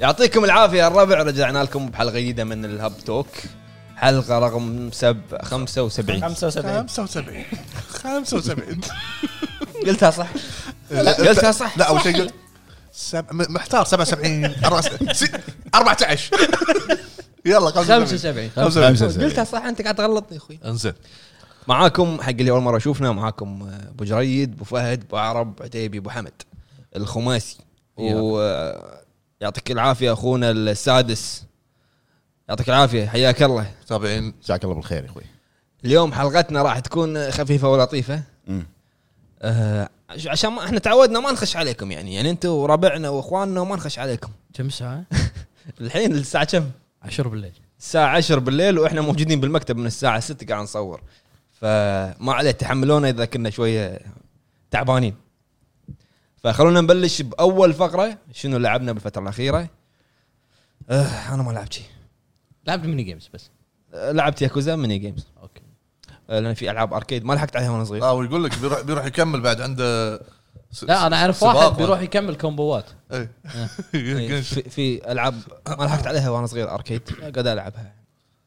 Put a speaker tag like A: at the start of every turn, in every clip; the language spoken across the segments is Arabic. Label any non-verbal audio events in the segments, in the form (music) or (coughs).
A: يعطيكم العافيه يا الربع رجعنا لكم بحلقه جديده من الهب توك حلقه رقم سب 75
B: 75
C: 75 75
A: قلتها صح قلتها صح
C: لا اول شيء قلت سب... م- محتار 77 أربعة- س- 14 (laughs) يلا
D: 75
A: قلتها صح انت قاعد تغلطني يا اخوي
C: انزين
A: معاكم حق اللي اول مره اشوفنا معاكم آه، ابو جريد ابو فهد ابو عرب عتيبي ابو حمد الخماسي و آه، يعطيك العافيه اخونا السادس يعطيك العافيه حياك الله
C: متابعين
B: جزاك الله بالخير يا اخوي
A: اليوم حلقتنا راح تكون خفيفه ولطيفه
B: مم.
A: آه عش- عشان ما احنا تعودنا ما نخش عليكم يعني يعني انتم وربعنا واخواننا وما نخش عليكم
D: كم ساعة؟
A: الحين الساعه كم
D: 10 بالليل
A: الساعه 10 بالليل واحنا موجودين بالمكتب من الساعه 6 قاعد نصور فما عليه تحملونا اذا كنا شويه تعبانين فخلونا نبلش باول فقره شنو لعبنا بالفتره الاخيره آه انا ما لعبت شيء
D: لعبت ميني جيمز بس
A: آه، لعبت ياكوزا ميني جيمز
D: اوكي
A: آه، لان في العاب اركيد ما لحقت عليها وانا صغير
C: اه ويقول لك بيروح بيروح يكمل بعد عنده س-
D: لا انا اعرف
C: سباق
D: واحد
C: ولا-
D: بيروح يكمل كومبوات
C: إيه. (laughs)
A: إيه، في, في العاب ما لحقت عليها وانا صغير اركيد قاعد العبها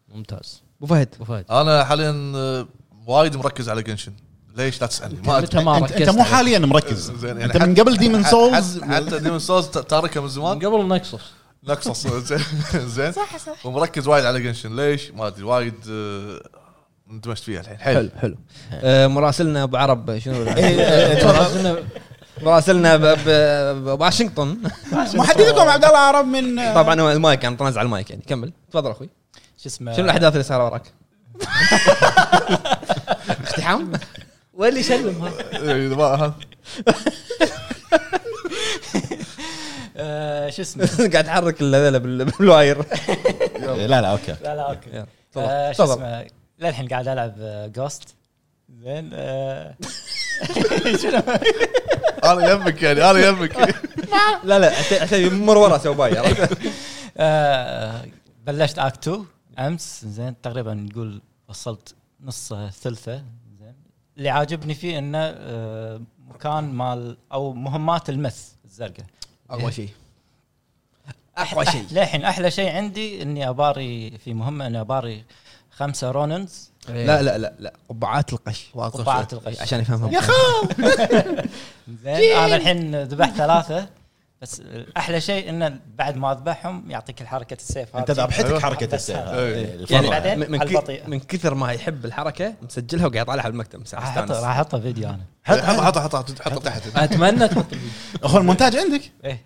D: ممتاز
A: ابو فهد
D: ابو فهد
C: انا حاليا آه، وايد مركز على جنشن ليش لا تسالني ما
D: متى
C: ادري
D: ما
B: انت,
D: ركزت
B: انت مو
D: عليه.
B: حاليا مركز
C: زين، يعني
B: انت من
C: حتى-
B: قبل ديمن
C: حت-
B: سولز
C: حت- حتى ديمن سولز ت- تاركها من
D: من
C: زمان
D: قبل نكسس
C: نقصص (laughs) زين زين
E: صح صح
C: ومركز وايد على جنشن ليش ما ادري وايد آه، اندمجت فيها الحين حلو
A: حلو آه، مراسلنا ابو عرب شنو مراسلنا ب- ب- بواشنطن
F: محدثكم عبد الله عرب من
A: طبعا هو المايك انا طنز على المايك يعني كمل تفضل اخوي
F: شو اسمه
D: آه.
A: شنو الاحداث اللي صار وراك؟ اقتحام؟
D: واللي يسلم ها.
C: إيه، ما- ها.
F: آه، شو اسمه
A: (laughs) قاعد تحرك الهذيلا بال- بالواير
B: إيه، لا لا اوكي
F: لا لا اوكي
A: يلا، تفضل.
F: آه، شو
A: تفضل.
F: اسمه للحين قاعد العب جوست زين آه، شنو
C: انا يمك يعني انا يمك
A: لا لا عت- عت- مر ورا سوى باي عرفت؟
F: آه، بلشت اكت 2 امس زين تقريبا نقول وصلت نص ثلثه زين اللي عاجبني فيه انه آه، مكان مال او مهمات المس الزرقاء
A: اقوى شيء اقوى شيء
F: للحين احلى شيء عندي اني اباري في مهمه اني اباري خمسه روننز
D: إيه.
A: لا لا لا لا إيه. قبعات القش
F: قبعات القش
A: عشان يفهمها
F: زين انا الحين ذبحت ثلاثه بس احلى شيء انه بعد ما اذبحهم يعطيك الحركه السيف
B: انت
F: هذه.
B: ذبحتك
C: أيوة.
B: حركه
F: بس
B: السيف
F: هذا.
C: إيه.
A: يعني
B: يعني
F: بعدين
A: من, من,
F: على
A: كي
F: البطيئة.
A: من كثر ما يحب الحركه مسجلها وقاعد يطالعها بالمكتب من
F: راح
A: ساعه
F: احطه راح
A: استانس.
F: احطه فيديو انا
C: حط حط حط حط حط تحت
F: (laughs)
D: اتمنى تحط
B: اخو المونتاج عندك
F: ايه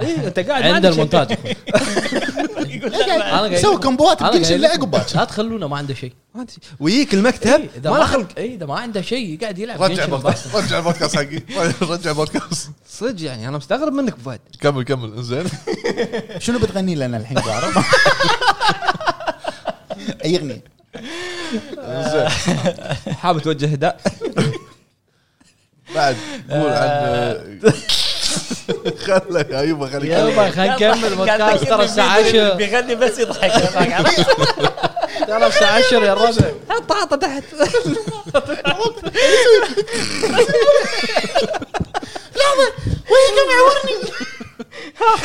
A: إيه، انت قاعد ما
D: عند
A: عندك شيء.
D: المونتاج (laughs) أخوي. أنا قاعد-
B: سوي كومبوات
D: أنا
B: بكل
D: قاعد-
B: شيء لا
D: (laughs)
B: عقبك
D: لا تخلونا ما عنده شيء
A: ما أنت شيء. ويجيك المكتب
D: اذا
A: ما له خلق
D: اي اذا ما عنده شيء قاعد يلعب
C: رجع
D: Genshin Impact.
C: البودكاست رجع البودكاست حقي (laughs) رجع البودكاست
A: صدق يعني انا مستغرب منك أبو فهد
C: كمل كمل انزين
B: شنو بتغني لنا الحين أبو عرب اي اغنيه
A: آه.
C: انزين
A: حاب توجه هداء
C: بعد قول
A: (laughs)
C: عن خله يا يبا خليك
D: يلا خلينا نكمل بودكاست ترى الساعه 10
F: بيغني بس (laughs) يضحك
D: ترى الساعه 10 يا الربع
A: حط حطه تحت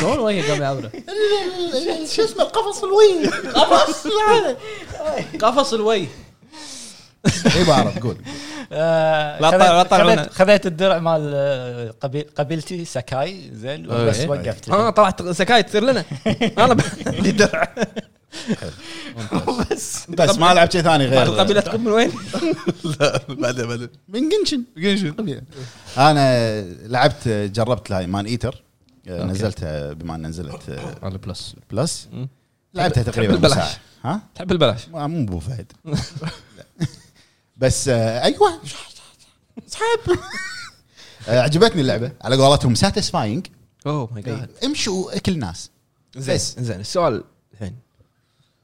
D: شلون وجهه قام يعبره
B: شو اسمه القفص الوي
D: قفص قفص الوي
B: اي أبو عرب إيه، قول
A: لا طلع- لا طلعونا.
F: خذيت الدرع مال آه، قبيل- قبيلتي سكاي زين بس
C: إيه.
F: وقفت
A: اه طلعت سكاي تصير لنا انا ب- عندي درع
B: بس ما لعب شيء ثاني غير
A: القبيله تقوم من وين؟
C: لا بعدين بعدين
B: من جنشن
C: جنشن
B: انا لعبت جربت هاي مان ايتر نزلتها بما ان نزلت
D: على بلس
B: بلس
A: مم.
B: لعبتها تقريبا
A: ببلاش.
B: بلاش ها
A: تحب البلاش
B: ما- مو ابو (laughs) فهد لا. بس آه، ايوه سحب آه، عجبتني اللعبه على قولتهم ساتيسفاينج
A: اوه ماي جاد
B: امشوا اكل ناس إيه.
A: Oh
B: بس.
A: زين زين السؤال الحين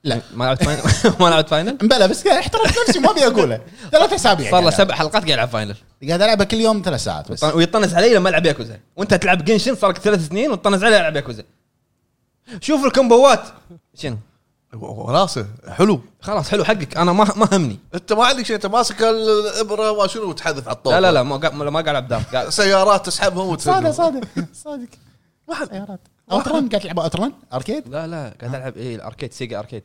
B: لا
A: ما لعبت فاينل (laughs) ما لعبت فاينل
B: مبلا بس قاعد احترمت نفسي ما ابي اقوله (laughs) ثلاث اسابيع
A: صار له
B: قاعد
A: سبع حلقات قاعد يلعب فاينل
B: ألعب. قاعد العبها كل يوم ثلاث ساعات بس
A: ويطنز علي لما العب ياكوزا وانت تلعب جنشن صار لك ثلاث سنين وتطنز علي العب ياكوزا شوف الكومبوات شنو
C: وناسه حلو
A: خلاص حلو حقك انا ما ما همني
C: انت ما عندك شيء انت ماسك الابره ما شنو وتحذف على الطاوله
A: لا لا لا ما قاعد ما قاعد العب دارك قاعد-
C: سيارات تسحبهم وتسدهم.
B: صادق صادق صادق واحد سيارات اوترن قاعد تلعب اوترن اركيد
A: لا لا قاعد العب اي الاركيد سيجا اركيد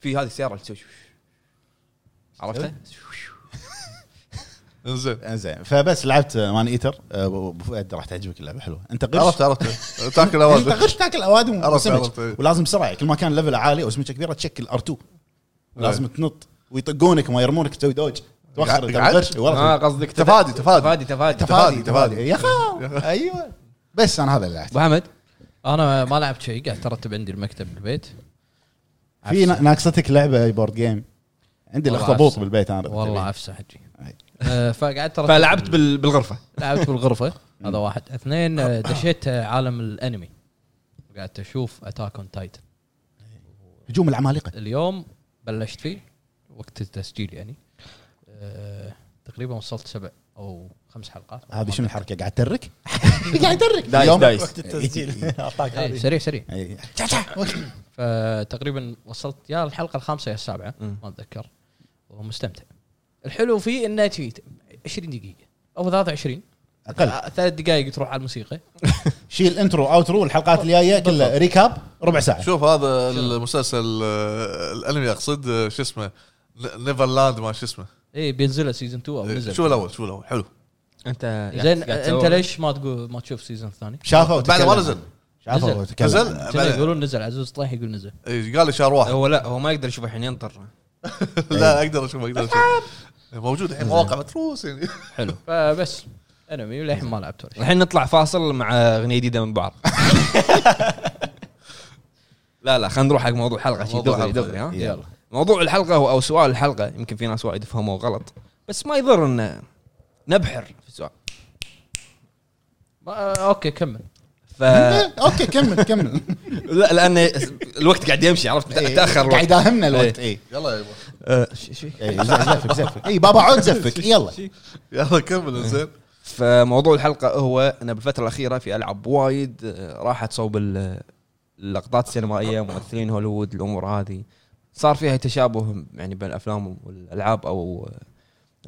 A: في هذه السياره اللي تسوي شوش. عرفتها؟
C: انزين
B: زين فبس لعبت مان ايتر أه، ابو فهد راح تعجبك اللعبه حلوه انت قرش
C: عرفت عرفت تاكل
B: انت
A: (laughs)
C: اوادم
B: غش تاكل اوادم
C: عرفت،
B: وسمك
C: عرفت، إيه.
B: ولازم بسرعه كل ما كان ليفل عالي او سمكه كبيره تشكل ار2
C: إيه.
B: لازم تنط ويطقونك وما يرمونك تسوي دوج توخر أنت
C: قعد-
B: الغش ورا.
D: آه،
A: اه قصدك
C: تفادي- تفادي.
A: تفادي تفادي
B: تفادي
C: تفادي-
B: تفادي
C: تفادي.
B: يا خال ايوه بس انا هذا اللي لعبت
A: ابو حمد
D: انا ما لعبت شيء قاعد ترتب عندي المكتب بالبيت
B: في نا- ناقصتك لعبه بورد جيم عندي
D: والله
B: الاخطبوط
D: عفسة.
B: بالبيت انا
D: والله عفسه حجي
B: أي.
D: آه، فقعدت ترتب-
A: فلعبت بال- بالغرفه
D: لعبت بالغرفه هذا واحد اثنين آه، دشيت آه، عالم الانمي قعدت اشوف اتاك اون تايتن
B: هجوم العمالقه
D: اليوم بلشت فيه وقت التسجيل يعني آه، تقريبا وصلت سبع او خمس حلقات
B: هذه
D: (laughs)
B: شنو الحركه قاعد ترك قاعد ترك اليوم-
A: دايس.
F: التسجيل (laughs) اعطاك
D: إيه،
F: هذه
D: سريع
B: (laughs)
D: سريع
B: أي. شا- شا.
D: فتقريبا وصلت يا الحلقه الخامسه يا السابعه
A: مم.
D: ما اتذكر ومستمتع الحلو فيه انه شي 20 دقيقه او 23
B: اقل
D: آه، ثلاث دقائق تروح على الموسيقى
B: شيل انترو اوترو الحلقات الجايه كلها ريكاب ربع ساعه
C: شوف هذا المسلسل آه، الانمي اقصد آه، شو اسمه نيفرلاند ما شو اسمه
D: اي إيه، بينزلها سيزون 2 او نزل
C: إيه، شو الاول شو الاول حلو
A: انت
D: زين انت ليش ما تقول ما تشوف سيزون الثاني؟
B: شافه
C: بعد
B: وتكلم.
C: ما نزل
B: شافه
D: نزل.
B: وتكلم.
C: نزل؟
D: كنا
C: بعدين.
D: يقولون نزل عزوز طيح يقول نزل
C: إيه، قال لي شهر واحد
A: هو لا هو ما يقدر يشوف الحين ينطر
C: (laughs) لا اقدر اشوف اقدر اشوف موجود الحين مواقع متروس يعني (laughs)
D: حلو فبس انمي وللحين ما لعبت ولا شيء
A: الحين نطلع فاصل مع اغنيه جديده من بعض لا لا خلينا نروح حق موضوع الحلقه شي
C: موضوع
A: دغري
C: الحلقة.
A: دغري ها
B: يلا.
A: موضوع الحلقه هو او سؤال الحلقه يمكن في ناس وايد يفهموه غلط بس ما يضر ان نبحر في السؤال
D: ما- اوكي كمل
A: ف
B: إيه، اوكي كمل كمل
A: لا لان الوقت قاعد يمشي عرفت
B: إيه،
A: تاخر الوقت. إيه.
B: قاعد يداهمنا الوقت اي
C: يلا يا يبا
A: آه، ش- ش-
B: زفك زفك اي بابا عود زفك يلا
C: يلا كمل زين
A: فموضوع الحلقه هو ان بالفتره الاخيره في العاب وايد آه، راحت صوب ال- اللقطات السينمائيه ممثلين هوليوود الامور هذه صار فيها تشابه يعني بين الافلام والالعاب او آه،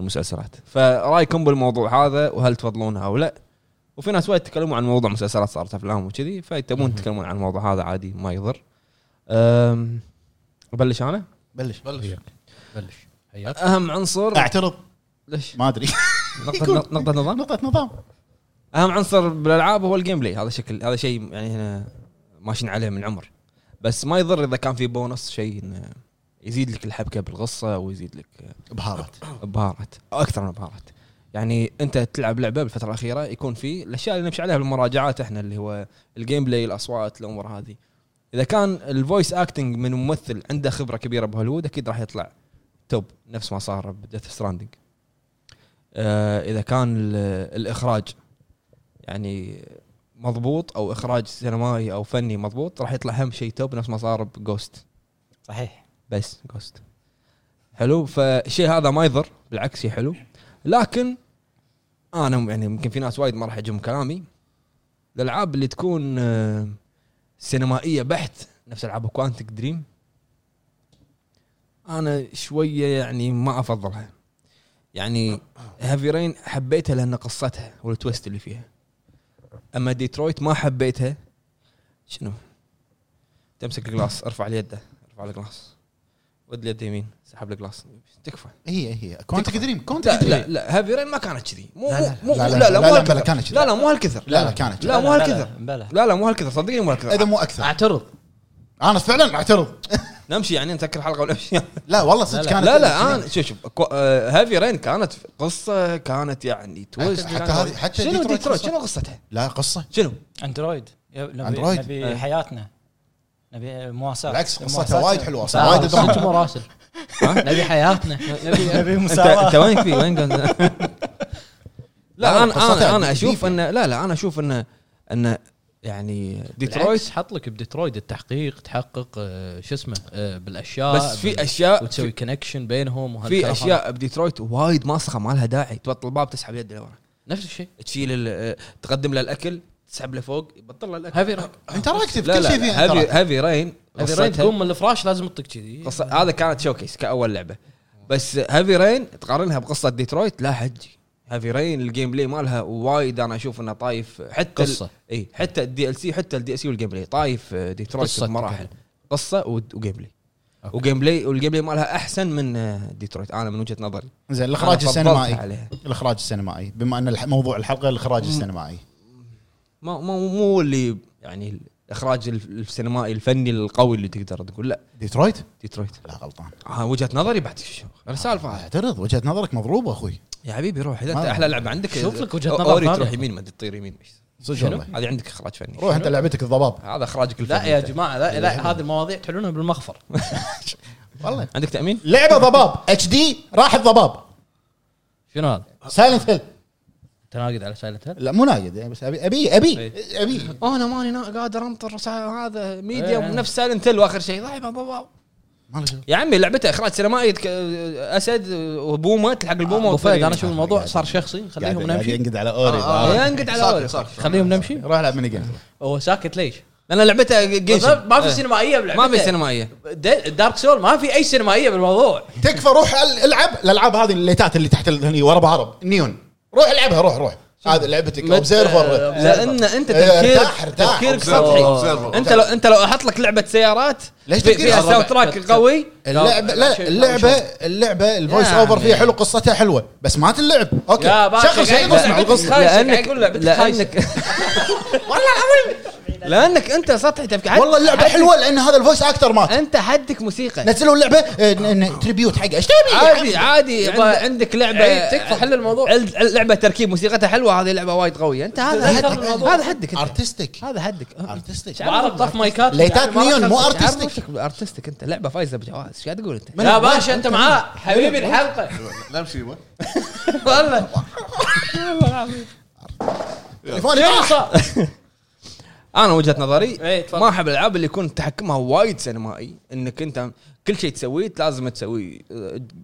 A: المسلسلات فرايكم بالموضوع هذا وهل تفضلونها او لا وفي ناس وايد تكلموا عن موضوع مسلسلات صارت افلام وكذي فتبون تتكلمون عن الموضوع هذا عادي ما يضر أم، ابلش انا
B: بلش إيه.
C: بلش
D: بلش حياك
A: اهم عنصر
B: اعترض
A: ليش (laughs)
B: ما ادري
A: نقطه نقطه نظام
B: نقطه نظام
A: اهم عنصر بالالعاب هو الجيم بلاي هذا شكل هذا شيء يعني هنا ماشيين عليه من عمر بس ما يضر اذا كان في بونص شيء إنه يزيد لك الحبكه بالقصه ويزيد لك
B: بهارات
A: بهارات أو اكثر من بهارات يعني انت تلعب لعبه بالفتره الاخيره يكون في الاشياء اللي نمشي عليها بالمراجعات احنا اللي هو الجيم بلاي الاصوات الامور هذه اذا كان الفويس اكتنج من ممثل عنده خبره كبيره بهوليوود اكيد راح يطلع توب نفس ما صار بديث ستراندنج آه اذا كان ال- الاخراج يعني مضبوط او اخراج سينمائي او فني مضبوط راح يطلع هم شيء توب نفس ما صار بجوست
F: صحيح
A: بس جوست حلو فالشيء هذا ما يضر بالعكس شيء حلو لكن انا م- يعني يمكن في ناس وايد ما راح يعجبهم كلامي الالعاب اللي تكون آه، سينمائيه بحت نفس العاب كوانتك دريم انا شويه يعني ما افضلها يعني هافي رين حبيتها لان قصتها والتويست اللي فيها اما ديترويت ما حبيتها شنو تمسك الجلاس ارفع اليد ارفع الجلاس ود اليد يمين سحب الجلاس تكفى
B: هي هي كونت دريم كونت
A: لا
B: دريم
A: لا لا هافي رين ما كانت كذي مو
B: لا، لا،
A: مو
B: لا،
A: لا لا لا
B: لا، لا، لا،
A: مو
B: بلا
A: هالكثر.
B: كانت كذي.
A: لا لا مو هالكثر
B: لا، لا، كانت كذي.
A: لا مو هالكثر
F: بلا
A: لا لا مو هالكثر صدقني مو
B: اذا
A: هالكثر
B: مو اكثر
D: اعترض
B: انا فعلا اعترض
A: نمشي يعني نسكر حلقه
B: (laughs)
A: ونمشي
B: لا والله صدق كانت
A: لا لا انا شوف شوف كو- آه، هافي رين كانت قصه كانت يعني تويست
B: حتى
A: كانت-
B: هذه- حتى
A: شنو
B: ديترويت
A: ديترويت
B: قصة؟
A: شنو قصتها؟
B: لا قصه
A: شنو؟
F: اندرويد يب- نبي
B: أندرويد.
A: إيه.
F: نبي حياتنا نبي مواساه
B: بالعكس قصتها
F: مواساة.
B: وايد حلوه اصلا وايد
D: صوت
B: دراما
D: مراسل نبي حياتنا
F: نبي
A: انت
F: مساواه
A: انت وين في وين
B: (laughs)
A: كنت؟ لا انا
B: قصتها
A: انا انا اشوف
B: ديفة.
A: انه لا لا انا اشوف انه انه يعني (laughs) ديترويت
D: ديترويت حط لك بديترويت التحقيق تحقق آه، شو اسمه آه، بالاشياء
A: بس
D: بال-
A: في اشياء
D: آه، وتسوي كونكشن بينهم وهالكلام
A: في
D: هذا.
A: اشياء بديترويت وايد ماسخه ما لها داعي توطي الباب تسحب يده لورا
D: نفس الشيء
A: تشيل ال- آه، تقدم له الاكل تسحب له فوق يبطل له الاكل
D: هافي رين
B: انتراكتيف
A: لا
B: كل شيء
A: لا
B: فيها
A: هافي
B: interact.
A: هافي رين
D: هافي رين
A: قصتها-
D: تقوم من الفراش لازم تطق كذي
A: قصة- هذا كانت شوكيس كاول لعبه بس هافي رين تقارنها بقصه ديترويت لا حجي هافي رين الجيم بلاي مالها وايد انا اشوف انه طايف حتى
D: قصة.
A: ال- اي حتى الدي ال سي حتى الدي ال سي والجيم بلاي طايف آه، ديترويت
D: قصة
A: بمراحل
D: تتكلم.
A: قصه ود- وجيم بلاي
D: أوكي.
A: وجيم بلاي والجيم بلاي مالها احسن من آه، ديترويت انا من وجهه نظري
B: زين
A: أنا
B: الاخراج
A: فضلتها
B: السينمائي
A: عليها
B: الاخراج السينمائي بما ان الح- موضوع الحلقه الاخراج السينمائي
A: ما مو مو اللي يعني الاخراج الف- السينمائي الفني القوي اللي تقدر تقول لا
B: ديترويت
A: ديترويت
B: لا غلطان
A: آه وجهه نظري بعد شو السالفه
B: اعترض وجهه نظرك مضروبه اخوي
A: يا حبيبي روح اذا
B: ما-
A: انت احلى لعبه عندك
D: شوف لك وجهة
A: أو-
D: نظر
A: اوري
D: ثانية.
A: تروح يمين ما أدري تطير يمين
B: صدق
D: شنو؟
B: والله
A: هذه عندك اخراج فني
B: روح انت لعبتك الضباب
A: هذا اخراجك الفني
D: لا يا
A: أنت.
D: جماعه لا لا هذه المواضيع تحلونها بالمخفر
B: والله
A: عندك تامين
B: لعبه ضباب اتش دي راح الضباب
D: شنو هذا؟
B: سايلنت هيل
D: تناقض على سايلنت هيل؟
B: لا مو ناقد يعني بس ابي ابي ابي ابي
A: انا ماني نا- قادر انطر سا- هذا
D: إيه.
A: ميديوم نفس سايلنت هيل واخر شيء ضايع بابا.
B: ما له شغل.
A: يا عمي لعبته اخراج سينمائي تك- اسد وبومه تلحق البومه
D: ابو فهد انا
A: وتطير
D: اشوف الموضوع صار شخصي
B: قاعد-
D: خليهم
B: قاعد
D: نمشي
B: ينقد على اوري
A: يمين.
B: آه.
A: يا انقد على
C: ساكت
A: اوري
C: ساكت
D: خليهم نمشي
B: روح العب ميني جيم
D: هو ساكت ليش؟
A: لان لعبته جيشن
D: ما في سينمائيه بلعبته
A: إيه. ما في سينمائيه
D: دا- دارك سول ما في اي سينمائيه بالموضوع
B: تكفى روح ال- العب الالعاب هذه الليتات اللي تحت ال- هني ورا بعرب نيون روح العبها روح روح هذا لعبتك
A: مت-
B: اوبزرفر
A: لان انت
B: إيه،
A: تفكيرك
B: ارتاح- ارتاح.
A: تفكيرك
C: Observer،
A: سطحي
C: observer.
A: انت لو انت لو احط لك لعبه سيارات
B: ليش
A: في-
B: تفكير
A: فيها
B: الربع؟
A: ساوند تراك قوي
B: اللعبه لا اللعبه اللعبه الفويس
A: يا
B: اوفر
A: عمي.
B: فيها حلو قصتها حلوه بس ما تنلعب اوكي
D: يا باكر
B: شغل
D: قاعد
B: شيء
D: يقول
B: نسمع
D: لعبتك
B: القصه
D: خايسة، قاعد
A: لانك
D: يقول لعبتك
A: لانك والله العظيم لانك انت سطحي تفكير
B: والله اللعبه حلوه لان هذا الفويس اكتر مات
A: انت حدك موسيقى
B: نزلوا اللعبه آه، ن- ن- تريبيوت حقه ايش
A: عادي
B: تبي؟
A: عادي عند- عندك لعبه
D: عيب، تكفى، حل الموضوع.
A: عل- لعبه تركيب موسيقتها حلوه هذه لعبه وايد قويه انت هذا
D: تذكر
A: حدك
D: الموضوع.
A: هذا حدك انت
B: ارتستيك
A: هذا حدك
B: ارتستيك
D: بعرض طف مايكات
B: ليتات نيون مو ارتستيك
A: ارتستك ارتستك انت لعبه فايزه بجوائز شو قاعد تقول انت
D: يا باشا انت معاه حبيبي الحلقه
C: نمشي يبا.
D: والله
B: تليفوني
D: شنو
B: طاح.
D: صار؟
A: انا وجهه نظري
D: إيه، تفضل.
A: ما احب الالعاب اللي يكون تحكمها وايد سينمائي انك انت كل شيء تسويه لازم تسويه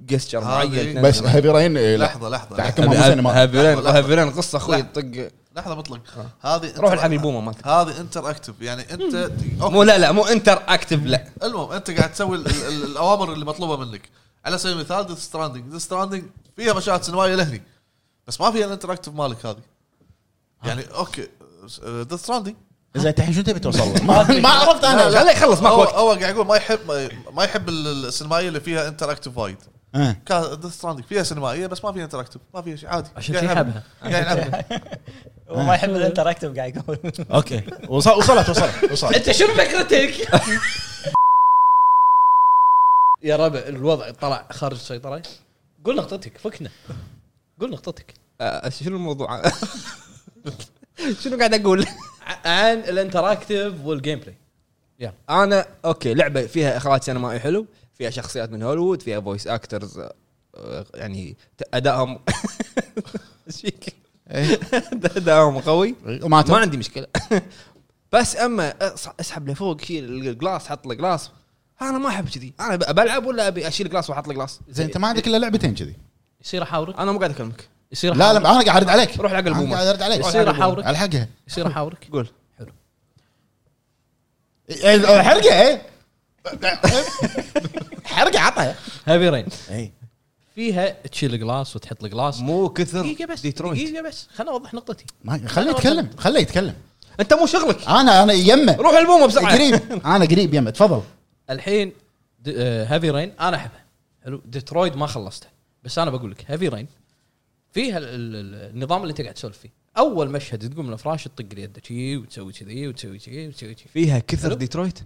A: جستشر
C: هذه-
A: معين
B: بس هابي رين آه، لا.
C: لحظه لحظه
B: تحكمها مو سينما
A: هافيرين
C: لحظة.
A: هافيرين قصه اخوي
C: لحظة.
A: طق
C: لحظه مطلق هذه
A: روح الحق البومه مالتك
C: هذه انتر اكتف يعني انت
A: مو لا لا مو انتر اكتف لا
C: المهم انت قاعد تسوي ال- ال- الاوامر اللي مطلوبه منك على سبيل المثال ديث ستراندنج ديث ستراندنج فيها مشاهد سينمائيه لهني بس ما فيها الانتراكتيف مالك هذه يعني اوكي ديث ستراندنج
B: زين انت الحين شنو تبي توصل له؟ (laughs) ما ما عرفت انا
A: خليه يخلص ماكو
C: هو
A: وقت
C: هو قاعد يقول ما يحب ما- ما يحب ال- السينمائيه اللي فيها انتراكتيف وايد
B: آه.
C: ديث ستراندنج فيها سينمائيه بس ما فيها انتراكتيف ما فيها شيء عادي
D: عشان
C: قاعد
D: شي
C: يلعبها. قاعد يلعبها.
F: هو ما يحب الانتراكتيف قاعد يقول
B: اوكي وصل- وصلت وصلت (laughs) وصلت
D: انت شنو فكرتك؟ يا ربع الوضع طلع خارج السيطره قول نقطتك فكنا قول نقطتك
A: آه، شنو الموضوع (laughs) شنو قاعد اقول
D: ع- عن الانتراكتيف والجيم بلاي
A: انا اوكي لعبه فيها اخراج سينمائي حلو فيها شخصيات من هوليوود فيها فويس اكترز يعني ت- (laughs) ادائهم إيش فيك؟
B: إيه،
A: ادائهم قوي
B: وماتت.
A: ما عندي مشكله بس اما أص- اسحب لفوق شيل الجلاس حط الجلاس انا ما احب كذي انا ب- بلعب ولا ابي اشيل جلاس واحط الجلاس
B: زين انت ما عندك الا لعبتين كذي
D: يصير احاورك
A: انا مو قاعد اكلمك
D: يصير
B: لا لا
D: أحاورك؟
B: انا قاعد ارد عليك
A: روح العب
B: أنا
A: البومة.
B: قاعد ارد عليك
D: يصير احاورك
B: الحقها
D: يصير احاورك
A: قول
B: إيه، حرقه
A: (laughs)
B: ايه حرقه عطها
D: هافي رين
B: اي
D: فيها تشيل جلاس وتحط الجلاس
A: مو كثر
D: دقيقه بس
A: ديترويت
D: دقيقه بس خلنا اوضح نقطتي
B: ما خليه يتكلم خليه يتكلم
A: انت مو شغلك
B: انا انا يمه
A: روح البومه بسرعه
B: قريب انا قريب يمه تفضل
D: الحين د- آه، هافي رين انا احبها حلو ديترويد ما خلصتها بس انا بقول لك هافي رين فيها ال- ال- ال- النظام اللي انت قاعد تسولف فيه اول مشهد تقوم من الفراش تطق اليد شي وتسوي كذي وتسوي كذي وتسوي كذي
A: فيها كثر
D: حلو.
A: ديترويت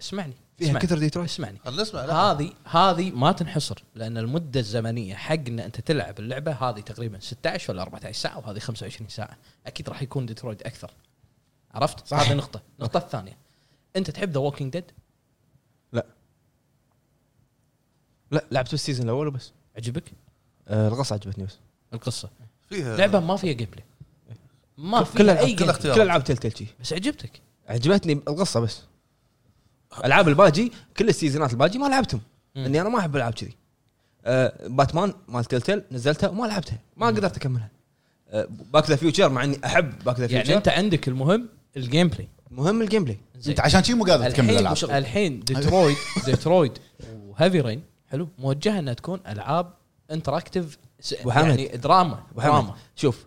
D: اسمعني
A: فيها
D: اسمعني.
A: كثر ديترويت
D: اسمعني
C: خلنا نسمع لا.
D: هذه هذه ما تنحصر لان المده الزمنيه حق ان انت تلعب اللعبه هذه تقريبا 16 ولا 14 ساعه وهذه 25 ساعه اكيد راح يكون ديترويد اكثر عرفت
B: صح.
D: صح. هذه نقطه النقطه الثانيه انت تحب ذا ووكينج ديد
A: لا لا لعبت السيزون الاول وبس
D: عجبك
A: آه القصه عجبتني بس
D: القصه
C: فيها
D: لعبه ما فيها جيم بلاي ما فيها
A: كل إيه،
D: كل اي
A: العاب
D: جيم
A: كل
D: بلاي.
A: كل العاب تيل تيل شي.
D: بس عجبتك
A: عجبتني القصه بس العاب الباجي كل السيزونات الباجي ما لعبتهم
D: مم.
A: اني انا ما احب العاب كذي آه باتمان مال تيل تيل نزلتها وما لعبتها ما قدرت اكملها آه باك ذا فيوتشر مع اني احب باك ذا فيوتشر
D: يعني انت عندك المهم الجيم بلاي
A: مهم الجيم بلاي
D: زين.
B: انت عشان شي مو قادر تكمل
D: الحين
B: الالعاب
D: وش-
A: (laughs)
D: الحين ديترويد ديترويد وهافي رين حلو موجهه انها تكون العاب انتراكتيف س-
A: أبو حمد.
D: يعني دراما
A: حمد
D: دراما
A: شوف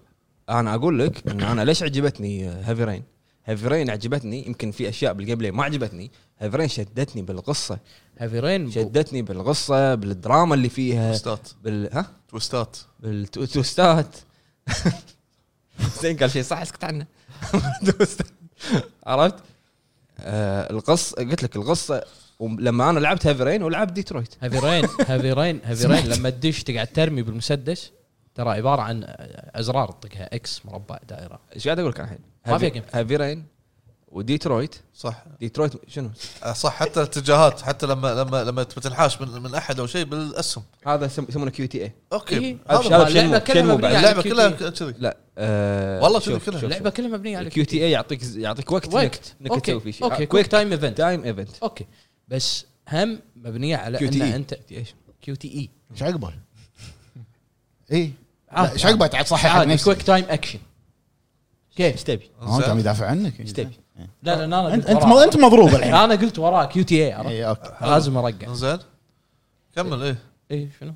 A: انا اقول لك ان انا ليش عجبتني آه، هيفي رين هيفي رين عجبتني يمكن في اشياء بالجيم بلاي ما عجبتني هيفي رين شدتني بالقصه
D: هيفي رين
A: شدتني بالقصه بالدراما اللي فيها
C: توستات
A: بال ها
C: توستات
A: بالتوستات (laughs) زين قال شيء صح اسكت عنه (laughs) توستات. عرفت آه القص قلت لك القصه لما انا لعبت هيفي رين ولعبت ديترويت
D: هيفي رين هيفي رين هيفي رين
A: (laughs)
D: لما تدش تقعد ترمي بالمسدس ترى عباره عن ازرار تطقها اكس مربع دائره
A: ايش قاعد اقول لك الحين
D: ما في جيم.
A: هيفي رين وديترويت
C: صح
A: ديترويت شنو
C: صح حتى الاتجاهات حتى لما لما لما تنحاش من من احد او شيء بالاسهم
A: هذا يسم- يسمونه كيو تي اي
C: اوكي
D: إيه.
A: هذا
C: هذا
A: شيء مو- شيء مو بعد.
D: مبنية على
C: اللعبه
D: ال
C: كلها
D: QTE.
C: كذي
A: لا آه
C: والله شنو كلها.
D: اللعبه كلها مبنيه على
A: الكيو تي اي يعطيك يعطيك وقت
D: وقت
A: انك
D: اوكي
A: تسوي فيه شيء
D: اوكي كويك تايم ايفنت
A: تايم ايفنت
D: اوكي بس هم مبنيه على
A: QTE.
D: ان انت كيو تي اي
B: ايش عقبه؟ اي
A: آه،
D: عادي.
B: ايش عقبه تعال صحح عن
D: آه. عادي
B: نفسك.
D: كويك تايم اكشن كيف ايش تبي؟
B: آه، انت عم يدافع عنك
A: ايش تبي؟
D: لا لا انا
B: انت
D: قلت
B: انت
D: وراها.
B: انت مضروب الحين إيه،
D: انا قلت وراه كيو تي اي
A: إيه.
D: عرفت؟
B: اي اوكي
D: لازم
A: آه.
D: ارجع
C: زين كمل ايه
D: اي شنو؟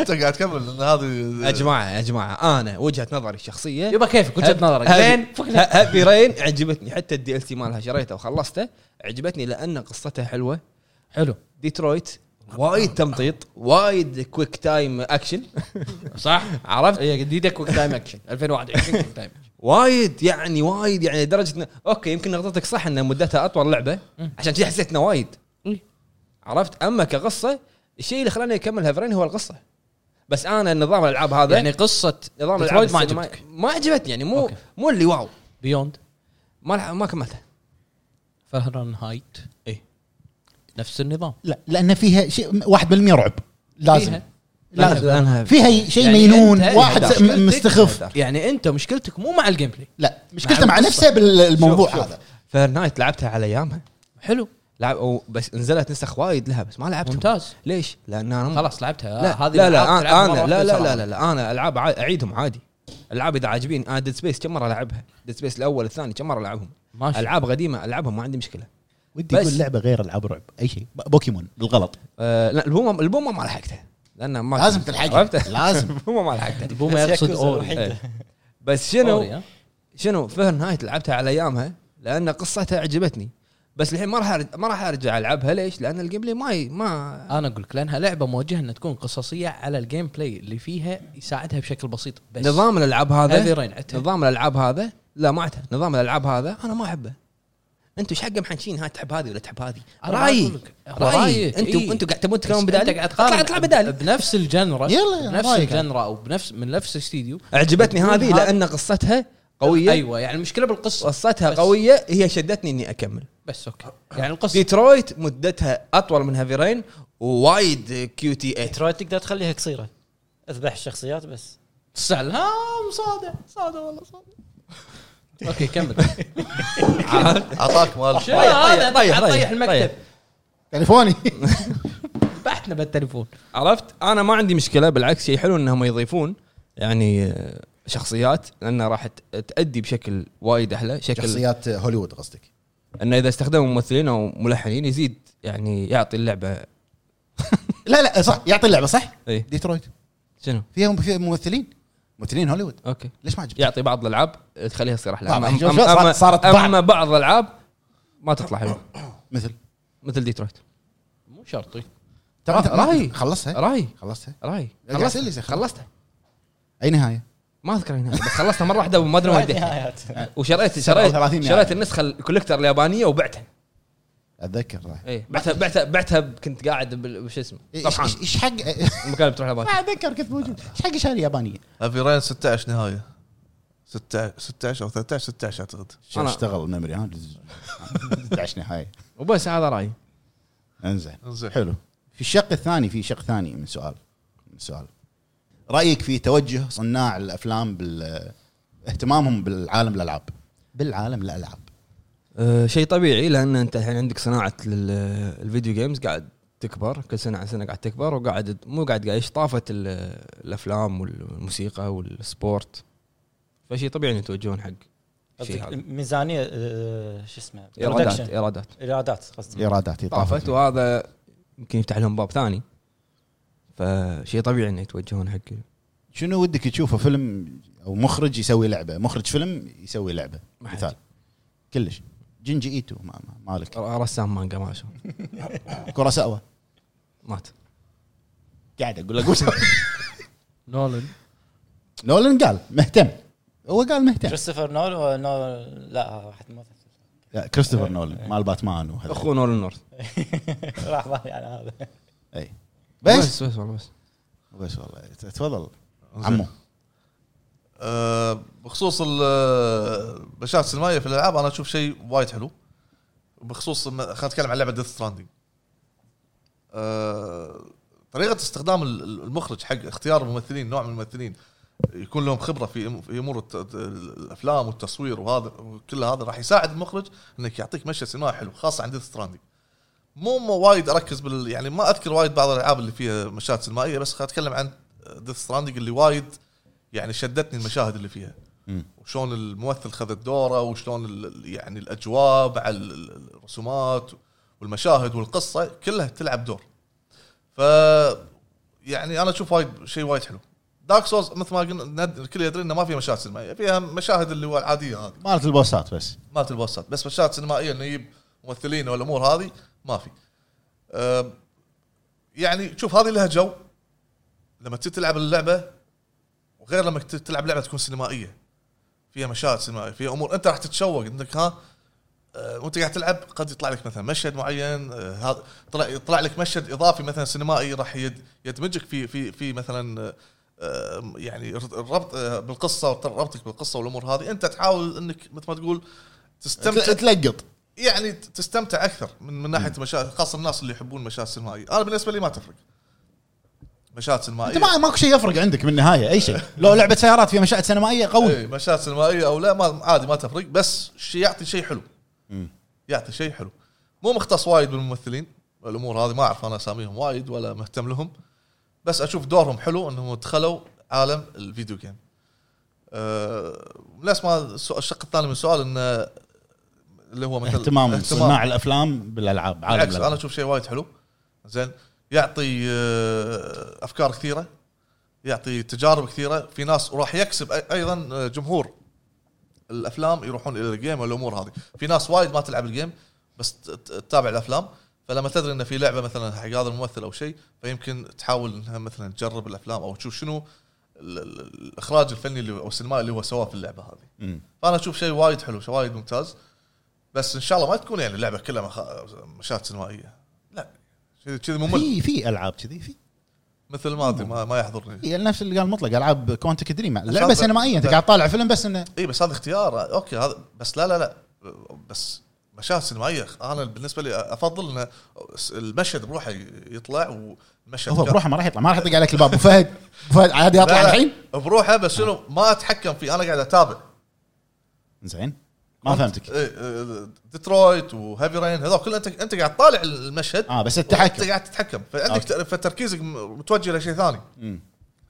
C: انت قاعد تكمل لان
A: يا
C: هذه
A: جماعه يا جماعه انا وجهه نظري الشخصيه
D: يبا كيفك وجهه نظرك زين فكنا-
A: هابي رين عجبتني حتى الدي ال سي مالها شريته وخلصته عجبتني لان قصتها حلوه
D: حلو
A: ديترويت وايد تمطيط وايد كويك تايم اكشن
D: صح؟ عرفت؟ هي جديده كويك تايم (laughs) اكشن 2021 كويك تايم
A: وايد يعني وايد يعني لدرجه إن اوكي يمكن نقطتك صح ان مدتها اطول لعبه
D: مم.
A: عشان كذا حسيت انه وايد
D: مم.
A: عرفت اما كقصه الشيء اللي خلاني اكمل هافرين هو القصه بس انا النظام الالعاب هذا
D: (laughs) يعني قصه
A: نظام
D: ديترويت
A: الألعاب
D: ما
A: السينما-
D: عجبتك.
A: ما عجبتني يعني مو
D: أوكي.
A: مو اللي واو
D: بيوند
A: ما لح- ما كملتها
D: فهرنهايت
A: إيه.
D: نفس النظام
B: لا لان فيها شيء 1% رعب لازم
D: فيها
B: لازم
A: لانها
B: فيها شيء
D: يعني
B: مينون
D: أنت-
B: واحد
D: أنت
B: س-
A: مشكلتك-
B: مستخف
D: يعني انت مشكلتك مو مع الجيم بلاي
B: لا مشكلته
D: مع
B: مع نفسه بالموضوع
A: شوف، شوف.
B: هذا
A: فهرنايت لعبتها على ايامها
D: حلو
A: لعب أو بس نزلت نسخ وايد لها بس ما لعبتها
D: ممتاز
A: ليش؟ لان انا م-
D: خلاص لعبتها
A: لا
D: آه،
A: هذه لا
D: الألعاب
A: لا
D: تلعبها
A: انا لا
D: مرة
A: لا,
D: واحدة
A: لا
D: صراحة.
A: لا لا انا العاب عا- اعيدهم عادي العاب اذا عاجبين انا ديد سبيس كم مره العبها؟ ديد سبيس الاول الثاني كم مره العبهم؟
D: ماشي
A: العاب قديمه العبهم ما عندي مشكله
B: ودي
A: بس.
B: يقول لعبه غير العاب رعب اي شيء ب- بوكيمون بالغلط
A: آه لا البومه البومه ما لحقتها لان ما
B: (laughs) لازم تلحقها.
A: عرفت؟
B: لازم.
A: (laughs) البومه ما
D: (laughs)
A: لحقتها
D: البومه يقصد اوري
A: إيه. بس شنو
D: أوري، ها؟
A: شنو فهرنهايت لعبتها على ايامها لان قصتها عجبتني بس الحين ما راح أرج- ما راح ارجع العبها ليش؟ لان الجيم بلاي ما ي- ما
D: انا اقول لك لانها لعبه موجهه انها تكون قصصيه على الجيم بلاي اللي فيها يساعدها بشكل بسيط بس
A: نظام الالعاب
D: هذه
A: هذا
D: رين عدتها.
A: نظام الالعاب هذا لا ما عته نظام الالعاب هذا انا ما احبه انتم ايش حق محنشين هاي تحب هذه ولا تحب هذه؟
D: أنا
A: رايي
D: بقول لك، هو
A: رايي
D: رأيك،
A: انتم
D: إيه.
A: انتم قاعد تبون
D: بس
A: تتكلمون
D: أنت
A: بدالي
D: قاعد
A: اطلع
D: تقارن
A: اطلع بدالي (laughs)
D: بنفس الجنرا
B: يلا، يلا،
D: بنفس
B: رأيك.
D: الجنرا او بنفس من نفس الاستديو
A: عجبتني هذه
D: هذا-
A: لان قصتها قويه
D: ايوه يعني المشكله بالقصه
A: قصتها
D: بس.
A: قويه هي شدتني اني اكمل
D: بس اوكي يعني القصه
A: ديترويت مدتها اطول من هافيرين ووايد كيو تي اي
F: تروي تقدر تخليها قصيره اذبح الشخصيات بس
D: سلام صادع صادع والله صادع
A: (laughs)
D: اوكي كمل
A: طيب،
C: اعطاك
D: (laughs)
C: مال
D: شنو هذا
A: طيح، طيح،
D: طيح طيح
A: طيح.
D: المكتب
B: تليفوني
D: ذبحتنا بالتليفون
A: (laughs) عرفت انا ما عندي مشكله بالعكس شيء حلو انهم يضيفون يعني آه، شخصيات لانها راح ت- تادي بشكل وايد احلى شكل
B: شخصيات هوليوود قصدك
A: انه اذا استخدموا ممثلين او ملحنين يزيد يعني يعطي اللعبه
B: لا لا صح يعطي اللعبه صح؟
A: اي
B: ديترويت
A: شنو
B: فيها فيها ممثلين ممثلين هوليوود
A: اوكي
B: ليش ما عجبك؟
A: يعطي بعض الالعاب تخليها تصير احلى
B: طبعاً.
A: أما-
B: شوف- شوف،
A: أما-
B: صار-
A: أما-
B: صارت
A: اما بعض الالعاب ما تطلع حلوه
B: مثل
A: مثل ديترويت
B: إيه.
D: مو شرطي
B: ترى انت
A: راهي. آه.
B: خلصتها
A: راي
B: خلصتها
A: راي
B: قاعد أسأل لي يا أخي.
A: خلصتها
B: اي نهايه؟
A: ما اذكر هنا بس خلصتها مره واحده وما
B: (laughs)
A: ادري وين وديتها
F: نهايات.
A: وشريت
B: 37
A: شريت
B: يعني.
A: شريت النسخه الكوليكتر اليابانيه وبعتها
B: اتذكر راهي
A: ايه بعتها بعتها بعتها ب- كنت قاعد بال- بش اسمه
B: ايش
A: طبعا
B: إيه، إيش- إيش حق
A: (laughs)
B: (laughs)
A: المكان اللي بتروح
B: ما
A: اليابان
B: اتذكر كنت موجود ايش حق شهر يابانيه؟
C: ابي رين 16 نهايه 16 16 او 13 16 اعتقد
B: شو
A: أنا-
B: اشتغل الميموري ها 11 نهايه
A: وبس هذا رايي
B: انزين
C: انزين
B: حلو في الشق الثاني في شق ثاني من سؤال من سؤال رايك في توجه صناع الافلام بال اهتمامهم بالعالم الالعاب بالعالم الالعاب
A: أه، شيء طبيعي لان انت الحين عندك صناعه لل- الفيديو جيمز قاعد تكبر كل سنه عن سنه قاعد تكبر وقاعد مو قاعد قاعد إيش طافت ال- الافلام والموسيقى والسبورت فشيء طبيعي ان يتوجهون حق شيء هذا.
F: ميزانيه آه، شو اسمه
A: ايرادات
F: برودكشن
A: ايرادات
F: ايرادات قصدي
B: ايرادات
A: طافت وهذا يمكن يفتح لهم باب ثاني فشيء طبيعي انه يتوجهون حق
B: شنو ودك تشوفه فيلم او مخرج يسوي لعبه مخرج فيلم يسوي لعبه
A: ما حد.
B: مثال كلش جنجي ايتو ما- ما- مالك
A: رسام مانجا ما شاء الله.
B: كوراساوا
A: مات
B: قاعد اقول لك (laughs) وش-
D: نولن
B: نولان قال مهتم هو قال مهتم
F: كريستوفر نول نول لا واحد ما
B: لا،
A: إيه.
B: كريستوفر نولان مال باتمان وهذا
A: اخوه نولان نورث
F: (laughs) راح بالي على هذا
B: اي إيه.
A: بس
B: بس
A: بس والله بس
B: بس والله تفضل عمو
C: آه، بخصوص ال- المشاهد السينمائيه في الالعاب انا اشوف شيء وايد حلو بخصوص لما- خلينا نتكلم عن لعبه ديث ستراندنج طريقه آه، استخدام ال- ال- المخرج حق اختيار الممثلين نوع من الممثلين يكون لهم خبره في في امور الت- الت- الافلام والتصوير وهذا كل هذا راح يساعد المخرج انك يعطيك مشهد سينمائي حلو خاصه عند ستراندي مو مو وايد اركز بال يعني ما اذكر وايد بعض الالعاب اللي فيها مشاهد سينمائيه بس خلينا اتكلم عن ديث ستراندنج اللي وايد يعني شدتني المشاهد اللي فيها
B: مم.
C: وشلون الممثل خذ دوره وشلون ال- ال- يعني الاجواء مع ال- ال- الرسومات والمشاهد والقصه كلها تلعب دور ف يعني انا اشوف وايد شيء وايد حلو دارك سوز مثل ما قلنا ند- الكل يدري انه ما فيها مشاهد سينمائيه فيها مشاهد اللي هو العاديه هذه
B: مالت البوسات بس
C: مالت البوسات بس مشاهد سينمائيه انه يجيب ممثلين والامور هذه ما في أم، يعني شوف هذه لها جو لما تجي تلعب اللعبه وغير لما ت- تلعب لعبه تكون سينمائيه فيها مشاهد سينمائيه فيها امور انت راح تتشوق انك ها أه، وانت قاعد تلعب قد يطلع لك مثلا مشهد معين أه، هذا طلع يطلع لك مشهد اضافي مثلا سينمائي راح يد- يدمجك في في في مثلا أه، أه، يعني الربط أه، بالقصه ربطك بالقصه والامور هذه انت تحاول انك مثل ما تقول تستمتع
B: تل- تلقط
A: آه،
C: يعني تستمتع اكثر من من ناحيه المشاهد خاصه الناس اللي يحبون المشاهد السينمائيه انا بالنسبه لي ما تفرق مشاهد سينمائيه
A: إيه.
B: انت ما ماكو شيء يفرق عندك بالنهايه اي
A: (laughs)
B: شيء لو لعبه سيارات فيها مشاهد سينمائيه
A: إيه.
B: قوي
C: اي إيه، مشاهد سينمائيه او لا ما عادي ما تفرق بس شيء يعطي شيء حلو
B: مم.
C: يعطي شيء حلو مو مختص وايد بالممثلين الامور هذه ما اعرف انا اساميهم وايد ولا مهتم لهم بس اشوف دورهم حلو انهم دخلوا عالم الفيديو جيم أه نفس ما السؤ- الشق الثاني من السؤال انه اللي هو مثل
A: إيه.
B: اهتمام صناع الافلام بالالعاب عالم
C: بالعكس انا
B: الألعاب.
C: اشوف شيء وايد حلو زين يعطي آه، افكار كثيره يعطي تجارب كثيره في ناس وراح يكسب أي- ايضا آه، جمهور الافلام يروحون الى الجيم والامور هذه في ناس وايد ما تلعب الجيم بس ت- ت- تتابع الافلام فلما تدري ان في لعبه مثلا حق هذا الممثل او شيء فيمكن تحاول انها مثلا تجرب الافلام او تشوف شنو ال- ال- الاخراج الفني اللي او السينمائي اللي هو سواه في اللعبه هذه
B: مم.
C: فانا اشوف شيء وايد حلو شيء وايد ممتاز بس ان شاء الله ما تكون يعني اللعبه كلها مخ... مشاهد سينمائيه لا شيء كذي ممل
B: في في العاب كذي في
C: مثل ما ادري ما, ما يحضرني
B: في إيه، نفس اللي قال مطلق العاب كوانتك دريم لعبه
C: أشوف-
B: سينمائيه انت
C: لا.
B: قاعد طالع فيلم بس انه
C: اي إيه، بس هذا اختيار اوكي هذا بس لا لا لا بس مشاهد سينمائيه انا بالنسبه لي افضل ان المشهد بروحه يطلع والمشهد
B: هو
C: كان-
B: بروحه ما راح يطلع ما راح يطق عليك الباب ابو فهد أبو فهد عادي
C: لا،
B: اطلع
C: لا،
B: الحين
C: بروحه بس شنو ما اتحكم فيه انا قاعد اتابع
B: زين ما فهمتك
C: إيه، إيه، ديترويت وهيفي رين هذول كلهم انت انت قاعد طالع المشهد
B: اه بس
C: انت
B: التحكم
C: قاعد تتحكم فعندك فتركيزك م- متوجه لشيء ثاني
B: مم.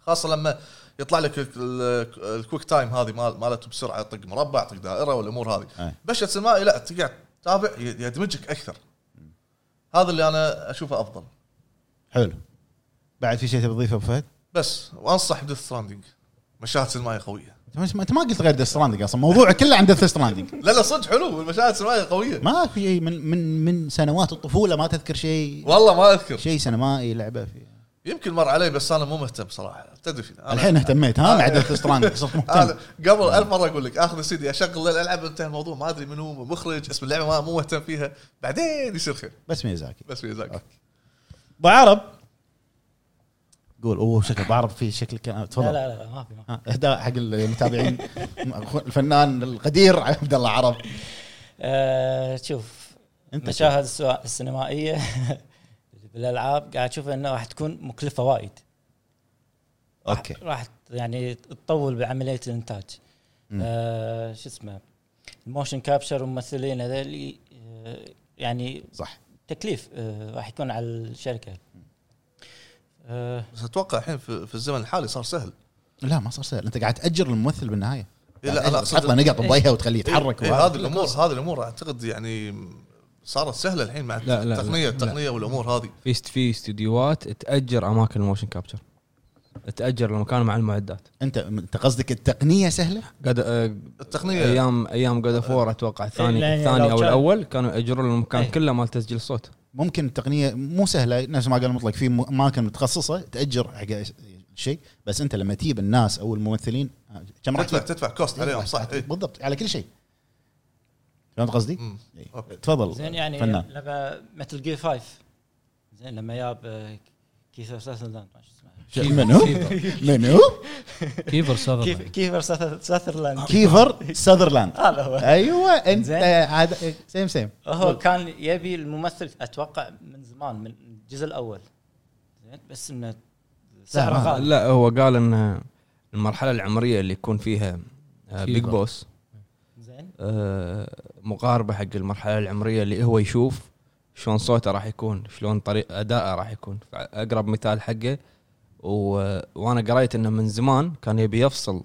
C: خاصه لما يطلع لك ال- ال- الكويك تايم هذه مال مالته بسرعه طق مربع طق دائره والامور
B: أي.
C: هذه مشهد سينمائي لا انت قاعد تتابع ي- يدمجك اكثر هذا اللي انا اشوفه افضل
B: حلو بعد في شيء تبي تضيفه ابو فهد؟
C: بس وانصح بديث ستراندنج مشاهد سينمائيه قويه
B: انت ما- انت ما قلت غير ديث ستراندنج اصلا موضوع كله عند ديث ستراندنج
C: لا لا صدق حلو المشاهد السينمائيه قويه
B: ما في شيء من من من سنوات الطفوله ما تذكر شيء
C: والله ما اذكر
B: شيء سينمائي لعبه في
C: يمكن مر علي بس انا مو مهتم صراحه تدري فيني أنا-
B: الحين اهتميت
C: آه،
B: ها
C: إيه.
B: مع ديث ستراندنج
C: (laughs)
B: صرت مهتم
C: هذا قبل ألف مره اقول لك اخذ السي دي اشغل الالعاب انتهى الموضوع ما ادري منو مخرج اسم اللعبه ما مو مهتم فيها بعدين يصير خير
B: بس ميزاكي
C: بس في ذاك
B: ابو عرب قول اوه شكل ابو عرب في شكل كان
F: لا
B: تفضل
F: لا لا ما في ما في.
B: ها، اهداء حق المتابعين (laughs) الفنان القدير عبد الله عرب
F: آه، شوف
B: انت
F: مشاهد السوا- (laughs) السينمائيه بالالعاب قاعد اشوف انها راح تكون مكلفه وايد راح-
B: اوكي
F: راح يعني تطول بعمليه الانتاج آه شو اسمه الموشن كابشر والممثلين هذول آه، يعني
B: صح
F: تكليف آه راح يكون على الشركه آه
C: بس اتوقع الحين في, في الزمن الحالي صار سهل
B: لا ما صار سهل انت قاعد تاجر الممثل بالنهايه
C: إيه، لا،
A: يعني
B: قاعد
C: أنا
B: تأجر-
C: أقصد-
B: تحط له نقط بضيها وتخليه يتحرك
C: إيه
B: وهذا.
C: هذه الامور هذه الامور اعتقد يعني صارت سهله الحين مع
A: لا، لا،
C: التقنيه
A: لا.
C: التقنيه والامور هذه
A: في است- في استديوهات تاجر اماكن الموشن كابتشر تاجر المكان مع المعدات
B: انت انت قصدك التقنيه سهله؟
A: قد آه،
C: التقنيه
A: ايام ايام جود فور اتوقع
E: لا،
A: الثاني
E: يعني
A: الثاني
E: لو
A: او
E: كان-
A: الاول كانوا ياجرون لهم المكان
E: إيه.
A: كله مال تسجيل الصوت
B: ممكن التقنيه مو سهله نفس ما قال مطلق في م- اماكن متخصصه تاجر حق شيء بس انت لما تجيب الناس او الممثلين آه، كم راح
C: تدفع
B: تدفع؟
C: تدفع كوست عليهم صح
A: أيوة،
B: راح-
C: إيه.
B: بالضبط على كل شيء فهمت قصدي؟
C: مم.
B: إيه.
C: أوكي.
B: تفضل
F: زين يعني
B: فنان
F: لما مثل جير 5 زين لما جاب كيث ساثرلاند ما شو اسمه
B: منو؟
D: (laughs)
B: منو؟
E: كيفر
D: Oh
E: سافر
F: كيف كيفر ساثر- ساثرلاند
B: Oh. كيفر ساذرلاند
F: هذا
B: (laughs)
F: هو
B: ايوه انت
F: زين.
B: عاد سيم سيم
F: هو كان يبي الممثل اتوقع من زمان من الجزء الاول زين بس انه سعره
E: آه،
B: ما-
F: غالي
A: لا هو قال ان المرحله العمريه اللي يكون فيها آه، بيج
E: كبر.
A: بوس
F: زين
A: مقاربه آه، حق المرحله العمريه اللي هو يشوف شلون صوته راح يكون شلون طريق اداءه راح يكون اقرب مثال حقه و... وانا قريت انه من زمان كان يبي يفصل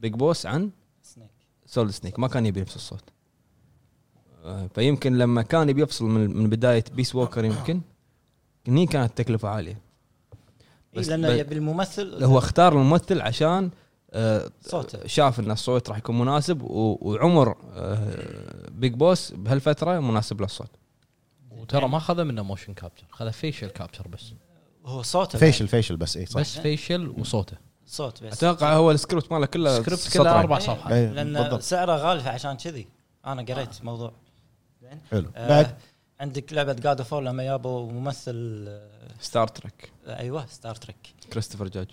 A: بيج بوس عن
F: سنيك
A: سولد سنيك ما كان يبي نفس الصوت آه، فيمكن لما كان يبي يفصل من من بدايه بيس ووكر يمكن هني كانت التكلفه عاليه
F: إيه
A: بس
F: لانه
A: ب-
F: يبي الممثل
A: هو اختار الممثل عشان آه،
F: صوته
A: شاف ان الصوت راح يكون مناسب و- وعمر آه، بيج بوس بهالفتره مناسب للصوت
D: وترى ما خذ منه موشن كابتشر خذ فيشل كابتشر بس
F: هو صوته
B: فيشل فيشل بس اي صح
D: بس فيشل وصوته
F: صوت بس
A: اتوقع هو السكريبت ماله كله
D: سكريبت
A: سطرين.
D: كله اربع
F: إيه،
D: صفحات
B: إيه،
F: لان
B: بالضبط.
F: سعره غالي فعشان كذي انا قريت الموضوع زين
B: حلو
F: آه،
B: بعد
F: عندك لعبه جاد اوف لما جابوا ممثل آه،
A: ستار تريك
F: ايوه ستار تريك
A: كريستوفر جاج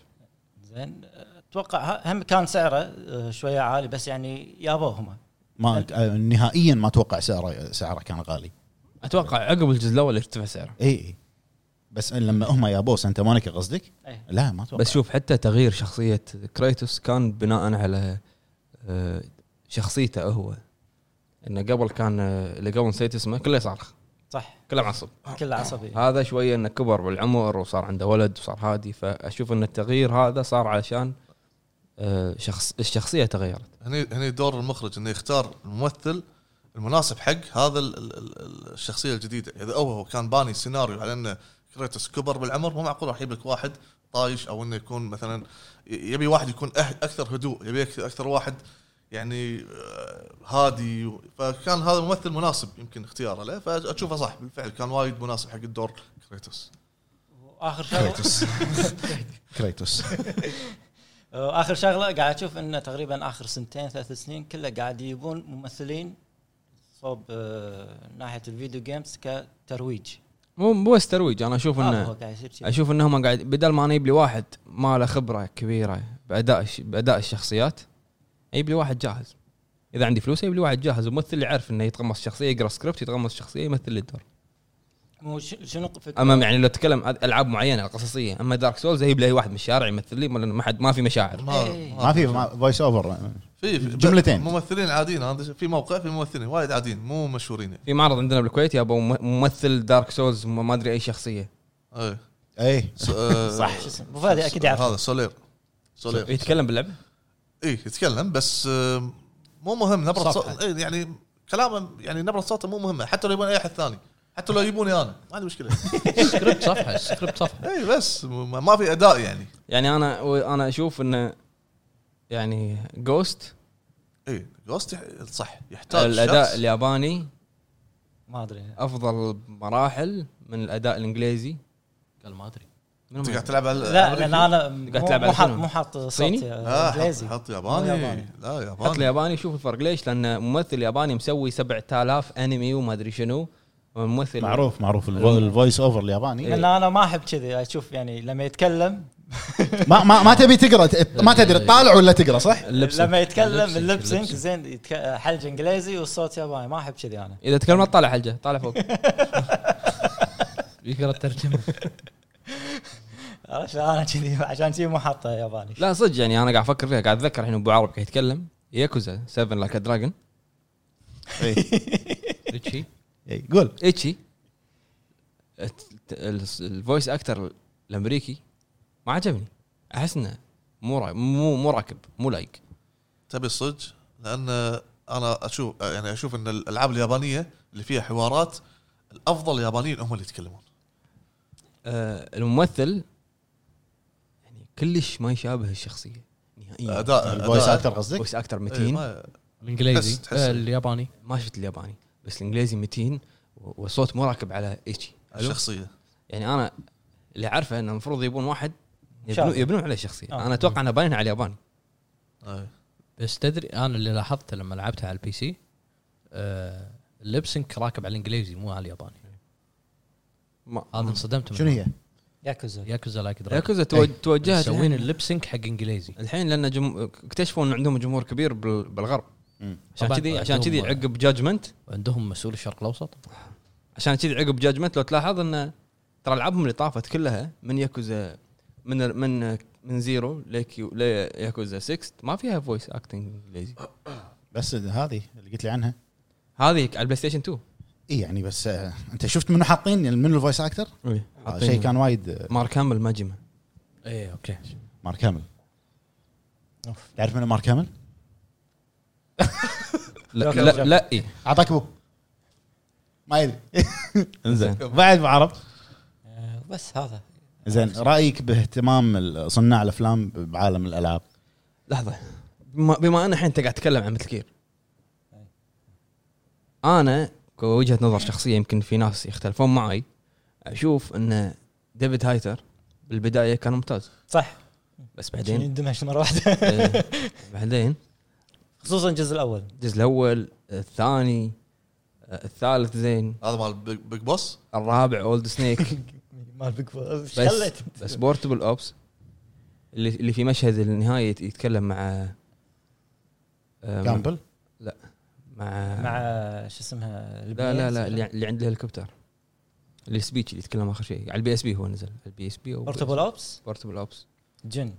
F: زين آه، اتوقع ه- هم كان سعره آه، شويه عالي بس يعني جابوه هم
B: ما آه، نهائيا ما اتوقع سعره سعره كان غالي
A: اتوقع عقب الجزء الاول ارتفع سعره
B: اي اي بس لما هم يا بوس انت مونيكا قصدك؟
F: إيه.
B: لا ما اتوقع
A: بس شوف حتى تغيير شخصيه كريتوس كان بناء على آه، شخصيته هو انه قبل كان آه، اللي قبل نسيت اسمه كله يصرخ
F: صح إيه.
A: كله معصب
F: كله عصبي
A: هذا شويه انه كبر بالعمر وصار عنده ولد وصار هادي فاشوف ان التغيير هذا صار علشان آه، شخص الشخصيه تغيرت
C: هني هني دور المخرج انه يختار الممثل المناسب حق هذا ال- ال- ال- الشخصيه الجديده اذا هو هو كان باني سيناريو على انه كريتوس كبر بالعمر مو معقول راح يجيب لك واحد طايش او انه يكون مثلا ي- يبي واحد يكون أه اكثر هدوء يبي أكثر, اكثر واحد يعني آه، هادي و- فكان هذا الممثل مناسب يمكن اختياره له فاشوفه صح بالفعل كان وايد مناسب حق الدور كريتوس
F: واخر
B: (laughs)
F: شغله
B: كريتوس
F: اخر شغله قاعد اشوف انه تقريبا اخر سنتين ثلاث سنين كله قاعد يجيبون ممثلين صوب آه، ناحيه الفيديو جيمز كترويج
A: مو مو بس ترويج انا اشوف
F: هذا هو
A: انه
F: قاعد يصير كذي.
A: اشوف انهم قاعد بدل ما انا يجيب لي واحد ما له خبره كبيره باداء الش- باداء الشخصيات يجيب لي واحد جاهز اذا عندي فلوس يجيب لي واحد جاهز وممثل اللي يعرف انه يتقمص شخصيه يقرا سكريبت يتقمص شخصيه يمثل لي الدور
F: مو ش- شنو فكرة
A: اما يعني لو تتكلم عن العاب معينه قصصيه اما دارك سولز يجيب لي أي واحد من الشارع يمثل لي لأن ما حد ما في مشاعر
F: إيه.
B: ما في فويس اوفر
C: في في-
B: جملتين.
C: ممثلين عاديين هذا في موقع في ممثلين وايد عاديين مو مشهورين يعني
A: في معرض عندنا بالكويت يا ابو ممثل دارك سولز ما ادري اي شخصيه
C: إيه.
B: اي
C: س-
B: (laughs)
C: آه،
F: صح شو اسمه ابو فهد اكيد يعرف
C: هذا سولير سولير
A: يتكلم باللعبه
C: اي يتكلم بس آم، مو مهم نبره
D: صفحة.
C: صوت إيه، يعني كلامه يعني نبره صوته مو مهمه حتى لو يبون اي احد ثاني حتى لو يبوني انا ما عندي مشكله
A: (laughs)
D: سكريبت صفحه سكريبت صفحه
C: اي بس ما ما في اداء يعني
A: يعني انا انا اشوف انه يعني جوست
C: اي جوست إيه، يح- صح يحتاج
A: الاداء
C: طيب، شخص.
A: الياباني
F: ما ادري
A: أه، افضل بمراحل من الاداء الانجليزي
D: قال ما ادري
A: منو
C: انت
A: ما-
C: قاعد تلعب على
F: لا لان انا مو-
A: تلعب على
F: مو حاط
A: شنو؟
F: مو حاط صوت
A: صيني؟
C: آه،
F: آه،
C: حط,
F: انجليزي
C: حط
F: مو
C: ياباني
F: ياباني.
C: لا
A: حط لي
C: ياباني
A: ياباني شوف الفرق ليش؟ لان ممثل ياباني مسوي 7000 انمي وما ادري شنو والممثل
B: معروف معروف الفو- الفويس اوفر الياباني
F: لان انا ما احب كذي اشوف يعني لما يتكلم
B: ما ما ما تبي تقرا ت- ما تدري تطالع ولا تقرا صح؟
D: إيه.
A: اللبس
F: لما يتكلم
D: اللبسنج،
F: اللبسنج
D: اللبسنج.
F: زين يتك- حلج انجليزي والصوت ياباني ما احب كذي انا
A: اذا تكلمت طالع حلجه طالع فوق
D: يقرا الترجمه
F: عرفت انا كذي (laughs) عشان كذي مو حاطه ياباني
A: لا صدق يعني انا قاعد افكر فيها قاعد اتذكر الحين ابو عرب قاعد يتكلم ياكوزا 7 لايك دراجون
D: ريتشي
B: إي، إيه، قول
A: ايتشي الت- ال- الفويس اكتر الامريكي ما عجبني احس انه مو را- مو مو راكب مو لايق
C: تبي آه، صدق لان انا اشوف يعني اشوف ان الالعاب اليابانيه اللي فيها حوارات الافضل اليابانيين هم اللي يتكلمون
A: آه، الممثل يعني كلش ما يشابه الشخصيه نهائيا
C: اداء
B: الفويس
C: أداء-
B: اكتر قصدك؟
A: فويس اكتر
C: إيه،
A: متين
C: ما-
D: الانجليزي
C: تحس- تحس.
D: آه، الياباني
A: ما شفت الياباني بس الانجليزي متين و- والصوت مو راكب على ايشي حلو؟
C: الشخصيه
A: يعني انا اللي عارفه انه المفروض يبون واحد يبنون,
F: شاب.
A: يبنون عليه شخصيه
F: آه.
A: انا اتوقع انه باين على الياباني
C: أي.
D: بس تدري انا اللي لاحظته لما لعبتها على البي سي آه، اللبسنك راكب على الانجليزي مو على الياباني
A: ما
D: هذا انصدمت منه.
B: شنو هي؟
F: ياكوزا
D: ياكوزا لايك دراجون
A: ياكوزا توج- توجهت
D: يسوون
A: الحين,
D: اللبسنك حق انجليزي
A: الحين لان جم... اكتشفوا ان عندهم جمهور كبير بال... بالغرب
B: مم.
A: عشان
D: طبعاً
A: كذي عشان كذي
D: عندهم-
A: عقب جاجمنت
D: عندهم مسؤول الشرق الاوسط
A: عشان كذي عقب جاجمنت لو تلاحظ انه ترى العابهم اللي طافت كلها من ياكوزا من من من زيرو ليكيو لياكوزا 6 ما فيها فويس اكتنج انجليزي
B: بس هذه اللي قلت لي عنها
A: هذه على البلاي ستيشن 2
B: اي يعني بس آه، انت شفت منو حاطين منو الفويس اكتر؟ آه، شيء كان وايد آه،
A: مارك هامل ماجما
D: ايه اوكي
B: مارك هامل تعرف منو مارك هامل؟
A: لا
F: أوكي.
A: لا, لا إيه.
B: اعطاك ابوه ما
D: (laughs)
B: يدري
A: زين
B: بعد ما عرفت
F: آه، بس هذا
B: زين رايك باهتمام ال- صناع الافلام بعالم الالعاب
A: لحظه بما, بما ان الحين انت قاعد تتكلم عن مثل كير انا كوجهه نظر شخصيه يمكن في ناس يختلفون معي اشوف ان ديفيد هايتر بالبدايه كان ممتاز
F: صح
A: بس
F: بعدين
A: بعدين
F: اندمج مره (laughs) واحده
A: آه، بعدين
F: خصوصا الجزء الاول
A: الجزء الاول الثاني آه، الثالث زين
C: هذا مال بيج بيج بوس
A: الرابع اولد سنيك
F: مال بيج بوس
A: بس بس بورتبل اوبس اللي اللي في مشهد النهايه يت- يتكلم مع آه،
B: كامبل
A: مع
F: مع شو اسمها
A: آه. لا لا لا
F: البنية.
A: اللي, يعني اللي عنده هليكوبتر اللي سبيتش اللي يتكلم اخر شيء على البي اس بي هو نزل على البي اس بي او
F: بورتبل اوبس
A: بورتبل اوبس
F: جن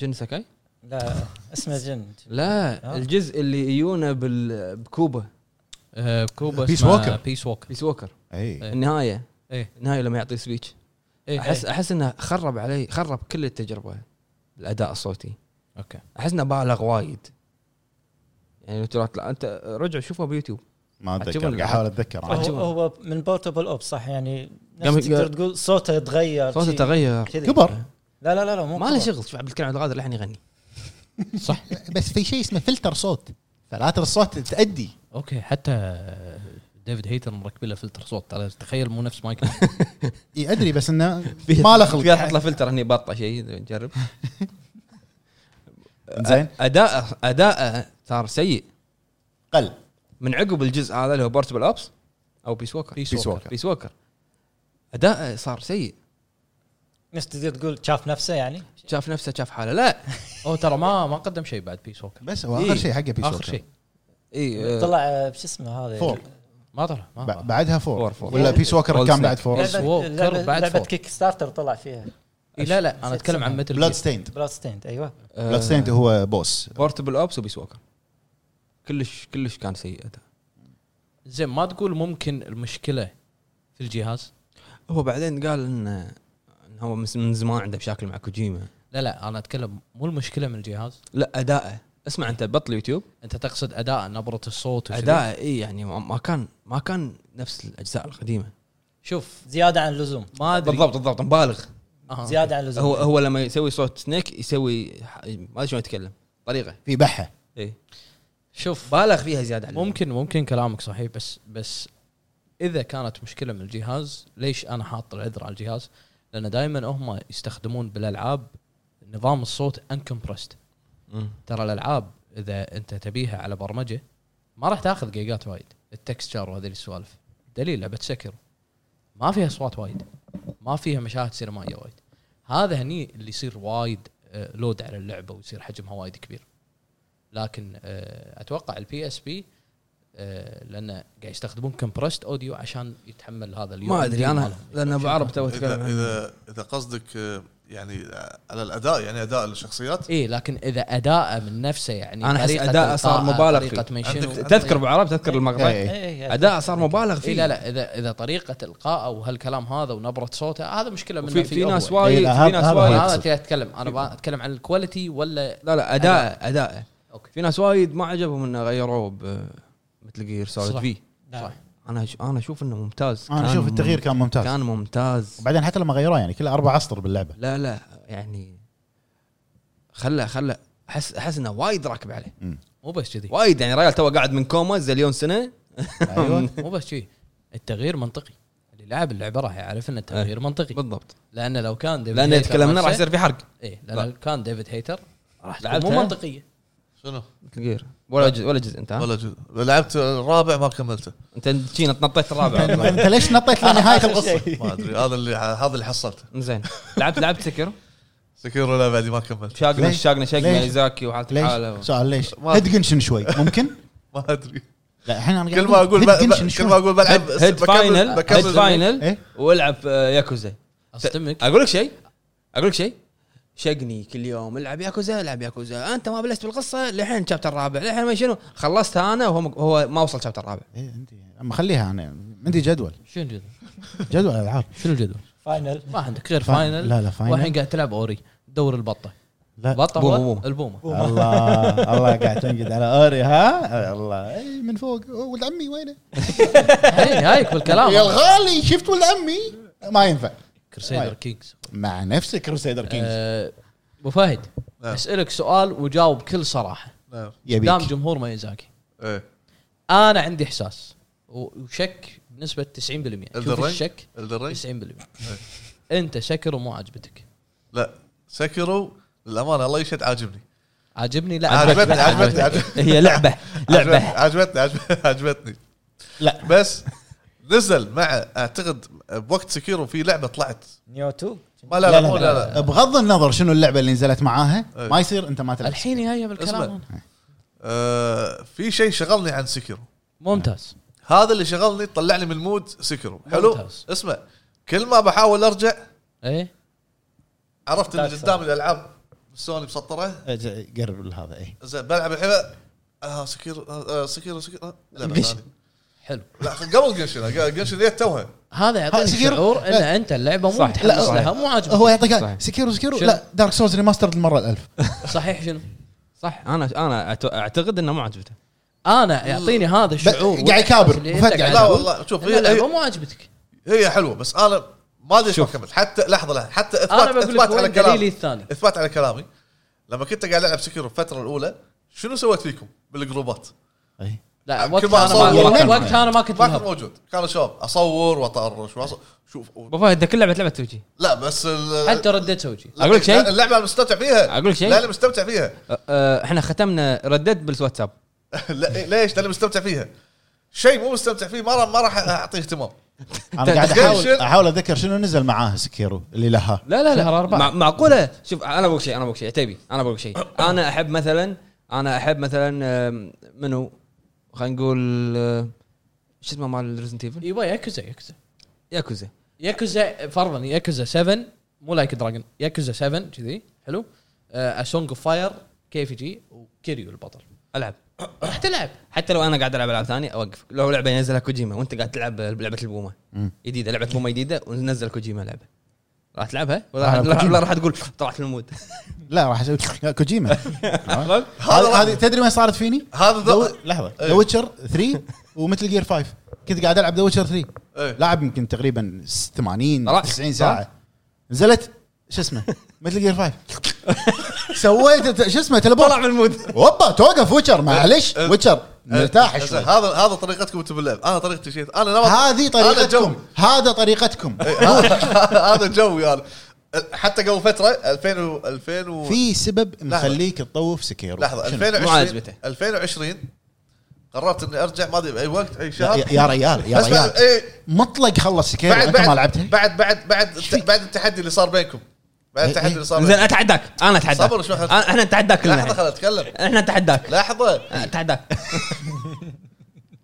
A: جن ساكاي؟
F: لا اسمه
A: (laughs)
F: جن
A: لا
F: آه.
A: الجزء اللي يجونا بال... بكوبا
D: آه، كوبا
B: Peace
D: اسمها
B: Walker.
D: بيس ووكر
A: بيس ووكر
B: اي
A: النهايه
D: إيه.
A: النهايه لما يعطي سبيتش
F: إيه،
A: احس احس انه خرب علي خرب كل التجربه الاداء الصوتي
D: اوكي
A: احس انه بالغ وايد يعني لو تروح- لا، انت رجع شوفه بيوتيوب
B: ما اتذكر
A: عجبني.
B: قاعد احاول اتذكر
F: هو,
B: أنا.
A: عجيب.
F: هو من بورتبل اوبس صح يعني
A: قام-
F: نفس تقدر تقول صوته تغير
A: صوته
F: شي.
A: تغير
F: كذي.
B: كبر
F: لا لا لا لا مو
A: ما له
F: كبر.
A: شغل شوف عبد الكريم عبد القادر الحين (laughs) يغني
D: صح
B: بس في شيء اسمه فلتر صوت فلاتر الصوت تادي
D: اوكي حتى آه، ديفيد هيتر مركبين له فلتر صوت ترى تخيل مو نفس (laughs) مايكل
B: اي ادري بس (laughs) انه ما له
A: في حط له
B: خلق
A: فلتر هني بطه شيء جرب
B: زين
A: اداءه اداءه صار سيء
B: قل
A: من عقب الجزء هذا اللي هو بورتبل اوبس او بيس ووكر
D: Peace Walker.
A: بيس ووكر اداءه صار سيء
F: نفس تقدر تقول شاف نفسه يعني
A: شاف نفسه شاف حاله لا
D: او ترى ما ما قدم شيء بعد بيس ووكر
B: بس هو
A: إيه.
B: اخر شيء حقه بيس
D: اخر شيء
A: اي
F: طلع آه، شو اسمه هذا
B: فور
D: ما طلع ما طلع.
B: ب- بعدها فور
A: فور، فور.
B: ولا بيس ووكر
A: Old
B: كان
A: Snake.
B: بعد فور
D: Yes. بيس ووكر
F: لعبة-
D: بعد
F: لعبه
D: فور.
F: كيك ستارتر طلع فيها
D: إيه، لا لا انا اتكلم عن متل
B: بلاد
D: جير.
B: ستيند
F: بلاد ستيند ايوه
A: آه،
B: بلاد ستيند هو بوس
A: بورتبل اوبس وبيس ووكر كلش كلش كان سيء اداء
D: زين ما تقول ممكن المشكله في الجهاز
A: هو بعدين قال ان إن هو من من زمان عنده مشاكل مع كوجيما
D: لا لا انا اتكلم مو المشكله من الجهاز
A: لا اداءه اسمع انت بطل يوتيوب
D: انت تقصد اداء نبره الصوت وشذي.
A: اداءه اي يعني ما- ما كان ما كان نفس الاجزاء القديمه
D: شوف
F: زياده عن اللزوم
D: ما ادري
A: بالضبط بالضبط مبالغ
D: آه.
F: زياده عن اللزوم
A: هو هو لما يسوي صوت سنيك يسوي ح- ما ادري شلون يتكلم طريقه
B: في بحه
A: اي
D: شوف
A: بالغ فيها زياده عن اللزوم.
D: ممكن ممكن كلامك صحيح بس بس اذا كانت مشكله من الجهاز ليش انا حاط العذر على الجهاز؟ لان دائما هم يستخدمون بالالعاب نظام الصوت انكمبرست
A: مم.
D: ترى الالعاب اذا انت تبيها على برمجه ما راح تاخذ جيجات وايد التكستشر وهذه السوالف دليل لعبه سكر ما فيها اصوات وايد ما فيها مشاهد سينمائيه وايد هذا هني اللي يصير وايد آه، لود على اللعبه ويصير حجمها وايد كبير لكن آه، اتوقع البي اس بي لان آه، قاعد يستخدمون كمبرست اوديو عشان يتحمل هذا اليو
A: ما ادري انا
D: مالهم.
A: لان ابو عرب تو اتكلم
C: اذا
A: عنه.
C: اذا اذا قصدك آه، يعني آه، على الاداء يعني اداء الشخصيات
D: اي إيه، لكن اذا اداءه من نفسه يعني
A: أنا أحس
D: طريقة
A: أداءه صار
D: إلقاءه،
A: مبالغ
D: طريقة
A: فيه.
D: منشنه.
C: عندك-
A: تذكر ابو عرب تذكر المقطع
B: إيه.
F: يعني
A: اداء صار مبالغ
D: اي
A: فيه
D: إيه، لا لا اذا اذا طريقه القائه وهالكلام هذا ونبره صوته هذا مشكله منه
A: في, في ناس
D: أول.
A: وايد
B: إيه، لا،
A: في
B: هذا-
A: ناس
B: هذا
A: وايد إيه.
D: انا أبي اتكلم انا بقى اتكلم عن الكواليتي ولا
A: لا لا اداء اداء
D: اوكي
A: في ناس وايد ما عجبهم انه غيروه ب مثل جير سوليد
D: صح.
A: في
D: صح.
A: انا ش- انا اشوف انه ممتاز
B: انا
A: كان
B: اشوف
A: مم-
B: التغيير كان ممتاز
A: كان ممتاز
C: (laughs)
B: وبعدين حتى لما غيروه يعني كله اربع اسطر باللعبه
A: لا لا يعني خله خله احس احس انه وايد راكب عليه
B: إيه.
D: مو بس كذي
A: وايد يعني ريال تو قاعد من كوما زليون سنه أمم.
B: ايوه
D: أيوة، مو بس كذي التغيير منطقي اللي لعب اللعبه راح يعرف ان التغيير منطقي
A: إيه. بالضبط
D: لان لو كان
B: إيه.
D: ديفيد
A: لان
D: هيتر
A: تكلمنا راح
D: نفسه-
A: يصير في حرق
D: ايه لان لو كان ديفيد هيتر راح تكون
A: لعبتها؟
D: مو منطقيه
C: شنو؟
A: مثل جير ولا جزء ولا جزء انت ها؟
C: ولا جزء لعبت الرابع ما كملته
A: انت تشين تنطيت (laughs) الرابع طيب.
B: انت
C: (laughs)
B: ليش نطيت لنهايه القصه؟
C: ما ادري هذا اللي هذا اللي حصلته
A: زين لعبت لعبت سكر
C: سكيرو لا بعدي ما كملت
A: شاقنا
B: ليش؟
A: شاقنا شاقنا
B: ليش؟
A: ايزاكي وحالته حاله
B: ليش؟ سؤال ليش؟
C: ما-
B: هدقنشن شوي ممكن؟
C: ما ادري
B: لا الحين انا قاعد
C: كل ما اقول ب- ب-
B: هدقنشن
C: كل
B: يعني شوي.
C: ما اقول بلعب
A: هيد هيد
C: بكمل-
A: فاينل
C: بكمل
A: هيد فاينل
B: إيه؟
A: والعب آه، ياكوزا
D: اصدمك
A: اقول لك شيء اقول لك شيء شقني كل يوم العب ياكوزا العب ياكوزا انت ما بلشت بالقصه لحين شابتر الرابع لحين ما شنو خلصتها انا وهو هو ما وصل شابتر الرابع
B: إيه، عندي اما خليها انا عندي جدول
D: شنو الجدول؟
B: جدول العاب
D: شنو الجدول؟
F: فاينل
D: ما عندك غير
B: فا-
D: فاينل
B: لا، لا، فاينل.
D: والحين قاعد تلعب اوري دور البطه
B: لا
D: بطه
A: بومة،
D: هو
A: بومة.
D: البومه
B: الله الله قاعد تنقد على اوري ها الله إيه، من فوق أوه، ولد عمي وينه؟
D: هي هايك
C: آه،
B: يا
D: بالكلام
B: الغالي شفت ولد عمي ما ينفع
D: كرسيدر
A: طيب.
D: كينجز
B: مع نفسك كروسيدر كينجز
D: آه، ابو فهد
C: نعم.
D: اسالك سؤال وجاوب بكل صراحه
C: نعم
D: قدام
B: يبيك
D: جمهور ميزاكي
C: ايه
D: انا عندي احساس و- وشك بنسبه 90% شوف
C: Elden Ring؟
D: الشك
C: Elden Ring؟
D: 90% انت سكر ومو عاجبتك
C: لا سكيرو للامانه الله يشهد عاجبني
D: عاجبني لا
C: عجبتني عجبتني عجبتني
A: هي لعبه لعبه
C: عجبتني عجبتني عجبتني
B: لا.
C: بس نزل مع اعتقد بوقت سكيرو في لعبه طلعت
F: نيو 2
C: ما لا لا مو لا لا
B: بغض النظر شنو اللعبه اللي نزلت معاها
C: إيه.
B: ما يصير انت ما تلعب
D: الحين جايه
C: اسمع.
D: بالكلام أنا.
C: آه، في شيء شغلني عن سكيرو
D: ممتاز
C: هذا اللي شغلني طلعني من مود سكيرو حلو
D: ممتاز.
C: اسمع كل ما بحاول ارجع
D: ايه
C: عرفت ان
F: Dark Souls.
C: قدام الالعاب سوني مسطره
B: أج- قرب هذا اي
C: زين بلعب الحين اه سكيرو آه آه، سكيرو سكيرو آه، لا لا،
A: قش.
C: ثاني.
D: حلو
C: لا قبل جنشن جنشن جيت توها
D: هذا يعطيك
B: سكيرو-
D: شعور ان
B: لا.
D: انت اللعبه مو
A: صح.
D: متحمس
B: لا،
D: لها مو
B: هو
D: عاجبك
A: صحيح.
B: يعطيك سكيرو سكيرو
D: شنو؟
B: لا دارك سولز ريماسترد المره الألف
D: صحيح شنو؟ صح
A: انا انا أعت- اعتقد انه ما عجبته
D: انا يعطيني هذا الشعور
B: قاعد يكابر.
D: اللي أنت
B: فهد
D: قاعد
B: قاعد
C: لا
D: تقول
C: والله شوف
D: إن
C: هي
D: اللعبه
C: هي-
D: مو عجبتك
C: هي حلوه بس انا ما ادري إيش ما
A: شوف.
C: كملت حتى لحظه لحظه حتى
D: انا
C: اثبات
D: بقول لك
C: اثبات على
D: وين دليلي
C: كلامي
D: الثاني
C: اثبات على كلامي لما كنت قاعد العب سكيرو الفتره الاولى شنو سويت فيكم بالجروبات؟
D: لا
C: كل
D: وقت
C: ما
D: انا ما
B: أصور.
D: وقت- وقت انا ما كنت
C: ما كان
D: مهتم.
C: موجود كانوا شباب اصور واطرش وأص- شوف
A: ابو فهد كل لعبه لعبه توجي
C: لا بس ال-
D: حتى رديت سوجي
C: لا،
A: أقول لك شيء؟
C: اللعبه انا مستمتع فيها
A: أقول لك شيء؟
C: لا انا مستمتع فيها (laughs)
A: أه، أه، احنا ختمنا ردت بالواتساب
C: لا ليش؟ لاني مستمتع فيها شيء مو مستمتع فيه ما راح ما راح اعطيه اهتمام
B: انا قاعد
C: تدخل
B: احاول
C: شنو؟
B: احاول اتذكر شنو نزل معاها سكيرو اللي لها
A: لا لا
D: شهر
A: لا
D: أربعة.
A: مع- معقوله شوف انا بقول شيء انا بقول شيء تبي انا بقول شيء انا احب مثلا انا احب مثلا أم، منو خلينا نقول أه، شو اسمه مال ريزنت ايفل
D: ايوه ياكوزا ياكوزا
A: ياكوزا
D: ياكوزا فرضا ياكوزا 7 مو لايك دراجون ياكوزا 7 كذي حلو آه، اسونج اوف فاير كيف يجي وكيريو البطل
A: العب
D: راح تلعب
A: حتى لو انا قاعد العب العاب ثانيه اوقف لو لعبه ينزلها كوجيما وانت قاعد تلعب لعبه البومه
B: مم.
A: جديده لعبه بومه جديده ونزل كوجيما لعبه راح تلعبها
B: راح
A: ولا
B: ألعب
A: راح-
B: كوجيما.
A: ولا راح تقول طلعت من المود
B: لا راح اسوي
C: (laughs)
B: كوجيما هذه
C: هذا راح-
B: هذه تدري وين صارت فيني؟
C: هذا ذو-
B: The- لحظه
C: إيه.
B: ذا ويتشر 3 ومثل جير 5 كنت قاعد العب ذا ويتشر 3
C: إيه.
B: لاعب يمكن تقريبا 80
A: طلع-
B: 90 ساعه نزلت شو اسمه مثل جير 5 سويت شو اسمه
A: طلع
B: تلبون
A: من
C: أه،
A: المود
B: هوبا توقف ويتشر معلش
C: إيه.
B: ويتشر مرتاح
C: زين،
B: شوي
C: هذا هذا طريقتكم انتم باللعب انا طريقتي شيء انا نمط-
B: هذه
C: جو. ايه.
B: طريقتكم هذا طريقتكم
C: هذا جوي انا حتى قبل فتره 2000 و 2000 و
B: في سبب مخليك تطوف سكيرو
C: لحظه
B: شنو؟
C: 2020
A: مو عاجبته.
C: 2020 قررت اني ارجع ما ادري باي وقت اي
B: لا،
C: شهر
B: يا يا ريال يا
C: بس بعد-
B: ريال
C: إيه،
B: مطلق خلص سكيرو
C: بعد
B: انت
C: بعد
B: ما لعبتها
C: بعد بعد بعد
B: إيش فيك؟
C: بعد التحدي اللي صار بينكم بعد
B: إيه،
C: التحدي
B: إيه.
C: اللي صار
A: زين
C: بينكم
A: اتحداك انا اتحداك
C: صبر شوي خل-
A: أنا- احنا نتحداك كلنا
C: لحظه
A: الحين.
C: خل اتكلم
A: احنا
C: (laughs)
A: نتحداك
C: لحظه
A: اتحداك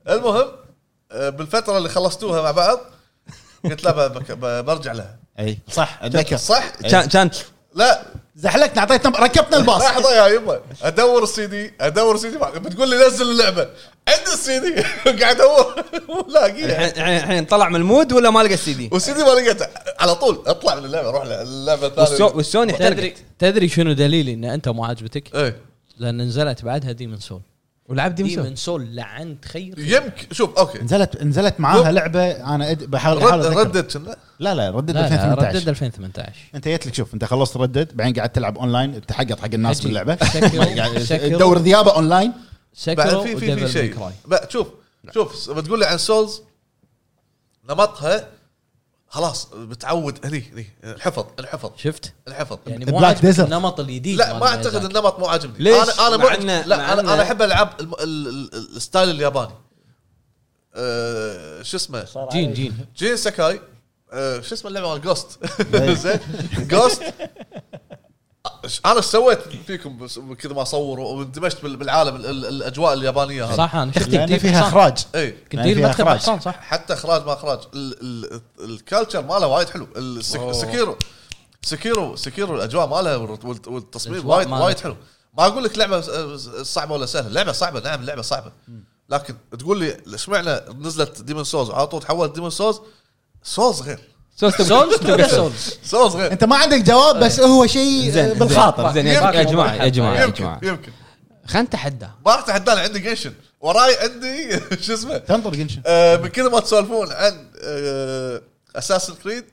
C: المهم آه، بالفتره اللي خلصتوها مع بعض قلت لا ب- بك- ب- برجع لها
B: اي صح اتذكر
C: صح
A: كان كان
C: لا
B: زحلقنا اعطيتنا ركبنا الباص
C: لحظه يا يبا ادور السي دي ادور السي دي ما- بتقول لي نزل اللعبه عندي السي دي (laughs) قاعد ادور (laughs) مو لاقيها
A: الحين- الحين الحين طلع من المود ولا ما لقى السي دي
C: والسي دي ما لقيته على طول اطلع من اللعبه روح للعبه
A: والسو-
C: الثانيه
A: والسوني
D: تدري
A: احترقت
D: تدري شنو دليلي ان انت مو عاجبتك؟
C: ايه
D: لان نزلت بعدها ديمن سول
A: ولعب
D: ديمن سول لعنت خير
C: يمكن شوف اوكي
B: نزلت نزلت معاها لعبه انا أد- بحاول احاول
C: رد-
B: أتذكر.
C: ردت كنا.
B: لا لا ردد
D: لا لا ردد
B: 2018
D: 2018
B: انت جيت لك شوف انت خلصت ردد بعدين قاعد تلعب اونلاين تحقق حق الناس يعني
D: أجي.
B: باللعبه (laughs)
D: سكرو
B: تدور
D: سكرو
B: ذيابه اونلاين
D: سكرو
C: بعد في في في
D: وديفل
C: شيء
D: ميكراي
C: بقى شوف شوف بتقول لي عن سولز نمطها خلاص بتعود هني هني حفظ الحفظ
D: شفت
C: الحفظ
D: يعني
B: Black
D: مو عاجبك
B: Desert.
D: النمط الجديد
C: لا
D: مال
C: ما اعتقد
D: ميزاك.
C: النمط مو عاجبني
A: ليش؟
C: انا انا
A: مع
C: مو
A: إن- مع
C: لا
A: إن-
C: انا انا احب العاب الم- ال- ال- ال- الستايل الياباني أه، شو اسمه
D: جين جين
C: جين ساكاي أه، شو اسمه اللعبه مال (laughs) جوست زين جوست انا ايش سويت فيكم بس- كذا ما اصور واندمجت بال- بالعالم ال- ال- الاجواء اليابانيه هذه إيه.
D: صح انا شفت
B: لان
D: يديك
B: فيها
D: حصان.
B: اخراج
C: اي
D: كنت
B: لأن
D: دير
B: فيها
D: مدخل
B: إخراج.
D: حصان صح
C: حتى اخراج ما اخراج ال- ال- الكالتشر ماله وايد حلو السك- سكيرو سكيرو سكيرو الاجواء مالها والت- والت- والتصميم
D: الأجواء
C: وايد
D: مالها.
C: وايد حلو ما اقول لك لعبه س- صعبه ولا سهله لعبه صعبه نعم لعبه صعبه لكن تقول لي ايش معنى نزلت ديمون سولز على طول تحولت ديمون سولز سولز غير
D: سولز تبقى سولز
C: سولز
B: (laughs)
C: غير
B: انت ما عندك جواب بس هو شيء
A: زين
B: بالخاطر
A: زين يا
C: يمكن.
A: يا جماعه يا جماعه يا
C: يمكن
A: جماعه
C: يمكن
A: خلينا نتحداه
C: ما راح اتحدى عندي جيشن وراي عندي (laughs) شو اسمه
B: تنطر جنشن
C: آه، من كذا ما تسولفون عن آه، اساسن كريد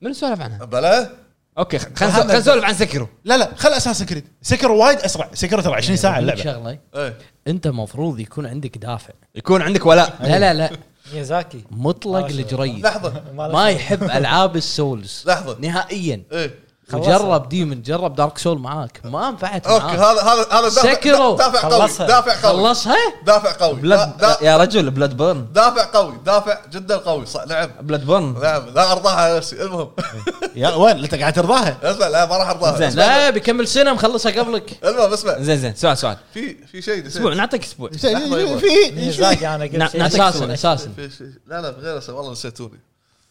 A: من سولف عنها
C: بلا
A: اوكي خ- خلينا نسولف- خلينا نسولف عن سكرو
B: لا لا خل اساسا كريد سكر وايد اسرع سكر ترى 20 ساعه
D: أقول لك
B: اللعبه
D: شغله
C: ايه
D: انت مفروض يكون عندك دافع
A: يكون عندك ولاء
D: لا لا لا
F: ميازاكي
D: مطلق
F: ماشي.
D: الجريد
C: لحظه
D: ما يحب العاب السولز
C: لحظة.
D: نهائيا
C: ايه
F: خلصها.
D: وجرب ديمن جرب دارك سول معاك ما نفعت
C: اوكي
D: معاك
C: هذا هذا هذا دافع-
D: سكروا.
C: دافع قوي
F: خلصها.
C: دافع قوي
D: خلصها
C: دافع قوي دا-
A: بلاد
C: دا-
A: يا رجل بلاد بورن
C: دافع قوي دافع جدا قوي صح نعم
A: بلاد بورن
C: نعم لا ارضاها على نفسي المهم
B: يا وين انت قاعد ترضاها
C: (laughs) اسمع لا ما راح ارضاها
A: زين.
C: اسمع.
D: لا بيكمل سنه مخلصها
A: (laughs)
D: قبلك
C: المهم اسمع
A: زين زين سؤال سؤال
C: في في شيء نسيت.
A: اسبوع نعطيك اسبوع
C: لحظة
B: في
F: ميازاكي انا
A: نا-
F: قلت شيء.
A: نعطيك
D: اساسا
A: اسبوع
D: اساسا
C: في شيء لا لا غير اسمع والله نسيتوني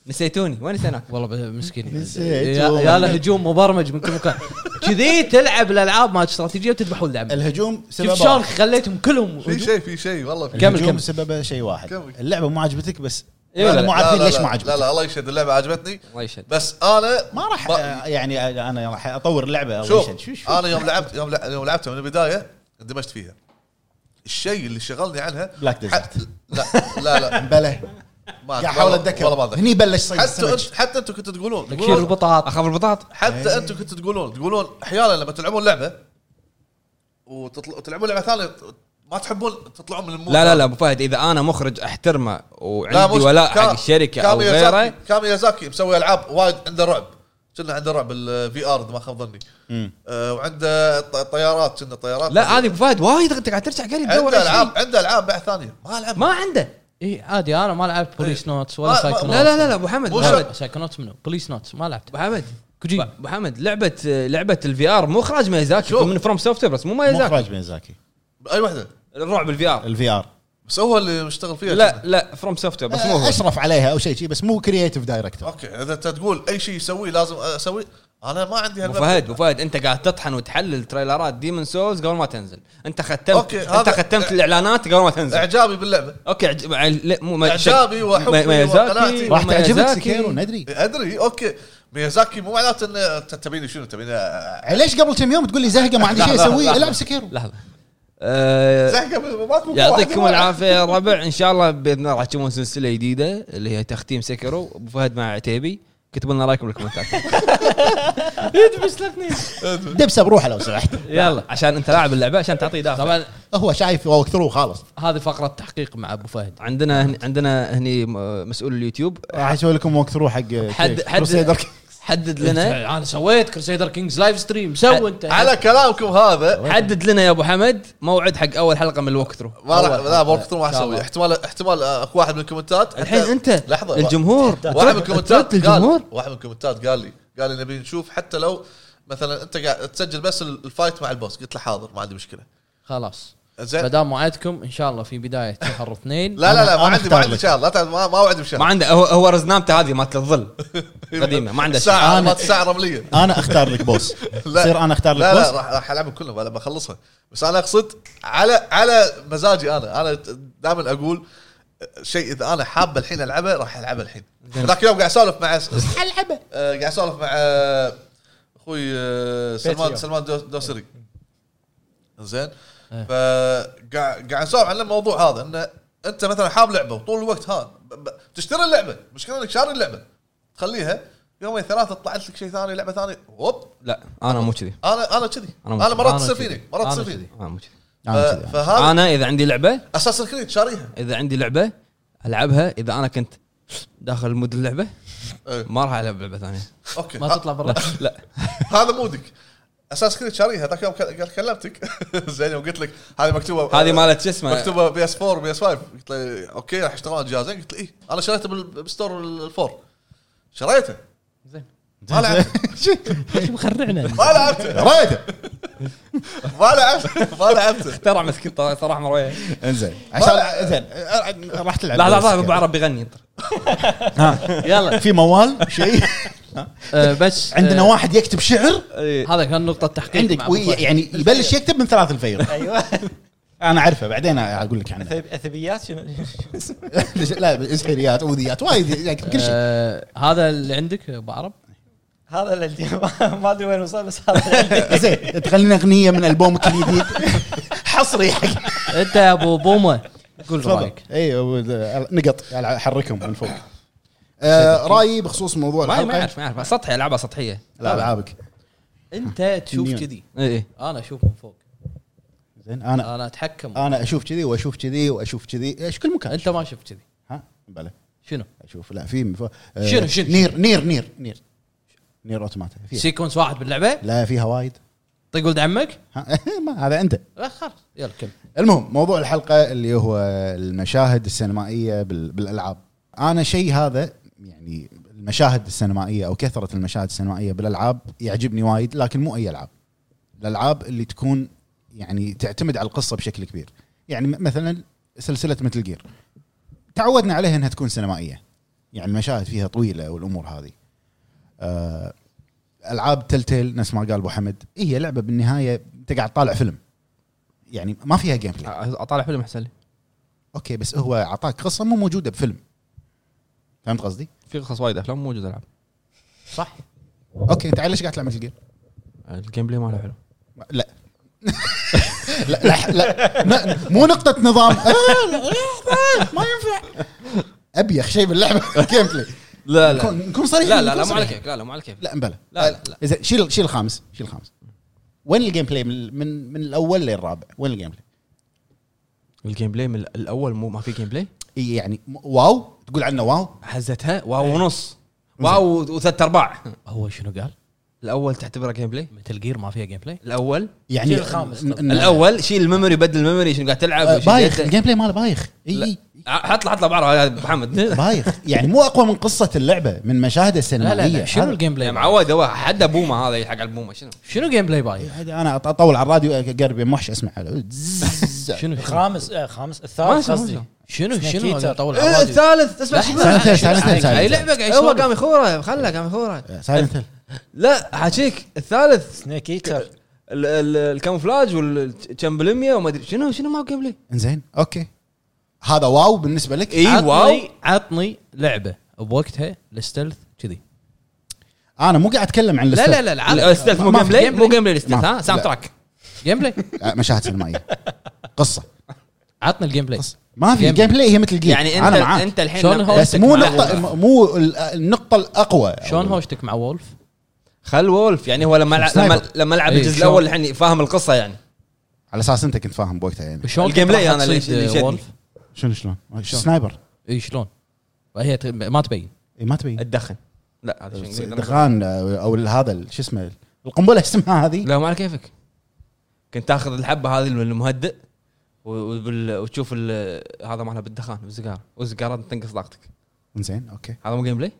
A: نسيتوني وين نسيناك؟
D: والله ب- مسكين
B: نسيت.
D: يا يا له هجوم مبرمج من كل مكان كذي تلعب الالعاب مال استراتيجيه وتذبح ولد عمي
B: الهجوم سبب
D: شوف شلون خليتهم كلهم
C: في شيء في شيء والله في
D: كمل،
B: الهجوم
D: كمل.
B: سببه شيء واحد
C: كمل.
B: اللعبه مو عجبتك بس
A: إيه ولا
B: أنا
A: لا؟
B: مو
C: لا،
B: عارفين
C: لا،
B: ليش
C: لا.
B: ما
C: لا
B: عجبتك
C: لا الله يشهد اللعبه عجبتني
A: الله يشهد
C: بس انا
B: ما راح
C: ب-
B: آه، يعني انا راح اطور اللعبه أول شيء. شو-
C: شوف
B: شو-
C: انا
B: (laughs)
C: يوم لعبت يوم لع- يوم لعبتها من البدايه اندمجت فيها الشيء اللي شغلني عنها
B: Black Desert.
C: حتى- لا لا لا
B: بلا
C: ما
B: قاعد احاول
C: والله-
B: اتذكر
C: والله ما أتذكر.
B: هني بلش صيد
C: حتى
B: السمك.
C: أنت- حتى انتم كنتوا تقولون
D: تكشير
C: تقولون-
D: البطاط
A: اخاف البطاط
C: حتى انتم كنتوا تقولون تقولون احيانا لما تلعبون لعبه وتطل- وتلعبون لعبه ثانيه ما تحبون تطلعون من المود
A: لا لا لا ابو فهد اذا انا مخرج احترمه وعندي
C: مش-
A: ولاء
C: كا-
A: حق الشركه
C: كان
A: او
C: ميازاكي-
A: غيره
C: كان ميازاكي مسوي العاب وايد عنده رعب كنا عنده رعب الفي ار اذا ما خاب ظني آه، وعنده ط- طيارات كنا طيارات
A: لا هذه ابو فهد وايد انت قاعد ترجع قريب دور
C: عنده
A: على شيء.
C: العاب عنده العاب بعد ثانيه ما العب
A: ما عنده
D: اي إيه، عادي انا ما لعبت بوليس نوتس ولا
C: ما- ما-
D: سايكونوتس
A: لا لا لا لا ابو حمد
C: مو
A: ابو
C: شرط.
A: حمد
D: سايكونوتس منو بوليس نوتس ما لعبت
A: ابو حمد
D: كوجيما.
A: ابو حمد لعبه لعبه الفي ار مو اخراج ميازاكي
C: شوف.
A: من فروم سوفت بس مو ميازاكي
B: مخرج ميازاكي
C: اي واحده
A: الرعب الفي ار
B: الفي ار
C: بس هو اللي مشتغل فيها
A: لا لا فروم سوفت بس مو هو
B: اشرف عليها او شيء شيء بس مو كرييتيف دايركتور
C: اوكي اذا انت تقول اي شيء يسويه لازم اسويه انا ما عندي
A: ابو
C: هالمبدأ.
A: فهد ابو فهد انت قاعد تطحن وتحلل تريلرات ديمن سولز قبل ما تنزل انت ختمت
C: أوكي،
A: انت
C: هذا-
A: ختمت الاعلانات قبل ما تنزل
C: اعجابي باللعبه
A: اوكي عج... عل- لا، مو ما-
C: إعجابي
A: شك-
C: وحبي
A: ما- ميازاكي
C: وقناعتي.
B: راح تعجبك
A: ميازاكي.
B: سكيرو ندري
C: ادري اوكي ميازاكي مو معناته انه ت- تبيني شنو تبيني أ-
B: ليش قبل كم يوم تقول لي زهقه ما عندي شيء اسويه العب سكيرو
A: لحظه آه،
C: زهقه ماكو
A: يعطيكم العافيه يا الربع ان شاء الله باذن الله راح تشوفون سلسله جديده اللي هي تختيم سكرو ابو فهد مع عتيبي كتبوا لنا رايكم (laughs) بالكومنتات
B: دبسه بروحه لو سمحت
A: يلا عشان انت لاعب اللعبه عشان تعطيه دافع
D: طبعا
B: هو شايف هو ثرو خالص
D: هذه فقره تحقيق مع ابو فهد
A: عندنا هن- عندنا هني م- مسؤول اليوتيوب
B: راح اسوي لكم وقت ثرو حق
A: حد حد حدد لنا
D: انا سويت كرسيدر كينجز لايف ستريم سو انت
C: على كلامكم هذا
A: حدد لنا يا ابو حمد موعد حق اول حلقه من الوك ثرو
C: ما راح لا بوقت ما راح
D: إن شاء الله.
C: اسوي احتمال احتمال اكو واحد من الكومنتات
A: الحين
C: حتى-
A: انت
C: لحظه
A: الجمهور
C: واحد من الكومنتات قال
A: الجمهور
C: واحد من الكومنتات قال لي قال لي نبي نشوف حتى لو مثلا انت قاعد تسجل بس الفايت مع البوس قلت له حاضر ما عندي مشكله
D: خلاص ما
C: زين
D: دام وعدتكم ان شاء الله في بدايه شهر اثنين
C: لا لا لا ما
B: أنا
C: عندي ما
B: أختار
C: عندي
B: لك.
C: شهر لا تعال- ما ما وعد
A: ما
C: بشهر
A: عنده هو, هو رزنامته هذه مالت
C: (laughs)
A: الظل قديمه ما عنده شيء
C: ساعه
B: أنا-
C: مات ساعه رمليه
B: انا اختار لك بوس
C: (laughs) لا.
B: تصير انا اختار
C: لا
B: لك
C: لا
B: بوس
C: راح راح العبهم كلهم ولا بخلصها بس انا اقصد على على مزاجي انا انا دائما اقول شيء اذا انا حاب الحين العبه راح العبه الحين ذاك اليوم قاعد اسولف مع
B: العبه
C: آه، قاعد اسولف مع آه، اخوي آه، سلمان
F: بيتريون.
C: سلمان دو- دوسري زين
D: إيه.
C: فقاعد قاعد نسولف عن الموضوع هذا انه انت مثلا حاب لعبه وطول الوقت ها ب- ب- تشتري اللعبه مشكلة انك شاري اللعبه تخليها يومين ثلاثه طلعت لك شيء ثاني لعبه ثانيه هوب
A: لا انا مو كذي
C: انا انا كذي
A: أنا
C: انا
A: مش-
C: مرات
D: أنا
C: تصير
D: كذي.
C: فيني مرات
D: أنا
C: تصير
D: كذي.
C: فيني
A: انا مو كذي
B: أنا كذي.
C: ف- فهذا
A: انا اذا عندي لعبه
C: اساس الكريد شاريها
A: اذا عندي لعبه العبها اذا انا كنت داخل مود اللعبه
C: إيه.
A: ما راح العب لعبه (laughs) ثانيه
C: اوكي
D: ما
C: ه-
D: تطلع برا
A: لا
C: (laughs) هذا مودك اساس كريد شاريها ذاك يوم كل- كلمتك (laughs) زين وقلت لك هذه مكتوبه (laughs)
A: هذه مالت شو اسمه
C: مكتوبه بي اس 4 بي اس 5 قلت له اوكي راح يشتغلون جهازين قلت له ايه انا شريته بال- بالستور الفور شريته
D: زين
C: ما
B: (laughs)
C: لعبته
F: ليش مخرعنا
C: ما لعبته
B: رايده
C: ما لعبته (laughs) ما لعبته
A: ترى مسكين طلع- صراحه مرويه
B: انزين عشان زين آه، راح تلعب
A: لحظه لحظه ابو عرب بيغني
D: يلا
B: في موال شيء
D: آه، بس آه،
B: (laughs) عندنا واحد يكتب شعر
D: هذا كان نقطه تحقيق مع
B: عندك
D: أبو
B: وي-
D: فهد.
B: يعني يبلش يكتب من ثلاث الفير
F: ايوه
B: انا اعرفه بعدين اقول لك
D: (laughs)
B: عنه
F: أثب- اثبيات شنو
B: لا اسحريات اوذيات وايد يكتب كل شيء
D: آه، هذا اللي عندك ابو عرب
F: هذا اللي (laughs) ما ادري وين وصل بس هذا اللي
D: آه.
F: عندي.
B: (laughs) زين تغني اغنيه من
D: (laughs)
B: البومك الجديد حصري حق
D: انت يا ابو بومه قول
B: تفضل
D: رايك
B: اي نقط حركهم
D: (laughs)
B: من فوق آه، رايي بخصوص موضوع
A: ما ما
B: الحلقه
A: يعرف ما يعرف سطحي العابها سطحيه
B: لا العابك
D: انت تشوف
B: نيون.
D: كذي
A: اي اي
D: انا اشوف من فوق
B: زين انا
D: انا اتحكم
B: انا اشوف كذي واشوف كذي واشوف كذي ايش كل مكان
D: انت ما شفت كذي
B: ها بلى
D: شنو
B: اشوف لا في من فوق. آه،
D: شنو- شنو-
B: نير نير نير نير نير اوتوماتا فيها.
D: سيكونس واحد باللعبه
B: لا فيها وايد
D: طيق ولد عمك
B: ها، (laughs) ما هذا انت
D: لا خلاص يلا كمل
B: المهم موضوع الحلقه اللي هو المشاهد السينمائيه بال- بالالعاب انا شيء هذا يعني المشاهد السينمائيه او كثره المشاهد السينمائيه بالالعاب يعجبني وايد لكن مو اي العاب الالعاب اللي تكون يعني تعتمد على القصه بشكل كبير يعني م- مثلا سلسله مثل جير تعودنا عليها انها تكون سينمائيه يعني المشاهد فيها طويله والامور هذه آه، العاب تلتيل نفس ما قال ابو حمد هي لعبه بالنهايه انت قاعد طالع فيلم يعني ما فيها جيم بلاي
A: اطالع فيلم احسن لي
B: اوكي بس هو اعطاك قصه مو موجوده بفيلم فهمت قصدي؟
A: في قصص وايد افلام موجود العاب
B: صح اوكي انت على ليش قاعد تلعب مثل جير؟
A: الجيم بلاي ماله حلو
B: لا لا لا, لا. ن- مو نقطة نظام آه، لا، لا، ما ينفع ابيخ شيء باللعبة جيم بلاي
A: لا
B: نكون- نكون صريحين
A: لا لا لا
B: نكون
A: مو على
B: صريحين.
A: كيف لا لا مو على كيف
B: لا مبلا
A: لا لا لا
B: زين شيل شيل الخامس شيل الخامس وين الجيم بلاي من من, من الاول للرابع وين الجيم بلاي؟
A: الجيم بلاي من الاول مو ما في جيم بلاي
B: إي يعني م- واو تقول عنه واو
A: حزتها واو ونص واو وثلاث ارباع
D: هو شنو قال؟
A: الاول تعتبره جيم بلاي
D: متل جير ما فيها جيم بلاي؟
A: الاول
B: يعني
F: شيل الخامس.
B: ن- ن-
A: الاول شيل الميموري بدل الميموري شنو قاعد تلعب
B: آه،
A: وش
B: بايخ
A: جيت-
B: الجيم بلاي ماله بايخ
A: لا.
B: اي
A: حط له حط له بعرض يا
B: (laughs)
A: محمد
B: بايخ يعني مو اقوى من قصه اللعبه من مشاهدها
D: لا
B: السينمائيه
D: لا لا شنو
B: هذا-
D: الجيم
A: يا
D: بلاي؟ باي؟
A: معود هو حد بومه هذا حق البومه شنو
D: شنو جيم بلاي باي؟
B: هذا انا أط- اطول على الراديو اقرب موحش اسمع زز.
D: شنو شنو
F: الخامس آه، خامس
A: ما
F: الثالث
A: شنو-
F: قصدي
A: شنو.
D: شنو شنو
F: سناكيتر.
D: هذا طول
A: إيه،
D: عرادي؟
A: الثالث اسمع
D: لحظة،
A: شنو
B: سايلنت هيل، سايلنت هيل،
A: اي
B: سايلنت
A: لعبه قاعد
D: هو
A: هو
D: قام
A: قام يخوره خله قام يخوره
B: سايلنت هيل.
A: لا حاجيك الثالث
F: سنيك ايتر
A: ال- ال- الكاموفلاج والكم بالمية وما ادري شنو شنو ما قبلي
B: انزين اوكي هذا واو بالنسبه لك إيه.
A: إي.
D: عطني-
A: إيه، واو.
D: عطني لعبه بوقتها الستلث كذي
B: انا مو قاعد اتكلم عن
D: لا
B: الستيل.
D: لا لا العاب.
A: الستلث مو
D: ما
A: جيم
D: في
A: بلاي مو جيم بلاي
B: ما
A: الستلث
B: في.
A: ها ساوند
B: لا.
A: تراك
D: جيم بلاي
B: آه، مشاهد سينمائيه قصه
D: عطني الجيم بلاي
B: قصه ما في
D: جيم
B: جيم بلاي هي مثل جيم
A: يعني انت
B: انا معاك
A: انت الحين
D: شلون
A: لما-
D: هو؟
B: بس مو
D: مع
B: نقطه
D: وولف.
B: مو ال- النقطه الاقوى
D: شلون هوشتك مع وولف؟
A: خل وولف يعني هو لما لع- لما
B: سنايبر.
A: لما لعب
D: إي،
A: الجزء
D: شلون؟
A: الاول الحين فاهم القصه يعني
B: على اساس انت كنت فاهم بوقتها يعني
D: شلون
A: الجيم
D: كنت
A: بلاي
D: راح
A: أنا اللي-
D: تصيد
A: اللي شدني.
D: وولف؟
B: شنو شلون سنايبر
D: اي شلون؟ هي ت- ما تبين
B: إي، ما تبين
A: الدخن لا هذا شنو نقدر نقول.
B: دخان آه، او هذا ال- شو اسمه القنبله (laughs) اسمها هذه
A: لا مو على كيفك كنت تاخذ الحبه هذه المهدئ و- وبال- وتشوف ال- هذا مالها بالدخان بالسيجاره والسيجاره تنقص طاقتك
B: انزين اوكي
A: هذا مو جيم بلاي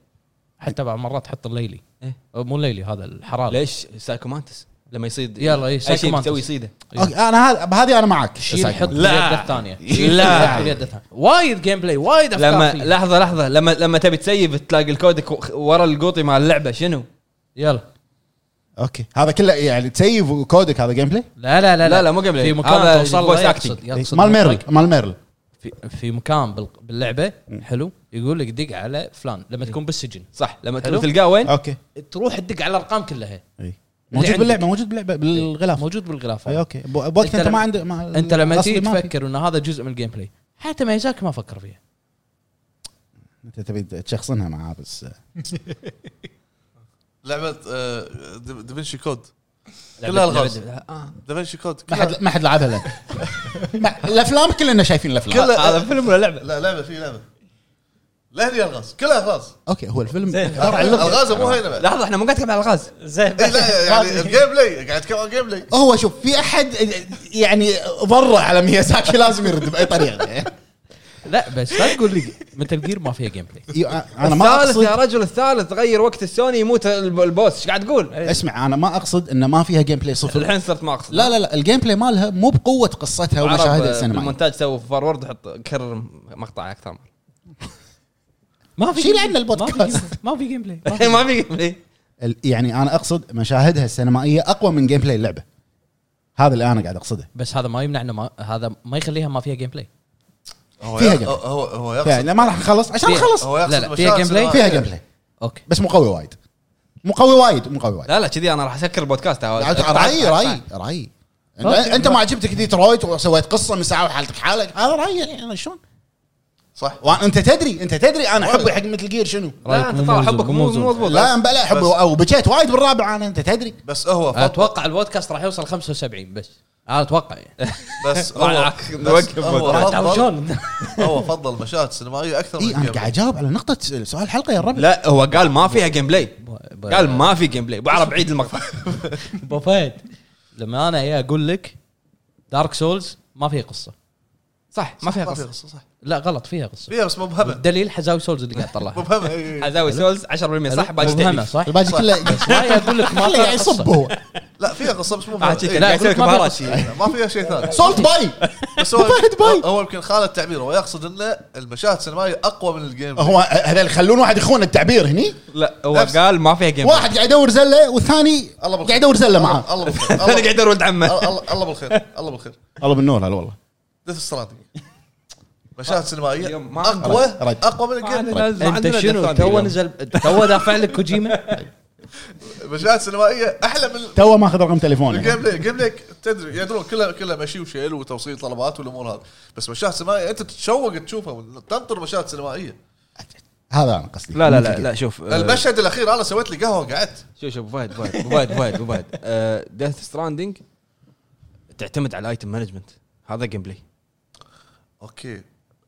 D: حتى بعض مرات تحط الليلي
A: إيه.
D: أو مو الليلي هذا الحراره
A: ليش سايكومانتس لما يصيد
D: يلا، إي،
A: اي شيء
D: سايكومانتس.
A: بتسوي يصيده
D: إيه.
B: اوكي انا هذا بهذه انا معك
D: شيل حط
A: لا.
D: بيده الثانيه
A: لا.
D: لا بيده الثانيه وايد جيم بلاي وايد افكار
A: لما
D: فيه.
A: لحظه لحظه لما لما تبي تسيف تلاقي الكودك و- ورا القوطي مال اللعبه شنو؟
D: يلا
B: اوكي هذا كله يعني تسيف وكودك هذا جيم بلاي
D: لا لا لا
A: لا، لا، مو قبل.
D: في مكان
A: هذا
D: توصل
A: voice
D: له
A: acting.
D: يقصد يقصد
B: إيه، مال
D: مخرج.
B: ميرل مال ميرل
D: في, في مكان بال- باللعبه حلو يقول لك دق على فلان لما تكون بالسجن
A: صح لما
D: حلو.
A: تلقاه وين؟
B: اوكي
D: تروح تدق على الارقام كلها
B: اي موجود
D: عندك.
B: باللعبه موجود باللعبه بالغلاف
D: إيه. موجود بالغلاف
B: اي اوكي ب- بوقت
D: أنت
B: انت,
D: لما-
B: ما عندك ما
D: انت لما
B: الأصلي
D: تيجي
B: ما في.
D: تفكر ان هذا جزء من الجيم بلاي حتى ميزاكي ما فكر فيها
B: انت تبي تشخصنها معاه بس
C: لعبه آه، دي- دافنشي كود
D: لعبة-
C: كلها الغاز
D: لعبة- آه.
C: دافنشي كود
B: ما
C: كلها-
B: حد ما حد لعبها له ما- الافلام كلنا شايفين الافلام
C: كلها
A: هذا فيلم ولا لعبه؟
C: لا لعبه في لعبه لا هي الغاز كلها الغاز
B: اوكي هو الفيلم
F: زين.
B: عبارة عن لغة.
C: الغاز مو هينه بعد
A: لحظه احنا مو قاعد نتكلم على الغاز
F: زين
C: إي، لا (laughs) يعني الجيم بلاي قاعد اتكلم عن جيم بلاي
B: هو شوف في احد يعني ضره على ميازاكي لازم يرد باي
D: (laughs)
B: طريقه
D: لا بس لا تقول لي متل جير ما فيها جيم بلاي
B: انا ما
A: الثالث يا
B: اقصد
A: رجل الثالث غير وقت السوني يموت الب- البوس ايش قاعد تقول؟
B: اسمع انا ما اقصد انه ما فيها جيم بلاي صفر
A: الحين صرت ما اقصد
B: لا لا لا الجيم بلاي مالها مو بقوه قصتها
A: عرب،
B: ومشاهدها
A: آه،
B: السينمائيه
A: بالمونتاج سووا فورورد وحط كرر مقطع اكثر مرة.
D: ما في
B: شيل
D: جيم-
B: عنا البودكاست.
D: ما في جيم- ما في جيم بلاي
B: (laughs)
D: ما في-
A: ما في جيم بلاي.
B: ال- يعني انا اقصد مشاهدها السينمائيه اقوى من جيم بلاي اللعبه هذا اللي انا قاعد اقصده
D: (laughs) بس هذا ما يمنع انه ما هذا ما يخليها ما فيها جيم بلاي
C: هو
B: فيها
C: يق-
B: جيم.
C: هو هو يقصد
B: فعلا يعني ما راح نخلص عشان
D: فيها-
B: نخلص
C: هو يقصد
D: لا، لا، فيها
C: مشاهد
D: جيم بلاي؟
C: سينمائية.
B: فيها جيم بلاي
D: اوكي
B: بس مو قوي وايد مو قوي وايد مو قوي وايد يعني
A: لا لا كذي انا راح اسكر البودكاست
B: رايي رايي رايي أنت-
D: أوكي.
B: انت ما عجبتك ديترويت وسويت قصه من ساعه وحالتك حالك هذا رايي يعني شلون
C: صح
B: وانت تدري انت تدري انا حبي حق مثل جير شنو
A: لا انت طال حبك مو مو مضبوط
B: لا بلا حبي
C: بس-
B: او بكيت وايد بالرابع انا انت تدري
C: بس هو فضل
D: اتوقع البودكاست راح يوصل 75 بس انا اتوقع يعني
C: (laughs) بس هو
A: طلعك،
C: بس
A: نوقف
C: هو
A: بودكاست.
D: تعرف
C: فضل
B: (laughs)
D: شلون؟
C: هو فضل مشاهد سينمائيه اكثر
B: اي
C: من
B: انا
C: الجيم
B: إيه، قاعد
C: بلاي.
B: اجاوب على نقطه سؤال الحلقه يا الربع
A: لا هو قال ما فيها جيم بلاي
D: ب-
A: قال ما في جيم بلاي ابو عرب عيد المقطع
D: ابو فهد لما انا ايه اقول لك دارك سولز ما فيها قصه
A: صح ما فيها قصه
C: صح
D: لا غلط فيها قصه
C: فيها بس مو مبهمه
D: الدليل حزاوي سولز اللي قاعد
A: (laughs)
C: مو إيه،
D: يطلعها
C: (laughs) مبهمه إي، إي.
A: حزاوي سولز 10% صح باقي
D: مبهمة،
A: تعريف.
D: صح
B: الباقي كله
D: ما اقول لك ما
B: كله
D: فيها
B: يصب
D: قصه
B: هو
C: لا فيها قصه بس مو
A: آه،
C: مبهمه
A: شي
C: إي،
A: كذا، قاعد يسوي لك
D: لا،
A: بهارات
D: قلت
A: شي.
C: ما فيها شيء ثاني
B: سولت باي
C: بس هو
B: واحد باي.
C: هو يمكن خالد التعبير هو يقصد انه المشاهد السينمائيه اقوى من الجيم بلاي.
B: هو هذا يخلون واحد يخون التعبير هني
A: لا هو
C: نفس-
A: قال ما فيها جيم (laughs) بلاي
B: واحد قاعد يدور زله والثاني
C: الله
B: قاعد يدور زله معاه
C: الله بالخير
A: انا
C: الله-
A: قاعد ارد (laughs) عمه
C: الله الله بالخير الله بالخير
B: الله بالنور هلا والله
C: ديث ستراندنج مشاهد سينمائيه
A: اليوم ما-
C: اقوى
B: رد.
C: اقوى من الجيم بلاي.
D: انت شنو تو نزل تو دافع لك كوجيما
C: مشاهد سينمائيه احلى من
B: تو ماخذ رقم تليفونه
C: الجيم بلاي الجيم بلاي تدري يعني يدرون كلها كلها مشي وشيل وتوصيل طلبات والامور هذه بس مشاهد سينمائيه انت تتشوق تشوفها تنطر مشاهد سينمائيه
A: أه.
B: هذا انا قصدي
A: لا لا لا لا شوف آه،
C: المشهد الاخير انا سويت لي قهوه قعدت
A: شوف شوف ابو فهد أبو فهد أبو فهد أبو فهد أبو فهد ديث ستراندنج آه، تعتمد على الايتم مانجمنت هذا جيم بلاي
C: اوكي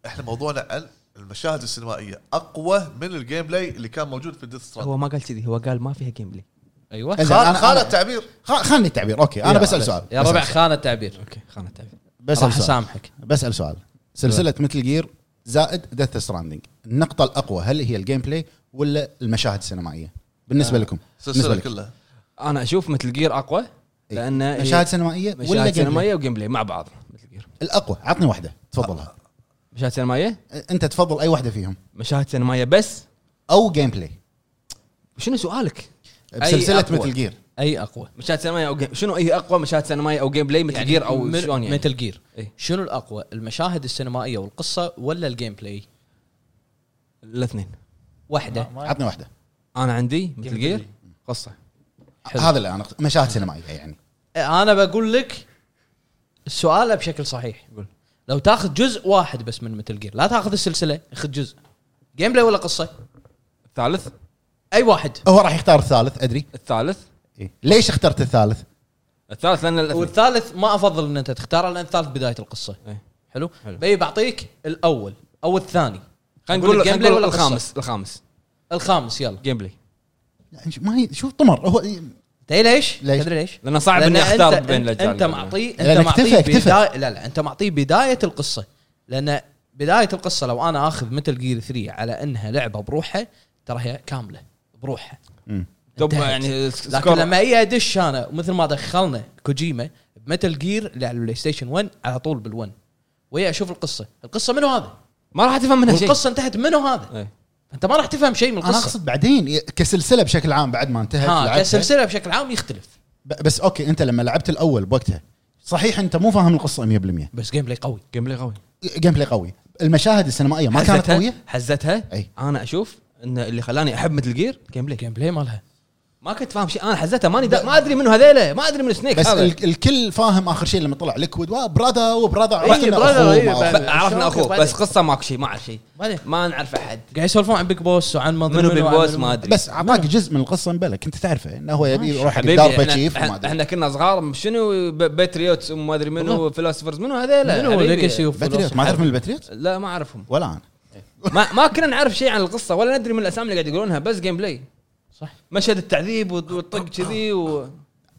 C: احنا موضوعنا عن المشاهد السينمائيه اقوى من الجيم بلاي اللي كان موجود في ديث ستراند
A: هو ما قال كذي هو قال ما فيها جيم بلاي
D: ايوه
B: إنزين، أنا-
C: خالد
B: أنا-
C: خالد التعبير
B: خ- خلني التعبير اوكي انا
D: يا
B: بسال
D: بس-
B: سؤال
D: يا
B: بسأل
D: ربع
B: سؤال.
D: خانه تعبير
A: اوكي خلنا نتابع
B: بسال
D: راح
B: سؤال
D: اسامحك
B: بسال سؤال سلسله مثل جير زائد ديث ستراندنج النقطه الاقوى هل هي الجيم بلاي ولا المشاهد السينمائيه بالنسبه لكم بالنسبه
C: السلسله
B: لكم
C: كلها
A: انا اشوف مثل جير اقوى
D: إيه.
A: لان
B: مشاهد سينمائيه
A: إيه،
B: ولا
A: مشاهد
B: جيم بلاي
A: سينمائيه وجيم بلاي مع بعض مثل جير
B: الاقوى عطني واحده تفضلها
A: مشاهد سينمائيه
B: انت تفضل اي واحده فيهم
A: مشاهد سينمائيه بس
B: او جيم بلاي
A: شنو سؤالك؟
B: بسلسله
A: أقوى.
B: مثل جير
D: اي اقوى
A: مشاهد سينمائيه او جيم شنو اي اقوى مشاهد سينمائيه او جيم بلاي مثل جير او شلون يعني؟
D: مثل جير
A: إيه.
D: شنو الاقوى المشاهد السينمائيه والقصه ولا الجيم بلاي
A: الاثنين
D: واحده
A: آه. طيب.
B: عطني واحده
A: انا عندي مثل جير قصه
D: حلو.
B: هذا اللي انا أقصد- مشاهد سينمائيه يعني
D: انا بقول لك السؤال بشكل صحيح
A: قول.
D: لو تاخذ جزء واحد بس من متل جير لا تاخذ السلسله خذ جزء جيم بلاي ولا قصه
A: الثالث
D: اي واحد
B: هو راح يختار الثالث ادري
A: الثالث
B: إيه. ليش اخترت الثالث؟
A: الثالث لان الاثنين
D: والثالث ما افضل ان انت تختاره لان الثالث بدايه القصه
A: إيه.
D: حلو
A: حلو.
D: بي بعطيك الاول او الثاني
A: خلينا
D: أقول
A: نقول
D: لك
A: خلينا
D: جيم بلاي
A: نقول
D: ولا قصة؟
A: الخامس الخامس
D: الخامس يلا
A: جيم بلاي
B: لا، ما هي شوف طمر هو إيه،
D: تدري ليش؟
B: ليش؟
D: تدري ليش؟
A: لانه صعب
D: لأن
A: اني اختار
D: أنت-
A: طيب، بين الاجزاء
D: انت معطيه انت
B: لأن اكتفى-
D: معطيه
B: اكتفى.
D: بدايه لا لا انت معطيه بدايه القصه لان بدايه القصه لو انا اخذ مثل جير 3 على انها لعبه بروحها ترى هي كامله بروحها
A: طب
D: انتهت.
A: يعني
D: لكن
A: سكور-
D: لما اي ادش انا ومثل ما دخلنا كوجيما بمتل جير اللي على البلاي ستيشن 1 على طول بال1 ويا اشوف القصه، القصه منو هذا؟
A: ما راح تفهم منها شيء
D: والقصه انتهت منو هذا؟
A: إيه.
D: انت ما راح تفهم شيء من
B: انا
D: القصه
B: اقصد بعدين كسلسله بشكل عام بعد ما انتهت
D: ها
B: لعبتها.
D: كسلسله بشكل عام يختلف
B: ب- بس اوكي انت لما لعبت الاول بوقتها صحيح انت مو فاهم القصه 100% جيم
D: بس جيم بلاي قوي
A: جيم بلاي قوي
B: بلاي قوي المشاهد السينمائيه ما كانت
A: حزتها-
B: قويه
A: حزتها
B: أي.
A: انا اشوف ان اللي خلاني احب مثل جير جيم بلاي
D: جيم بلاي مالها
A: ما كنت فاهم شيء انا حزتها ماني دا- ما ادري منو هذيله ما ادري من سنيك
B: بس
A: هذا
B: ال- الكل فاهم اخر شيء لما طلع ليكويد وبراذا وبراذا
A: إيه،
D: إي،
B: oh، عرفت إنه
D: براذا،
B: أخوه
D: إي،
B: ما أخوه.
D: بعد.
A: ب- عرفنا اخوه
D: بعدين.
A: بس قصه ماكو شيء ما اعرف شيء
D: بعدين
A: ما نعرف احد
D: قاعد يسولفون عن بيج بوس وعن ما
A: منو بيج
D: وعن
A: بوس
D: منو.
A: ما ادري
B: بس اعطاك جزء من القصه مبلى كنت تعرفه انه هو يبي يروح حق
A: حبيبي
B: الدار
A: احنا,
B: بتشيف وما
A: إحنا-
B: ادري
A: احنا كنا صغار شنو ب- باتريوتس وما ادري منو فيلوسفرز منو هذيلا
D: منو
A: حبيبي.
D: ليجاسي
B: باتريوت ما تعرف من الباتريوت؟
A: لا ما اعرفهم
B: ولا انا
A: ما ما كنا نعرف شيء عن القصه ولا ندري من الاسامي اللي قاعد يقولونها بس جيم بلاي
D: صح
A: مشهد التعذيب وت- والطق كذي و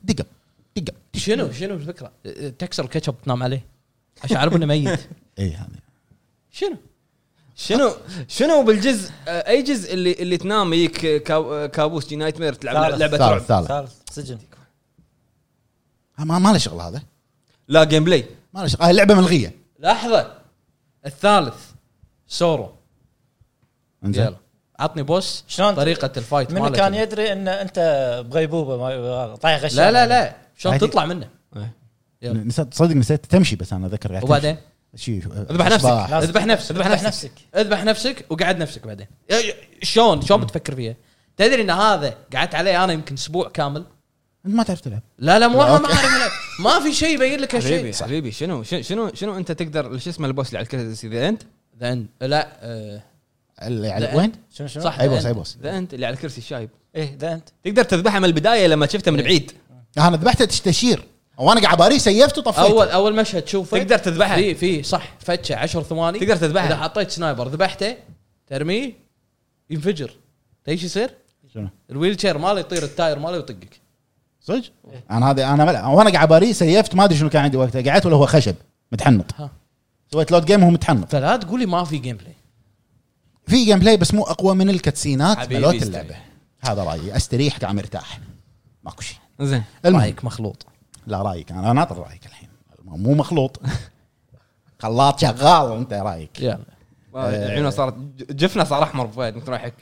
B: دقه دقه
D: شنو شنو الفكره؟ أه، تكسر الكاتشب تنام عليه عشان يعرفون انه ميت
B: اي هذا
D: شنو؟
A: شنو شنو بالجزء آه، اي جزء اللي اللي تنام يجيك كا- آه، كابوس جي نايت مير تلعب
F: ثالث.
A: لعبه رعب
B: ثالث ثالث
F: ثالث سجن
B: ما ما له شغل هذا
A: لا جيم بلاي
B: ما له شغل هاي لعبه ملغيه
D: لحظه الثالث سورو
B: انزين
D: يلا عطني بوس
F: شلون؟
D: طريقه الفايت
F: من
D: مالته.
F: كان يدري ان انت بغيبوبه ما- طايح غش
D: لا لا لا شلون
B: عادي.
D: تطلع منه يلا.
B: نسيت تصدق نسيت تمشي بس انا اذكر قاعد أه،
D: وبعدين اذبح
B: اذبح
D: نفسك
F: لازم
D: اذبح نفسك
F: تذبح
D: اذبح نفسك
F: نفسك.
D: اذبح نفسك وقعد نفسك بعدين شلون شلون بتفكر فيها؟ تدري ان هذا قعدت عليه انا يمكن اسبوع كامل
B: انت ما تعرف تلعب
D: لا لا مو
B: لا،
D: أنا ما
B: أوكي.
D: اعرف ألعب. ما في شيء يبين لك
A: حبيبي
D: هالشيء
A: حبيبي شنو شنو- شنو شنو انت تقدر شو اسمه البوس اللي على الكرسي ذا انت
D: ذا أند- لا آه، لا.
B: اللي يعني وين؟
F: شنو شنو؟
D: صح
B: اي
D: ذا
B: بوس اي
D: أند.
B: بوس
A: ذا انت اللي على الكرسي الشايب
F: ايه ده انت
A: إيه، تقدر تذبحه من البدايه لما شفته من بعيد
B: انا ذبحته تستشير وانا قاعد باريه سيفته وطفيته
D: اول اول مشهد شوفه
A: تقدر تذبحه.
D: في في صح فتشه 10 ثواني
A: تقدر تذبحه.
D: اذا حطيت سنايبر ذبحته ترميه ينفجر تدري ايش يصير؟
B: شنو؟
D: الويل تشير ماله يطير التاير ماله يطقك
B: صدق؟ انا إيه. هذا انا ملع. وانا قاعد باريه سيفت ما ادري شنو كان عندي وقتها قعدت ولا هو خشب متحنط
D: ها.
B: سويت لود جيم وهو متحنط
D: فلا تقولي ما في جيم بلاي
B: في جيم بلاي بس مو اقوى من الكاتسينات
A: حبيبي
B: ملوت
A: استريح.
B: اللعبه هذا رايي استريح قاعد مرتاح ماكو شيء
A: زين
B: المهم
D: رايك مخلوط
B: لا رايك انا ناطر رايك الحين مو مخلوط خلاط شغال انت رايك
D: يلا
A: عيونه آه، صارت جفنه صار احمر بفايد مثل رايحك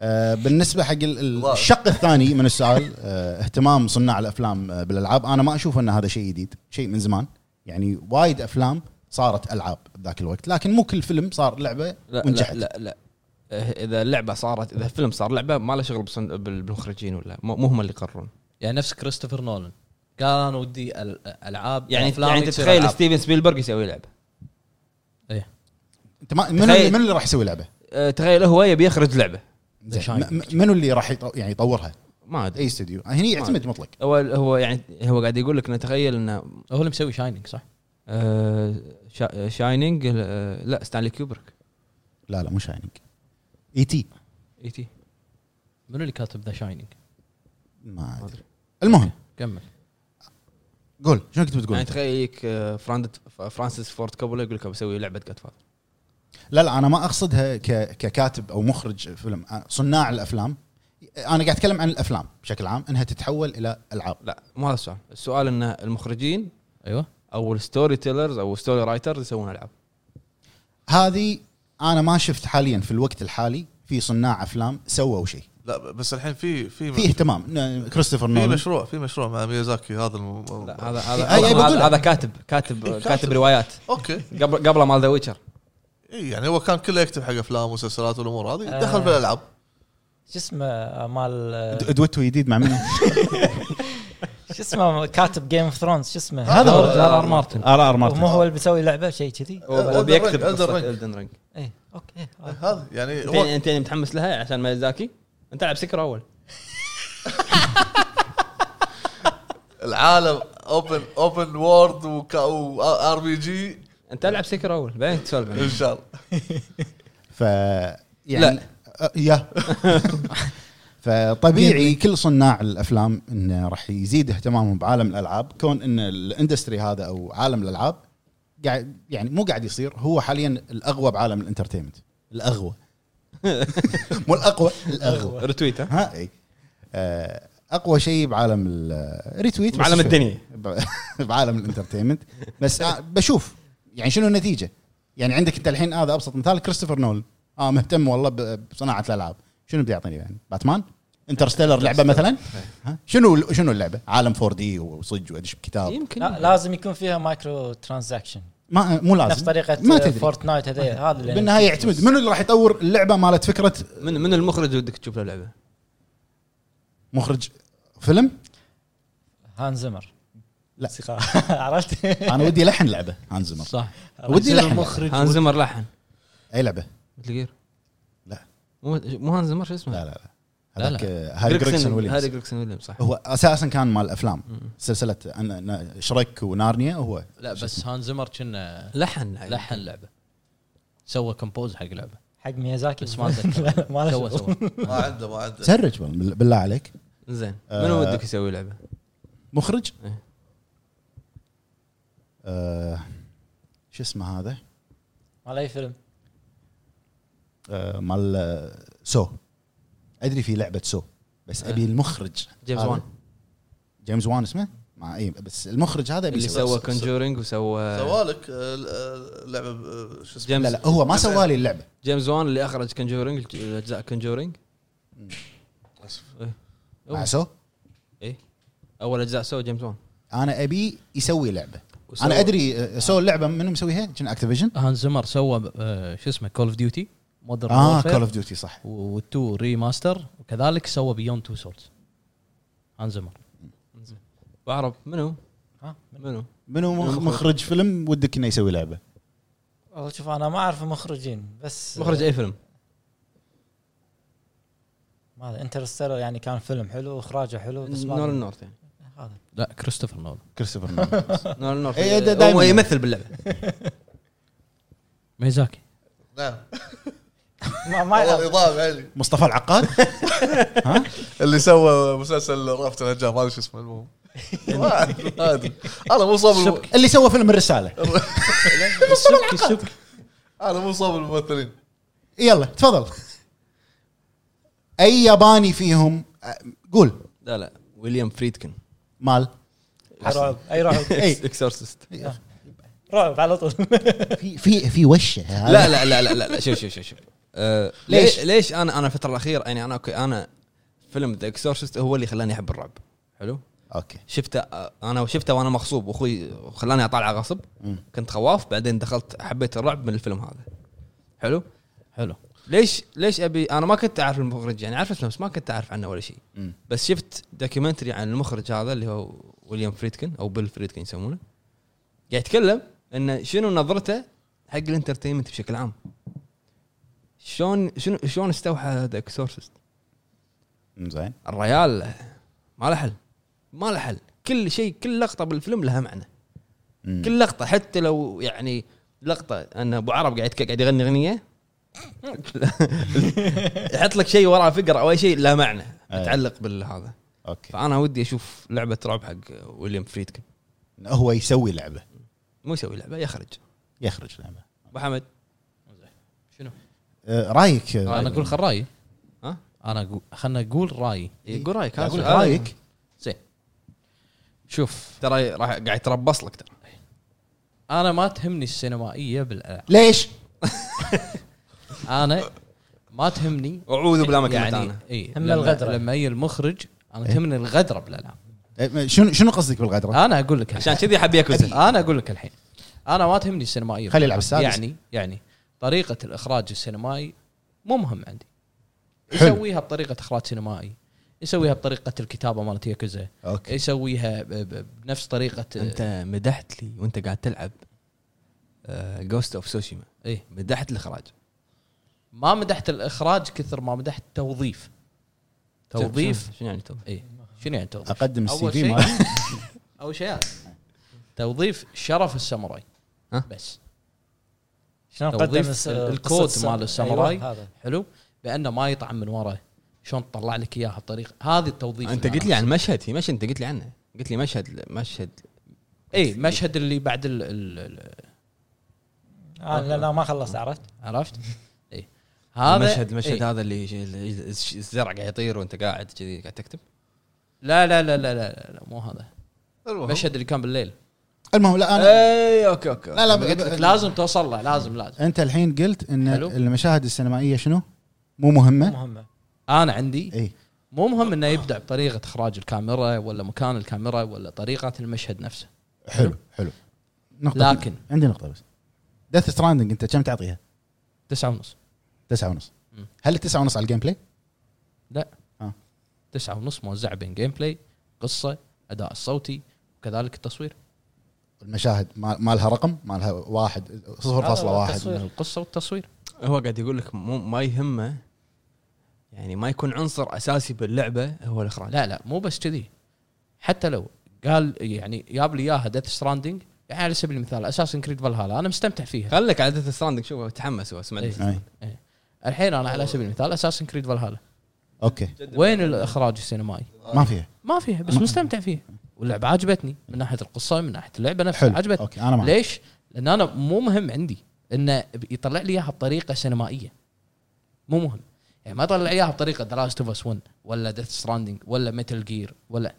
B: آه، بالنسبه حق ال- ال-
C: الله.
B: الشق الثاني من السؤال آه، اهتمام صناع الافلام آه، بالالعاب انا ما اشوف ان هذا شيء جديد شيء من زمان يعني وايد افلام صارت العاب بذاك الوقت لكن مو كل فيلم صار لعبه
A: لا لا
B: ونجحت
A: لا, لا. إه، اذا اللعبه صارت اذا الفيلم صار لعبه ما له شغل بالصن- بال- بالمخرجين ولا مو مو هم اللي يقررون
D: يعني نفس كريستوفر نولان قال انا ودي ال- العاب
A: يعني
D: أفلام
A: يعني
D: تصير
A: تتخيل
D: ألعاب.
A: ستيفن سبيلبرج يسوي لعبه
D: إيه.
B: انت ما منو
A: تخيل.
B: اللي منو اللي راح يسوي لعبه؟
A: أه، تخيل هو يبي يخرج لعبه
B: زين،
D: The Shining.
B: م- م- منو اللي راح يط- يعني يطورها؟
A: ما ادري
B: اي استوديو هني يعتمد مطلق
A: هو هو يعني هو قاعد يقول لك انه تخيل انه
D: هو اللي مسوي شاينينج صح؟
A: آه، شا- شاينينج آه، لا ستانلي كيوبرك
B: لا لا مو E شاينينج اي تي
A: اي تي
D: منو اللي كاتب ذا شاينينج؟
B: ما ادري المهم
D: كمل
B: قول شنو كنت بتقول؟
A: يعني تخيل يجيك آه، فرانت فرانسيس فورد كوبولا يقول لك بسوي لعبه جاد فاذر
B: لا لا انا ما اقصدها ك- ككاتب او مخرج فيلم صناع الافلام انا قاعد اتكلم عن الافلام بشكل عام انها تتحول الى العاب
A: لا مو هذا السؤال السؤال ان المخرجين
D: ايوه
A: او الستوري تيلرز او الستوري رايترز يسوون العاب
B: هذه انا ما شفت حاليا في الوقت الحالي في صناع افلام سووا شيء
C: لا بس الحين في في
B: في اهتمام ن- كريستوفر
C: في
B: نولان
C: مشروع في مشروع مع ميازاكي هذا الم...
A: لا هذا هذا
B: أي- أي
A: هذا-
B: بقول لك.
A: هذا كاتب كاتب كاتب روايات
C: اوكي
A: قبل قبل مال ذا ويتشر
C: إي يعني هو كان كله يكتب حق افلام ومسلسلات والامور هذه دخل في الالعاب
F: شو اسمه آه، مال
B: د- دويتو جديد مع منو؟
F: شو اسمه كاتب جيم اوف ثرونز شو اسمه
B: هذا هو.
F: جورج آر آر مارتن
B: ار ار
F: مو
B: مارتن
F: هو اللي مسوي لعبه شيء كذي
C: Elden
A: وبيكتب
C: Ring، Elden
A: قصة
C: Ring.
A: Elden Ring.
F: ايه اوكي إيه.
D: أه.
F: آه.
C: هذا يعني
A: انت
C: هو
A: انت يعني متحمس لها عشان ميازاكي انت العب سكر اول
C: العالم اوبن اوبن وورد وار بي جي
A: انت العب سكر اول بعدين تسولف
C: ان
A: عنه.
C: شاء الله
B: ف يعني أ- يا فطبيعي كل صناع الافلام انه راح يزيد اهتمامهم بعالم الالعاب كون ان الاندستري هذا او عالم الالعاب قاعد يعني مو قاعد يصير هو حاليا الاغوى بعالم الانترتينمنت الاغوى مو الاقوى الاغوى
A: رتويت ها
B: ها اي آه، اقوى شيء بعالم الريتويت بس
A: بعالم
B: شوي.
A: الدنيا.
B: ب- (laughs) بعالم الانترتينمنت بس آه، بشوف يعني شنو النتيجه يعني عندك انت الحين هذا ابسط مثال كريستوفر نول اه مهتم والله ب- بصناعه الالعاب شنو بدي يعطيني يعني باتمان انترستيلر لعبه مثلا
F: إيه.
B: ها؟ شنو شنو اللعبه عالم 4 دي وصج وادش بكتاب
A: يمكن
F: لا لازم يكون فيها مايكرو ترانزاكشن
B: ما مو لازم
F: نفس طريقه
B: ما
F: آه،
B: تدري أه.
F: فورتنايت هذي هذا اللي
B: بالنهايه يعتمد منو اللي راح يطور اللعبه مالت فكره
A: من من المخرج ودك تشوف له لعبه
B: مخرج فيلم
F: هان زمر
B: لا.
F: موسيقى. (laughs) عرفت؟
B: انا ودي لحن لعبه هانز زمر
D: صح
B: ودي لحن
F: مخرج
D: هانز زمر لحن
B: اي لعبه
D: مثل
A: إيه؟
D: جير
B: لا.
D: مو مو هانز زمر شو اسمه
B: لا لا لا
D: لا، لا.
B: هذاك آه، هاري جريكسون
D: هاري
B: ويليامز
D: جريكسون ويليامز صح
B: هو اساسا كان مال افلام سلسله أنا- أنا- شريك ونارنيا هو
D: لا بس هانز زمر كنا
A: لحن لحن
D: لحن لعبه سوى كومبوز حق لعبه
F: حق ميازاكي
D: بس ما أتذكر.
F: (laughs) لا، لا، ما له
D: سوى
F: شغل.
D: سوى
C: (laughs) ما عنده ما عنده
B: تهرج بال- بالله عليك
A: زين
B: آه.
A: منو ودك يسوي لعبه؟
B: مخرج
A: إيه.
B: آه، شو اسمه هذا
F: ما له اي فيلم
B: آه، مال آه، سو ادري في لعبه سو بس ابي
A: آه.
B: المخرج
A: جيمس
B: هذا.
A: وان
B: جيمس وان اسمه مع اي بس المخرج هذا ابي
A: اللي
B: يسوي.
A: سوى كونجورينج وسوى
C: سوالك آه، ال- آه، لعبه آه، شو اسمه
A: جيمس
B: لا لا هو ما سوى لي اللعبه
A: جيمس وان اللي اخرج كونجورينج اجزاء كونجورينج
B: مع سو
A: اول اجزاء سوى جيمس وان
B: انا ابي يسوي لعبه
A: وسوى-
B: انا ادري آه، سو اللعبه منو مسويها؟ كان اكتيفيجن
D: هانز زمر سوى آه، شو اسمه كول اوف ديوتي مودرن
B: اه كول اوف ديوتي صح
D: والتو ريماستر وكذلك سوى بيون تو سورتس هانز زمر
A: بعرف منو
F: ها؟
A: منو
B: منو مخ-
A: المخرج.
B: مخرج فيلم ودك انه يسوي لعبه؟
F: والله شوف انا ما اعرف المخرجين بس آه،
A: مخرج اي فيلم
F: ما انترستيلر يعني كان فيلم حلو واخراجه حلو بس ما
A: نورن نورث يعني
F: هذا
D: لا كريستوفر نولان
B: كريستوفر نولان.
A: (laughs) نورن نورث
B: إيه، دا-
A: هو
B: دايماً.
A: يمثل باللعبه
D: ميزاكي
C: نعم
F: ما ما
C: والله
F: يلعب.
C: نظام يعني
B: مصطفى العقاد
C: اللي سوى مسلسل رافت الهجان ما ادري شو اسمه المهم ما أدري، ما أدري. انا مو صاب الم-
B: اللي سوى فيلم الرساله
D: السبكي السبكي
C: انا مو صاب الممثلين
B: يلا تفضل اي ياباني فيهم آه، قول
A: لا لا ويليام فريدكن
B: مال
F: رعب اي رعب
B: إيه.
A: (laughs) اكسورسست
F: رعب على
D: (laughs)
F: طول
B: في في في وشه هذا.
A: لا لا لا لا لا لا، شوف شوف شوف شوف آه، ليش
B: ليش؟
A: ليش انا انا الفتره الاخيره يعني انا اوكي انا فيلم ذا اكسورسست هو اللي خلاني احب الرعب حلو
B: اوكي
A: شفته آه، انا شفته وانا مغصوب واخوي خلاني اطالعه غصب
B: مم.
A: كنت خواف بعدين دخلت حبيت الرعب من الفيلم هذا حلو
D: حلو
A: ليش ليش ابي انا ما كنت اعرف المخرج يعني اعرف اسمه بس ما كنت اعرف عنه ولا شيء
B: مم.
A: بس شفت دوكيومنتري عن المخرج هذا اللي هو ويليام فريدكن او بيل فريدكن يسمونه قاعد يتكلم انه شنو نظرته حق الانترتينمنت بشكل عام شلون شنو شلون استوحى ذا اكسورسست
B: زين
A: الريال ما له حل ما له حل كل شيء كل لقطه بالفيلم لها معنى
B: مم.
A: كل لقطه حتى لو يعني لقطه ان ابو عرب قاعد قاعد يغني اغنيه (laughs) يحط لك شيء وراه فقره او اي شيء له معنى
B: أي.
A: متعلق بالهذا
B: اوكي
A: فانا ودي اشوف لعبه رعب حق ويليام فريدكن
B: هو يسوي لعبه
A: مو يسوي لعبه يخرج
B: يخرج لعبه
A: ابو حمد
D: شنو؟
B: آه، رايك آه،
D: انا اقول خل رايي
A: ها؟
D: انا اقول خلنا اقول رايي
A: يقول رايك
B: اقول لك
A: هذا.
B: رايك
D: زين شوف
A: ترى راح قاعد يتربص لك ترى
D: انا ما تهمني السينمائيه بالالعاب
B: ليش؟
D: انا ما
A: (laughs)
D: تهمني
A: اعوذ بالله ما كنت
D: يعني
A: انا
D: اي
F: هم
D: لما-
F: الغدرة.
D: لما يجي المخرج انا تهمني الغدره بالالعاب
B: آه، شنو شنو قصدك بالغدره؟
D: انا اقول لك
A: عشان
D: الحين.
A: كذي حب ياكوزا
D: انا اقول لك الحين انا ما تهمني السينمائيه
B: خليه يلعب السادس.
D: يعني يعني طريقه الاخراج السينمائي مو مهم عندي
B: حلو.
D: يسويها بطريقه اخراج سينمائي يسويها بطريقه الكتابه مالت ياكوزا
B: اوكي
D: يسويها ب- ب- بنفس آه، طريقه
A: انت مدحت لي وانت قاعد تلعب آه، جوست اوف سوشيما
D: اي
A: مدحت الاخراج
D: ما مدحت الاخراج كثر ما مدحت التوظيف توظيف
A: شنو يعني توظيف؟
D: اي شنو يعني توظيف؟
B: اقدم السي
D: أول
B: في
D: شيء-
B: مالي
D: اول شيء هذا. توظيف شرف الساموراي
A: ها؟
D: بس
F: شلون
D: توظيف
F: قدم الس-
D: الكود
F: آه، قصة السم-
D: مال الساموراي.
F: أيوة، هذا
D: حلو بانه ما يطعم من وراه شلون تطلع لك اياها بطريقه هذه التوظيف
A: انت
D: اللي
A: قلت
D: أنا
A: لي عن مشهد في مشهد انت قلت لي عنه قلت لي مشهد مشهد
D: أقصد. اي إيه، مشهد اللي بعد ال ال ال
F: آه، لا لا ما خلصت عرفت
D: عرفت؟
A: (laughs)
D: اي
A: هذا
D: هذا
A: مشهد مشهد
D: إيه.
A: هذا اللي اللي الزرع قاعد يطير وانت قاعد كذي قاعد تكتب
D: لا لا لا لا لا, لا مو هذا
C: المهم
D: المشهد اللي كان بالليل إيه،
B: المهم لا
D: آه.
B: انا
A: اي اوكي اوكي
B: لا لا ب-
D: قلت لك
B: ب-
D: لازم توصل له لازم لازم
B: انت الحين قلت ان
D: حلو.
B: المشاهد السينمائيه شنو؟ مو إيه. مهمه؟
F: مهمه
D: انا عندي
B: اي
D: مو مهم انه يبدع بطريقه اخراج الكاميرا ولا مكان الكاميرا ولا طريقه المشهد نفسه
B: حلو حلو نقطه
D: لكن
B: عندي نقطه بس ديث ستراندنج انت كم تعطيها؟
D: تسعة ونص
B: تسعة ونص
D: مم.
B: هل التسعة ونص على الجيم بلاي؟
D: لا
B: آه.
D: تسعة ونص موزعة بين جيم بلاي قصة أداء الصوتي وكذلك التصوير
B: المشاهد ما ما لها رقم ما لها واحد 0.1
F: تصوير.
D: القصة والتصوير
A: هو قاعد يقول لك مو ما يهمه يعني ما يكون عنصر اساسي باللعبه هو الاخراج
D: لا لا مو بس كذي حتى لو قال يعني جاب لي اياها ديث ستراندنج يعني على سبيل المثال اساسا كريد فالهالا انا مستمتع فيها
A: خليك على ديث ستراندنج شوف تحمس هو اسمع
D: إيه.
A: Death
B: أي.
D: الحين انا على سبيل المثال اساسا كريد فالهالا
B: اوكي
D: وين الاخراج السينمائي؟
B: ما فيها
D: ما فيها بس مستمتع فيها واللعبه عجبتني من ناحيه القصه من ناحيه اللعبه
B: حلو
D: نفسها عجبتني
B: اوكي انا معك
D: ليش؟ لان انا مو مهم عندي انه يطلع لي اياها بطريقه سينمائيه مو مهم يعني ما يطلع اياها بطريقه ذا لاست اوف اس 1 ولا ديث ستراندنج ولا ميتل جير ولا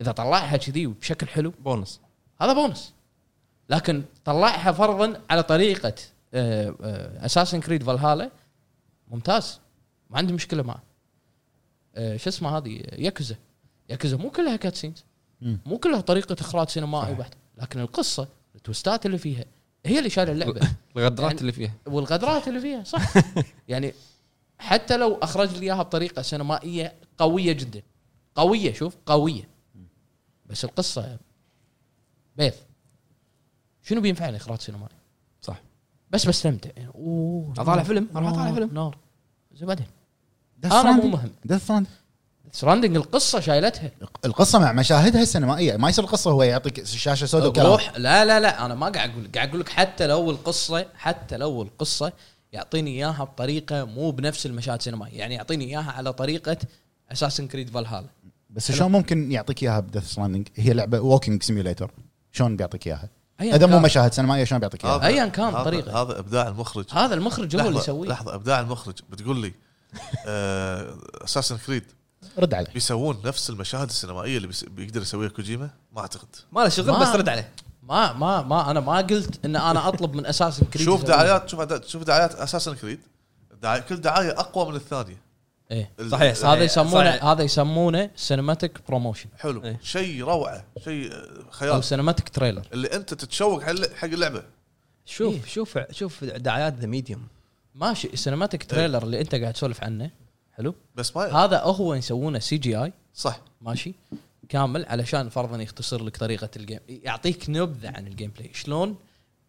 D: اذا طلعها كذي وبشكل حلو
A: بونص
D: هذا بونس لكن طلعها فرضا على آه، طريقه اساسن كريد فالهالا ممتاز ما عندي مشكله معه آه، شو اسمه هذه يكزة يكزة مو كلها كاتسينز
B: مم.
D: مو كلها طريقه اخراج سينمائي بحت لكن القصه التوستات اللي فيها هي اللي شايله اللعبه
A: الغدرات
D: يعني-
A: اللي فيها
D: والغدرات اللي فيها صح يعني حتى لو اخرج لي اياها بطريقه سينمائيه قويه جدا قويه شوف قويه بس القصه بيض شنو بينفعني اخراج سينمائي؟
A: صح.
D: بس بستمتع يعني اوه
A: أطالع فيلم، أروح أطالع
D: نار،
A: فيلم.
D: نار زين بعدين انا مو مهم
B: ديث
D: سراندنج القصه شايلتها
B: القصه مع مشاهدها السينمائيه ما يصير القصه هو يعطيك الشاشه سوداء وكلام
D: روح لا لا لا انا ما قاعد اقول قاعد اقول لك حتى لو القصه حتى لو القصه يعطيني اياها بطريقه مو بنفس المشاهد سينمائيه يعني يعطيني اياها على طريقه اساسن كريد فالهالا
B: بس شلون ممكن يعطيك اياها بديث ستراندنج هي لعبه ووكينج سيميوليتر شلون بيعطيك اياها؟
D: أيوة.
B: اذا مو مشاهد سينمائيه شلون بيعطيك اياها؟
C: هذا-
D: أياً كان
C: هذا-
D: طريقة.
C: هذا ابداع المخرج
D: هذا المخرج هو اللي
C: لحظة-
D: يسويه
C: لحظه ابداع المخرج بتقول لي اساسن كريد
B: رد عليه
C: بيسوون نفس المشاهد السينمائيه اللي بيس- بيقدر يسويها كوجيما ما اعتقد
A: ما له شغل
D: ما-
A: بس رد عليه
D: ما ما ما انا ما قلت ان انا اطلب من اساسن كريد
C: شوف
D: يسويه.
C: دعايات شوف عدا- شوف دعايات اساسن كريد دعاية كل دعايه اقوى من الثانيه
D: إيه.
C: ال-
A: صحيح، صحيح.
D: هذا يسمونه
A: صحيح.
D: هذا يسمونه سينماتيك بروموشن
C: حلو
A: إيه.
C: شيء روعه شيء آه،
D: او
C: خيال
D: سينماتيك تريلر
C: اللي انت تتشوق حل- حق اللعبه
A: شوف
D: إيه.
A: شوف شوف دعايات ذا ميديوم
D: ماشي السينماتيك تريلر اللي انت قاعد تسولف عنه حلو
C: بس ما
D: هذا هو يسوونه سي جي اي
C: صح
D: ماشي كامل علشان فرضا يختصر لك طريقه الجيم يعطيك نبذه عن الجيم بلاي شلون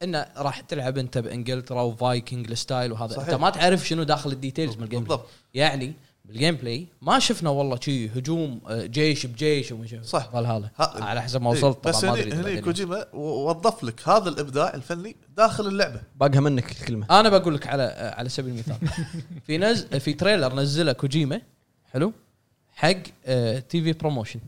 D: انه راح تلعب انت بانجلترا وفايكنج الستايل وهذا
C: صحيح.
D: انت ما تعرف شنو داخل الديتيلز من الجيم بلاي
C: بالضبط
D: يعني بالجيم بلاي ما شفنا والله شي هجوم آه، جيش بجيش وما شي-
C: صح.
D: فالهالا
C: ها-
D: على حسب ما
C: إيه،
D: وصلت طبعا
C: بس
D: ما
C: هني
D: ادري
C: هني
D: بعدين.
C: كوجيما و- وظف لك هذا الابداع الفني داخل اللعبه
A: باقها منك الكلمه
D: انا بقول لك على آه، على سبيل المثال
F: (laughs)
D: في نز في تريلر نزله كوجيما حلو حق آه، تي في بروموشن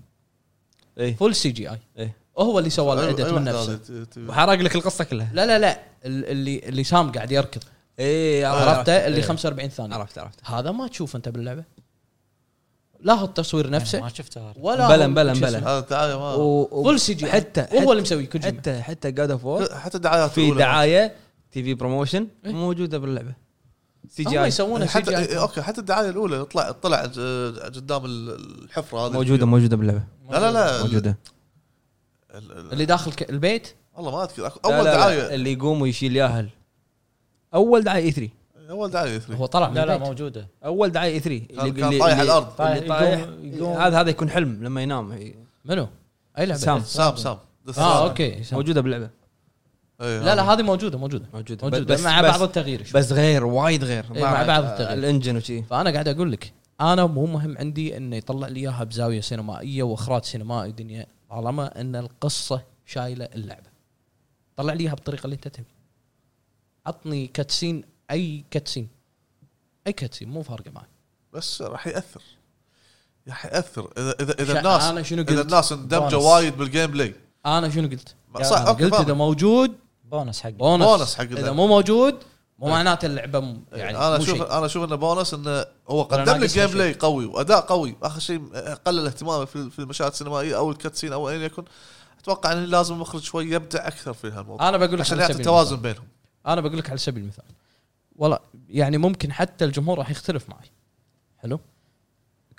A: ايه
D: فول سي جي اي
A: إيه.
D: هو اللي سوى
C: أي-
D: الادت
C: أي
D: من
C: واحد
D: نفسه
C: أيوة، هذا ت- ت-
A: وحرق لك القصه كلها
D: لا لا لا ال- اللي اللي سام قاعد يركض
A: اي
D: عرفته اللي 45 ثانيه
A: إيه، عرفت عرفت
D: هذا ما تشوف انت باللعبه لا هو التصوير نفسه
F: ما شفته
D: ولا
A: بلا- بلا- بلا.
C: هذا الدعايه ما
D: آه. فول سي جي
A: حتى
D: هو اللي
A: حتى-
D: مسوي كوجيما
A: حتى حتى جاد اوف وور
C: حتى الدعايات
A: في
C: الأولى.
A: دعايه تي في بروموشن
D: أه، إيه. أه،
A: موجوده باللعبه سي
D: هم
A: جي اي
D: يسوونه سي
C: حتى إيه،
D: جي
C: اوكي حتى الدعايه الاولى طلع طلع ج- قدام ال- الحفره هذه
A: موجوده موجوده باللعبه
D: أه،
C: لا لا لا ال-
A: موجوده
C: ال- ال-
D: اللي داخل ك- البيت
C: والله ما اذكر أك-
A: لا
C: اول
A: لا لا،
C: دعايه
A: اللي يقوم ويشيل ياهل اول دعايه اي 3
C: اول دعايه
A: إيه.
C: ثري.
D: هو طلع من
F: لا لا
D: البيت
F: موجوده
A: اول دعايه اي 3
C: كان كان طايح على الارض
F: طايح
A: اللي طايح
F: يقوم- يقوم.
A: هذا هذا يكون حلم لما ينام
D: منو؟ اي لعبه
A: سام.
C: سام سام This
D: اه
C: Sam.
D: اوكي سام.
A: موجوده باللعبه
C: إيه،
D: لا لا
C: هذا.
D: هذه موجوده موجوده
A: موجوده
D: موجوده
A: بس
D: بس مع
A: بس-
D: بعض التغيير شوي.
A: بس غير وايد غير
D: إيه، مع بعض التغيير.
A: الانجن وشي
D: فانا قاعد اقول لك انا مو مهم عندي انه يطلع لي اياها بزاويه سينمائيه واخراج سينمائي دنيا طالما ان القصه شايله اللعبه طلع لي اياها بالطريقه اللي انت تبي عطني كاتسين اي كاتسين اي كاتسين مو فارقه معي
C: بس راح ياثر راح ياثر اذا اذا
D: شا-
C: اذا الناس
D: انا شنو
C: اذا
D: قلت
C: الناس اندمجوا
F: بونس.
C: وايد بالجيم بلاي
D: انا شنو قلت
C: صح
D: أنا
C: اوكي
D: قلت اذا
C: فاهم.
D: موجود
F: بونس حق
D: بونس,
C: بونس حق
D: اذا
C: اللعبة.
D: مو موجود مو معناته اللعبه م- يعني
C: انا
D: مو
C: اشوف
D: شيء.
C: انا اشوف انه بونس انه هو قدم لك
D: ناقصها
C: جيم
D: شيء.
C: بلاي قوي واداء قوي اخر شيء قلل اهتمامه في في المشاهد السينمائيه او الكاتسين او ايا يكن اتوقع انه لازم المخرج شوي يبدع اكثر في هالموضوع
D: انا بقول آه، لك
C: عشان
D: على
C: يعطي
D: سبيل المثال.
C: توازن بينهم
D: انا بقول لك على سبيل المثال والله يعني ممكن حتى الجمهور راح يختلف معي حلو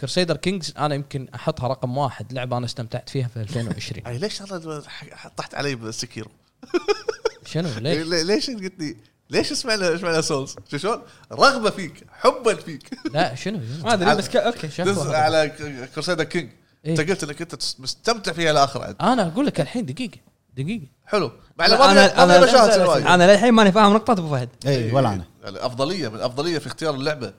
D: كرسيدر كينجز انا يمكن احطها رقم واحد لعبه انا استمتعت فيها في
C: (laughs)
D: 2020
C: يعني اي ليش انا ح- ح- طحت علي بالسكيرو
D: شنو ليش؟
C: ليش قلت لي ليش اسمعنا اسمعنا سولز شو شلون رغبه فيك حبا فيك
D: لا شنو شنو؟
A: ما ادري بس ك- اوكي
C: دز
D: شكوى.
C: على كروسيدا كينج
D: إيه.
C: انت قلت انك انت مستمتع فيها الاخر عاد
D: انا اقول لك الحين دقيقه دقيقه
C: حلو مع انه ما
A: انا
C: فيها- ما فيها مشاهد
A: انا
C: سينمائية.
A: انا للحين ماني فاهم نقطه ابو فهد
D: إيه.
B: اي إيه، ولا انا
C: الافضليه يعني من الافضليه في اختيار اللعبه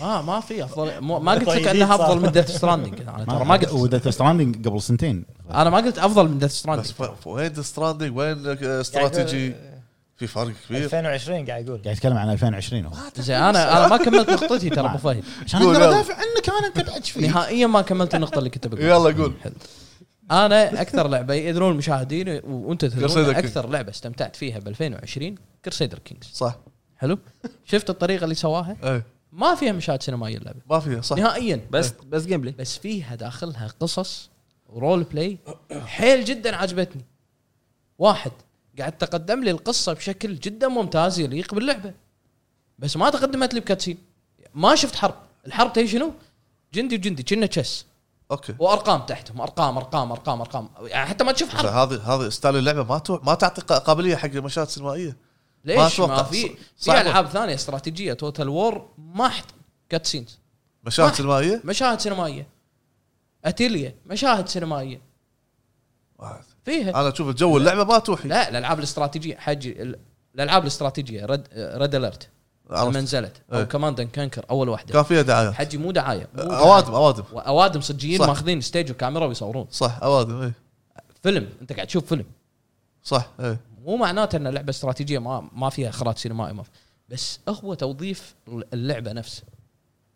D: ما ما في افضل مو- ما قلت لك
F: طيبين
D: انها افضل
F: صار.
D: من ديث ستراندنج انا ترى ما قلت
B: وذا ستراندنج قبل سنتين
D: انا ما قلت افضل من ديث
C: بس
D: ستراندنج
C: ف- ف- وين ستراندنج وين استراتيجي
D: يعني
C: في فرق كبير
F: 2020 آه، قاعد يقول
B: قاعد يتكلم عن 2020 هو
D: زين انا انا ما كملت نقطتي ترى ابو فهد
B: عشان
C: قول
B: اقدر
C: يلا.
B: ادافع عنك انا انت بعد فيه
D: نهائيا ما كملت النقطه اللي كنت بقولها
C: يلا قول
D: انا اكثر لعبه يدرون المشاهدين وانت
C: Crusader
D: تدرون
C: Kings.
D: اكثر لعبه استمتعت فيها ب 2020 كرسيدر كينجز
C: صح
D: حلو شفت الطريقه اللي سواها
C: ايه
D: ما فيها مشاهد سينمائيه اللعبه
C: ما فيها صح
D: نهائيا
A: بس بس جيم بلاي
D: بس فيها داخلها قصص ورول بلاي حيل جدا عجبتني واحد قاعد تقدم لي القصه بشكل جدا ممتاز يليق باللعبه بس ما تقدمت لي بكاتسين ما شفت حرب الحرب تي شنو جندي وجندي كنا تشس
C: اوكي
D: وارقام تحتهم ارقام ارقام ارقام ارقام يعني حتى ما تشوف
C: بس
D: حرب
C: هذه هذه ستايل اللعبه ما تو... ما تعطي قا- قابليه حق المشاهد السينمائيه ما
D: ليش ما,
C: أتوقع.
D: في
C: صعبة.
D: في العاب ثانيه استراتيجيه توتال وور ما حط كاتسينز
C: مشاهد
D: ما-
C: سينمائيه
D: مشاهد سينمائيه اتيليا مشاهد سينمائيه
C: واحد.
D: فيها
C: انا اشوف الجو اللعبه ما توحي
D: لا الالعاب الاستراتيجيه حجي ال- الالعاب الاستراتيجيه رد ريد الرت لما
C: عرفت.
D: نزلت
C: إيه.
D: او كوماند اند كانكر اول واحده
C: كان فيها أه، دعايات
D: حجي مو دعايه مو دعاية.
C: اوادم اوادم
D: واوادم صجيين
C: صح.
D: ماخذين ستيج وكاميرا ويصورون
C: صح اوادم اي
D: فيلم انت قاعد تشوف فيلم
C: صح إيه. اي
D: مو معناته ان اللعبه استراتيجيه ما ما فيها اخراج سينمائي ما في. بس هو توظيف اللعبه نفسها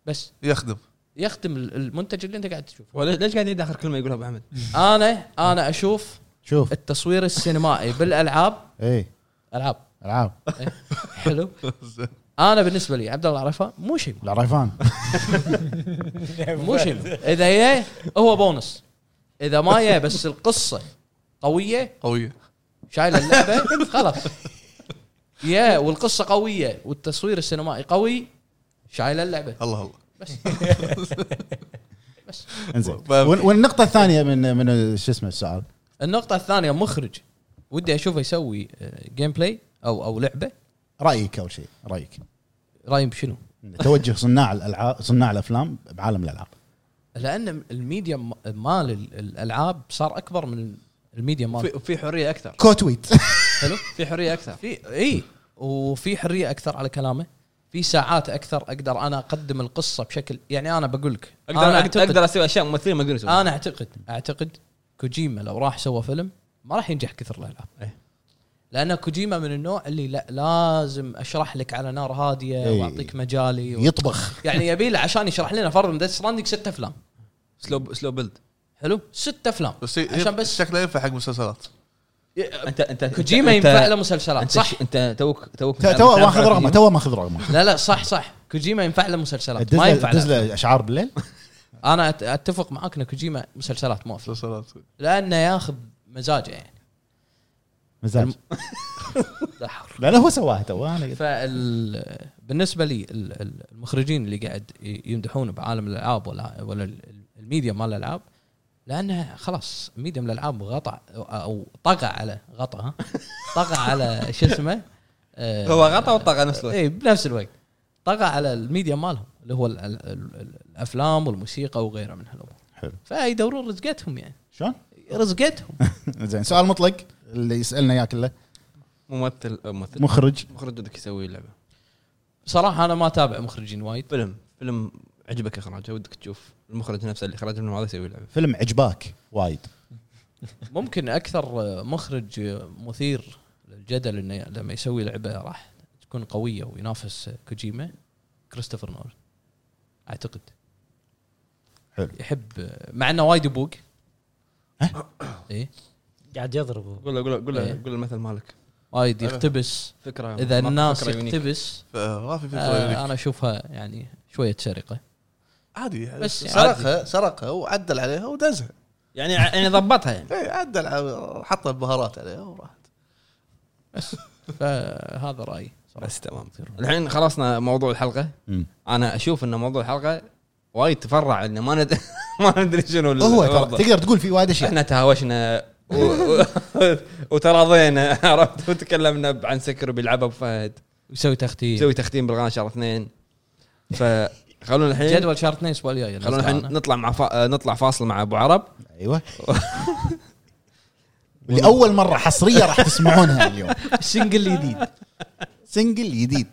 D: بس
C: يخدم
D: يخدم ال- المنتج اللي انت قاعد تشوفه
A: ليش قاعد يعيد اخر كلمه يقولها ابو احمد؟
D: انا انا اشوف
B: شوف
D: التصوير السينمائي بالالعاب
B: اي
D: العاب
B: العاب
D: حلو انا بالنسبه لي عبد الله عرفه مو شيء (laughs)
B: العرفان
D: مو شيء اذا يا هو بونس اذا ما يا بس القصه قويه
C: قويه
D: شايل اللعبه خلاص يا والقصه قويه والتصوير السينمائي قوي شايل اللعبه
C: الله الله
D: بس بس
B: انزين
C: فاهم.
B: وال- والنقطه الثانيه من من شو اسمه السؤال
D: النقطه الثانيه مخرج ودي اشوفه يسوي آه، جيم بلاي او او لعبه
B: رايك اول شيء رايك
D: رايم بشنو؟
B: توجه صناع الالعاب صناع الافلام بعالم الالعاب
D: لان الميديا م- مال ال- الالعاب صار اكبر من الميديا مال
A: في في حريه اكثر
B: كوتويت
D: حلو
A: في حريه اكثر
D: في اي وفي حريه اكثر على كلامه في ساعات اكثر اقدر انا اقدم القصه بشكل يعني انا بقول لك
A: اقدر
D: انا اعتقد
A: اقدر اسوي اشياء ممثلين ما يقدرون يسوون
D: انا اعتقد اعتقد كوجيما لو راح سوى فيلم ما راح ينجح كثر الالعاب
A: إيه.
D: لان كوجيما من النوع اللي لا لازم اشرح لك على نار هاديه
B: إي.
D: واعطيك مجالي و...
B: يطبخ
D: (laughs) يعني يبي له عشان يشرح لنا فرضا ديث ستراندنج ست افلام
A: سلو سلو بيلد
D: حلو ست افلام
C: بس هي-
D: عشان بس
C: شكله ينفع حق مسلسلات
A: انت انت
D: كوجيما
A: أنت-
D: ينفع له
A: أنت-
D: مسلسلات
A: انت
D: صح
A: آه، صح انت توك توك
B: تو تو ماخذ رقمه تو ماخذ رقمه
D: لا لا صح صح كوجيما ينفع له مسلسلات ما
B: دزله-
D: ينفع له
B: دزله اشعار بالليل
D: انا أت- اتفق معاك ان كوجيما مسلسلات ما في
C: مسلسلات
D: لانه ياخذ مزاجه يعني
B: مزاج
D: دحر.
B: لا لا هو سواها تو انا قلت.
D: فال بالنسبه لي ال- ال- المخرجين اللي قاعد ي- يمدحون بعالم الالعاب ولا ولا ال- ال- الميديا مال الالعاب لانها خلاص ميديا من الالعاب غطى او طغى على غطى ها طغى على
A: (laughs)
D: شو اسمه آه،
A: هو غطى وطغى نفس
B: طيب.
A: الوقت
D: اي إيه، بنفس الوقت طغى على الميديا مالهم اللي هو ال- ال- ال- الافلام والموسيقى وغيرها من هالامور
B: حلو
D: فيدورون رزقتهم يعني
B: شلون؟
D: رزقتهم
B: (laughs) زين سؤال مطلق اللي يسالنا اياه كله
A: ممثل أو ممثل
B: مخرج
A: مخرج بدك يسوي اللعبه
D: صراحه انا ما اتابع مخرجين وايد
A: فيلم فيلم عجبك اخراجه ودك تشوف المخرج نفسه اللي خرج الفيلم هذا يسوي اللعبه
B: فيلم عجباك وايد
D: ممكن اكثر مخرج مثير للجدل انه لما يسوي لعبه راح تكون قويه وينافس كوجيما كريستوفر نولان اعتقد
B: حلو.
D: يحب مع انه وايد يبوق ايه
F: قاعد يضرب
A: قول له قول له قول
D: إيه.
A: له قول له المثل مالك
D: وايد يقتبس
A: فكره
D: اذا
A: ما-
D: الناس
A: فكرة يونيك.
D: يقتبس
C: فما في فكره
D: آه،
C: آه
D: انا اشوفها يعني شويه سرقه
C: عادي يعني
D: بس
C: سرقها سرقها وعدل عليها ودزها
A: يعني يعني ضبطها يعني
C: اي عدل على- حط البهارات عليها وراحت
D: فهذا رايي صراحة.
A: بس تمام (laughs) الحين خلصنا موضوع الحلقه
B: مم.
A: انا اشوف ان موضوع الحلقه وايد تفرع انه ما ندري (laughs) ما ندري شنو ال-
B: هو ترى
A: الوضع.
B: تقدر تقول في
A: (laughs)
B: وايد اشياء
A: احنا تهاوشنا و... و... وتراضينا عرفت وتكلمنا عن سكر بيلعبها ابو فهد
D: يسوي تختيم
A: نسوي تختيم بالغان شهر اثنين فخلونا الحين
D: جدول شهر 2 الاسبوع الجاي
A: خلونا الحين نطلع مع فا... نطلع فاصل مع ابو عرب
B: (laughs) ايوه لاول مره حصريه راح تسمعونها (laughs) اليوم
D: سنجل جديد
B: سنجل جديد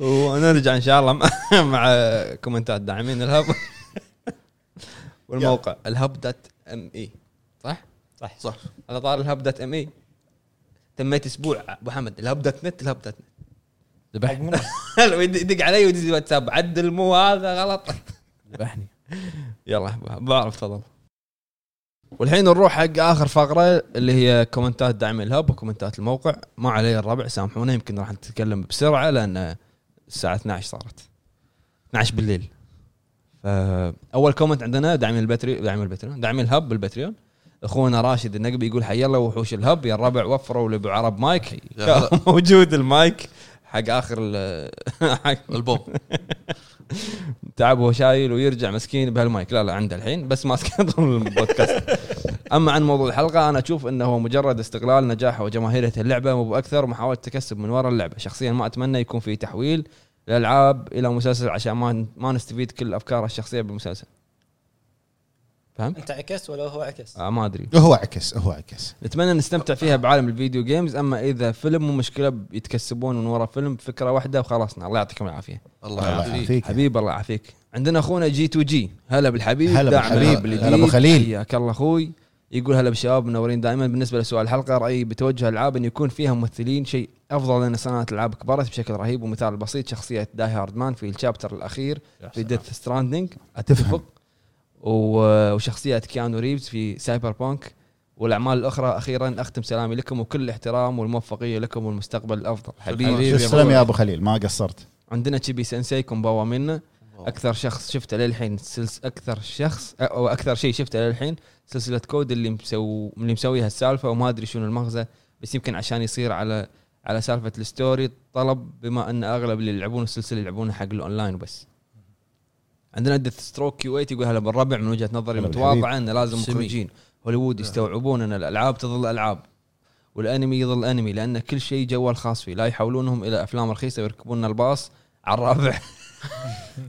A: ونرجع ان شاء الله مع, مع كومنتات داعمين الهب والموقع الهب دات ام اي صح؟
F: صح
C: صح
A: على طار الهب دات ام اي تميت اسبوع ابو حمد الهب دات نت الهب دات نت
F: حق
A: (laughs)
F: منو؟
A: يدق علي ويدز واتساب عدل مو هذا غلط
D: ذبحني
A: (laughs) يلا ابو عرب تفضل والحين نروح حق اخر فقره اللي هي كومنتات دعم الهب وكومنتات الموقع ما علي الربع سامحونا يمكن راح نتكلم بسرعه لان الساعه 12 صارت 12 بالليل فاول كومنت عندنا دعم البتري دعم البتريون دعم الهب بالبتريون اخونا راشد النقبي يقول حي الله وحوش الهب يا الربع وفروا لابو عرب مايك
C: يا هلا.
A: كان (laughs) موجود المايك حق اخر ال- (laughs) حق
C: البوم
A: تعب وهو شايل ويرجع مسكين بهالمايك لا لا عنده الحين بس ماسك (laughs) طول البودكاست اما عن موضوع الحلقه انا اشوف انه هو مجرد استغلال نجاح وجماهيريه اللعبه مو باكثر ومحاوله تكسب من وراء اللعبه شخصيا ما اتمنى يكون في تحويل الالعاب الى مسلسل عشان ما ما نستفيد كل افكارها الشخصيه بالمسلسل فهمت
F: انت عكست ولا هو عكس؟
A: آه ما ادري
B: هو عكس هو عكس
A: نتمنى نستمتع فيها بعالم الفيديو جيمز اما اذا فيلم مو مشكله يتكسبون من وراء فيلم فكره واحده وخلصنا الله يعطيكم العافيه
C: الله
B: الله
C: يعافيك
B: يعافيك
A: حبيب الله يعافيك عندنا اخونا جي تو جي هلا بالحبيب
B: هلا
A: داعم
B: بالحبيب.
A: الهب الجديد.
B: هلا أبو خليل.
A: حياك الله اخوي يقول هلا بالشباب منورين دائما بالنسبه لسؤال الحلقه رايي بتوجه الالعاب ان يكون فيها ممثلين شيء افضل لان صناعه الالعاب كبرت بشكل رهيب ومثال بسيط شخصيه داي هارد مان في الشابتر الاخير في ديث ستراندنج اتفق و- وشخصيه كيانو ريفز في سايبر بانك والاعمال الاخرى اخيرا اختم سلامي لكم وكل الاحترام والموفقيه لكم والمستقبل الافضل حبيبي
B: تسلم يا ابو خليل ما قصرت
A: عندنا تشيبي سensei كومباوا منا
C: أوه.
A: اكثر شخص شفته للحين سلس اكثر شخص او اكثر شيء شفته للحين سلسله كود اللي مسو اللي مسويها السالفه وما ادري شنو المغزى بس يمكن عشان يصير على على سالفه الستوري طلب بما ان اغلب اللي يلعبون السلسله يلعبونها حق الاونلاين بس عندنا ديث ستروك كيو 8 يقول هلا بالربع من وجهه نظري
B: هلا بالحبيب. نعم.
A: متواضعه ان لازم
D: سمي.
A: مخرجين هوليوود يستوعبون ان الالعاب تظل العاب والانمي يظل انمي لان كل شيء جوال خاص فيه لا يحولونهم الى افلام رخيصه ويركبون لنا الباص على الرابع (laughs)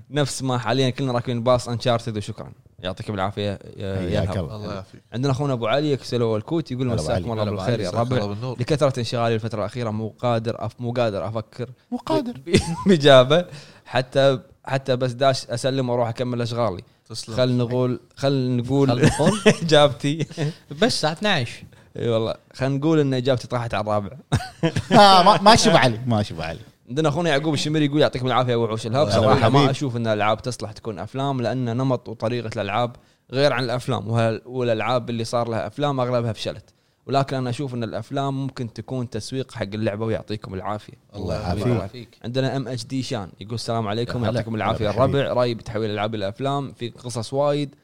A: نفس ما حاليا كلنا راكبين الباص انشارتد وشكرا يعطيكم العافيه يا- يا
B: حياك
A: الهب.
C: الله
B: الله
C: يعافيك
A: عندنا اخونا ابو علي يكسلو الكوت يقول
B: هلا أبو
A: مساكم
B: علي.
A: الله
C: هلا أبو
A: بالخير
C: علي،
A: يا
C: مساك الله
A: الربع
C: بالنور.
A: لكثره انشغالي الفتره الاخيره مو قادر أف مو قادر (laughs) افكر
B: مو قادر
A: ب- باجابه حتى حتى بس داش اسلم واروح اكمل اشغالي
C: تسلم
A: خل نقول خل نقول (laughs)
D: خل
A: اجابتي
D: بس الساعه 12
A: اي والله خلينا نقول ان اجابتي طاحت على الرابع
B: آه، ما- ماشي ابو علي ماشي ابو علي
A: عندنا اخونا يعقوب الشمري يقول يعطيكم العافيه يا وحوش الهب
B: هلا
A: صراحه
B: بالحبيب.
A: ما اشوف ان الالعاب تصلح تكون افلام لان نمط وطريقه الالعاب غير عن الافلام وهال- والالعاب اللي صار لها افلام اغلبها فشلت ولكن انا اشوف ان الافلام ممكن تكون تسويق حق اللعبه ويعطيكم العافيه
B: الله
A: الله
B: يعافيك
D: فيك
A: عندنا ام اتش دي شان يقول السلام عليكم
D: هلا.
A: يعطيكم العافيه
B: هلا بالحبيب.
A: الربع رايي بتحويل العاب الافلام في قصص وايد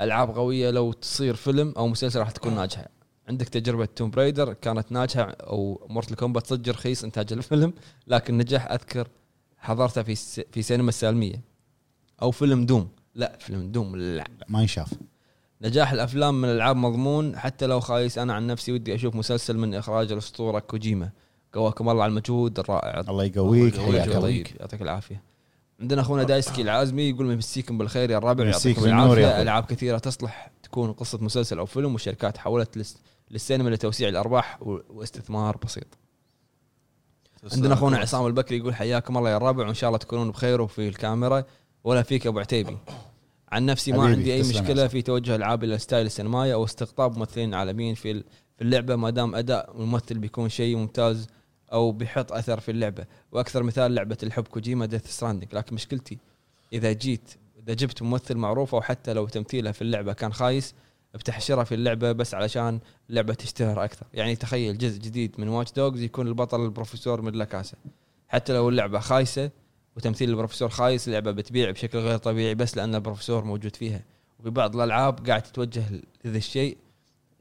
A: العاب قويه لو تصير فيلم او مسلسل راح تكون ناجحه عندك تجربه توم برايدر كانت ناجحه او مورتل كومبات صدق رخيص انتاج الفيلم لكن نجح اذكر حضرته في س- في سينما السالميه او فيلم دوم لا فيلم دوم لا
B: لا، ما ينشاف
A: نجاح الافلام من الالعاب مضمون حتى لو خايس انا عن نفسي ودي اشوف مسلسل من اخراج الاسطوره كوجيما قواكم الله على المجهود الرائع
B: الله يقويك
A: الله
B: حياك الله
A: يعطيك يعطيك العافيه عندنا اخونا دايسكي العازمي يقول مسيكم بالخير يا الربع
B: مسيك
A: يعطيكم
B: بالنور يا
A: العافيه
B: أخوي.
A: العاب كثيره تصلح تكون قصه مسلسل او فيلم والشركات حولت لس للسينما لتوسيع الارباح و- واستثمار بسيط عندنا اخونا عصام البكري يقول حياكم الله يا الربع وان شاء الله تكونون بخير وفي الكاميرا ولا فيك ابو عتيبي عن نفسي ما
B: حبيبي،
A: عندي اي
B: تسلم يا
A: مشكله
B: عصام.
A: في توجه العاب الى ستايل السينمائي او استقطاب ممثلين عالميين في ال- في اللعبه ما دام اداء الممثل بيكون شيء ممتاز او بيحط اثر في اللعبه واكثر مثال لعبه الحب كوجيما ديث ستراندنج لكن مشكلتي اذا جيت اذا جبت ممثل معروف او حتى لو تمثيلها في اللعبه كان خايس بتحشرها في اللعبه بس علشان اللعبه تشتهر اكثر يعني تخيل جزء جديد من واتش دوجز يكون البطل البروفيسور من لاكاسا حتى لو اللعبه خايسه وتمثيل البروفيسور خايس اللعبه بتبيع بشكل غير طبيعي بس لان البروفيسور موجود فيها وفي بعض الالعاب قاعد تتوجه لذا الشيء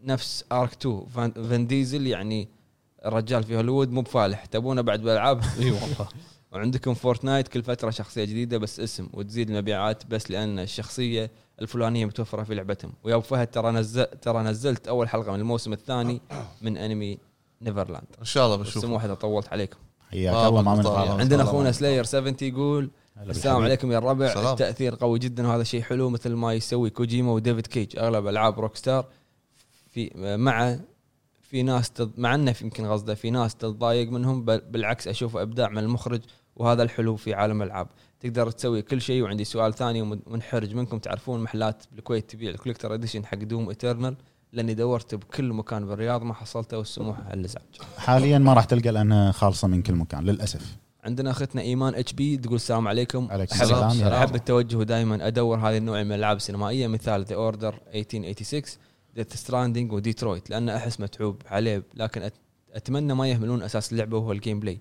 A: نفس ارك 2 فان, فان ديزل يعني الرجال في هوليوود مو بفالح تبونه بعد بالالعاب اي والله (laughs) وعندكم فورتنايت كل فتره شخصيه جديده بس اسم وتزيد المبيعات بس لان الشخصيه الفلانيه متوفره في لعبتهم ويا ابو فهد ترى نزل ترى نزلت اول حلقه من الموسم الثاني من انمي نيفرلاند
C: ان شاء الله
A: بس مو
C: بنشوف
A: واحد طولت عليكم
B: حياك الله ما من غلط.
A: طيب، عندنا
B: والله
A: اخونا
B: ما-
A: سلاير 70 يقول
B: هلا
A: السلام
B: بالحبيب.
A: عليكم يا الربع
C: سلام.
A: التاثير قوي جدا وهذا شيء حلو مثل ما يسوي كوجيما وديفيد كيج اغلب العاب روكستار في مع في ناس تض... مع انه في- يمكن قصده في ناس تتضايق منهم بل بالعكس اشوفه ابداع من المخرج وهذا الحلو في عالم الالعاب تقدر تسوي كل شيء وعندي سؤال ثاني ومن- منحرج منكم تعرفون محلات بالكويت تبيع الكوليكتر اديشن حق دوم اترنال لاني دورت بكل مكان بالرياض ما حصلته والسموح على الازعاج
B: حاليا ما راح تلقى لانها خالصه من كل مكان للاسف
A: عندنا اختنا ايمان اتش بي تقول السلام عليكم
B: عليكم
A: احب
B: السلام.
A: السلام.
B: السلام.
A: احب التوجه دائما ادور هذه النوع من الالعاب السينمائيه مثال ذا اوردر 1886 ديث ستراندنج وديترويت لان احس متعوب عليه لكن أت- اتمنى ما يهملون اساس اللعبه وهو الجيم بلاي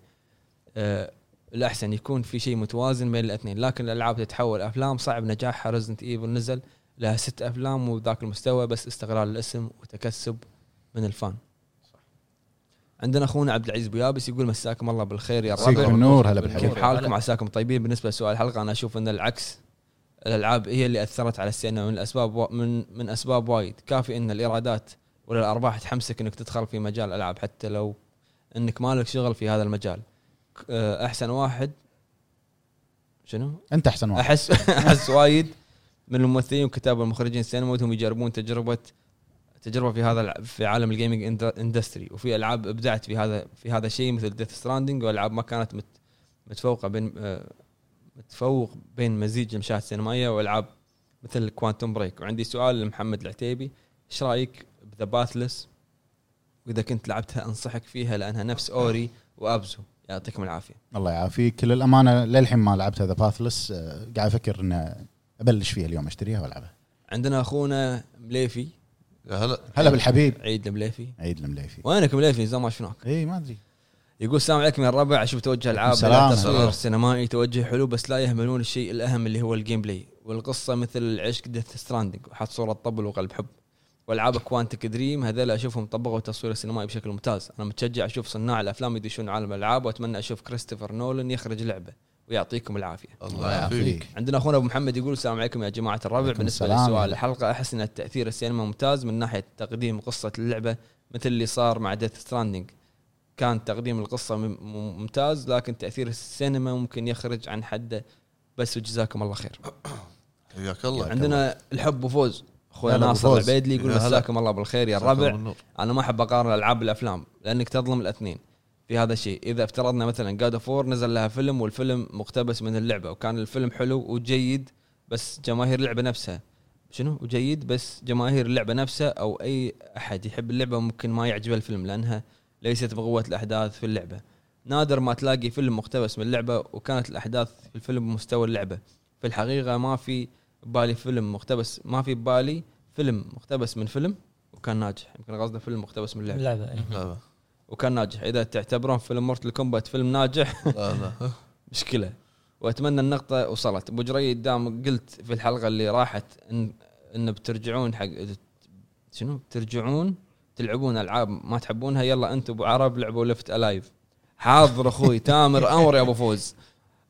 A: أه الاحسن يكون في شيء متوازن بين الاثنين لكن الالعاب تتحول افلام صعب نجاحها ريزنت ايفل نزل لها ست افلام وذاك المستوى بس استغلال الاسم وتكسب من الفان عندنا اخونا عبد العزيز بويابس يقول مساكم الله بالخير يا
B: مسيك
A: الربع
B: بالنور هلا
A: كيف
B: بالحبيب
A: حالكم عساكم طيبين بالنسبه لسؤال الحلقه انا اشوف ان العكس الالعاب هي اللي اثرت على السينما من الاسباب و... من من اسباب وايد كافي ان الايرادات ولا الارباح تحمسك انك تدخل في مجال الالعاب حتى لو انك مالك شغل في هذا المجال ك- آه، احسن واحد شنو
B: انت احسن واحد
A: احس (laughs) احس وايد من الممثلين والكتاب والمخرجين السينما ودهم يجربون تجربه تجربه في هذا الع- في عالم الجيمنج اندستري وفي العاب ابدعت في هذا في هذا الشيء مثل ديث ستراندنج والعاب ما كانت مت متفوقه بين آه، متفوق بين مزيج المشاهد السينمائيه والعاب مثل كوانتوم بريك وعندي سؤال لمحمد العتيبي ايش رايك بذا باثلس واذا كنت لعبتها انصحك فيها لانها نفس اوري وابزو يعطيكم العافيه
B: الله يعافيك للامانه للحين ما لعبت ذا باثلس قاعد افكر ان ابلش فيها اليوم اشتريها والعبها
A: عندنا اخونا مليفي
C: يا هلا
B: هلا بالحبيب
A: عيد المليفي
B: عيد المليفي
A: وينك مليفي زمان ما شفناك
B: اي ما ادري
A: يقول السلام عليكم يا الربع اشوف توجه العاب
B: سلام.
A: بلا تصوير
C: سلام.
A: سينمائي توجه حلو بس لا يهملون الشيء الاهم اللي هو الجيم بلاي والقصه مثل العشق ديث ستراندنج وحط صوره طبل وقلب حب والعاب كوانتك دريم هذول اشوفهم طبقوا التصوير السينمائي بشكل ممتاز انا متشجع اشوف صناع الافلام يدشون عالم الالعاب واتمنى اشوف كريستوفر نولن يخرج لعبه ويعطيكم العافيه
C: الله يعافيك
A: عندنا اخونا ابو محمد يقول السلام عليكم يا جماعه الربع
B: عليكم
A: بالنسبه
B: السلام.
A: لسؤال الحلقه احس ان التاثير السينما ممتاز من ناحيه تقديم قصه اللعبه مثل اللي صار مع ديث ستراندنج كان تقديم القصه مم- مم- ممتاز لكن تاثير السينما ممكن يخرج عن حده بس وجزاكم الله خير
C: حياك الله
A: عندنا الحب وفوز اخويا
B: هلا أبو
A: ناصر
B: فوز.
A: العبيدلي يقول
C: يا هلا.
A: مساكم الله بالخير يا
C: مساكم
A: الربع
C: النور.
A: انا ما احب اقارن الالعاب بالافلام لانك تظلم الاثنين في هذا الشيء اذا افترضنا مثلا جاد اوف وور نزل لها فيلم والفيلم مقتبس من اللعبه وكان الفيلم حلو وجيد بس جماهير اللعبه نفسها شنو وجيد بس جماهير اللعبه نفسها او اي احد يحب اللعبه ممكن ما يعجبه الفيلم لانها ليست بقوه الاحداث في اللعبه نادر ما تلاقي فيلم مقتبس من اللعبه وكانت الاحداث في الفيلم بمستوى اللعبه في الحقيقه ما في بالي فيلم مقتبس ما في بالي فيلم مقتبس من فيلم وكان ناجح يمكن قصده فيلم مقتبس
D: آه.
A: من اللعبه
F: اللعبه إيه.
C: لا
A: وكان ناجح اذا تعتبرون فيلم مورتل كومبات فيلم ناجح
C: لا لا.
A: مشكله واتمنى النقطه وصلت ابو جريد دام قلت في الحلقه اللي راحت ان ان بترجعون حق شنو بترجعون تلعبون العاب ما تحبونها يلا انتم ابو عرب لعبوا لفت الايف حاضر اخوي تامر امر يا ابو فوز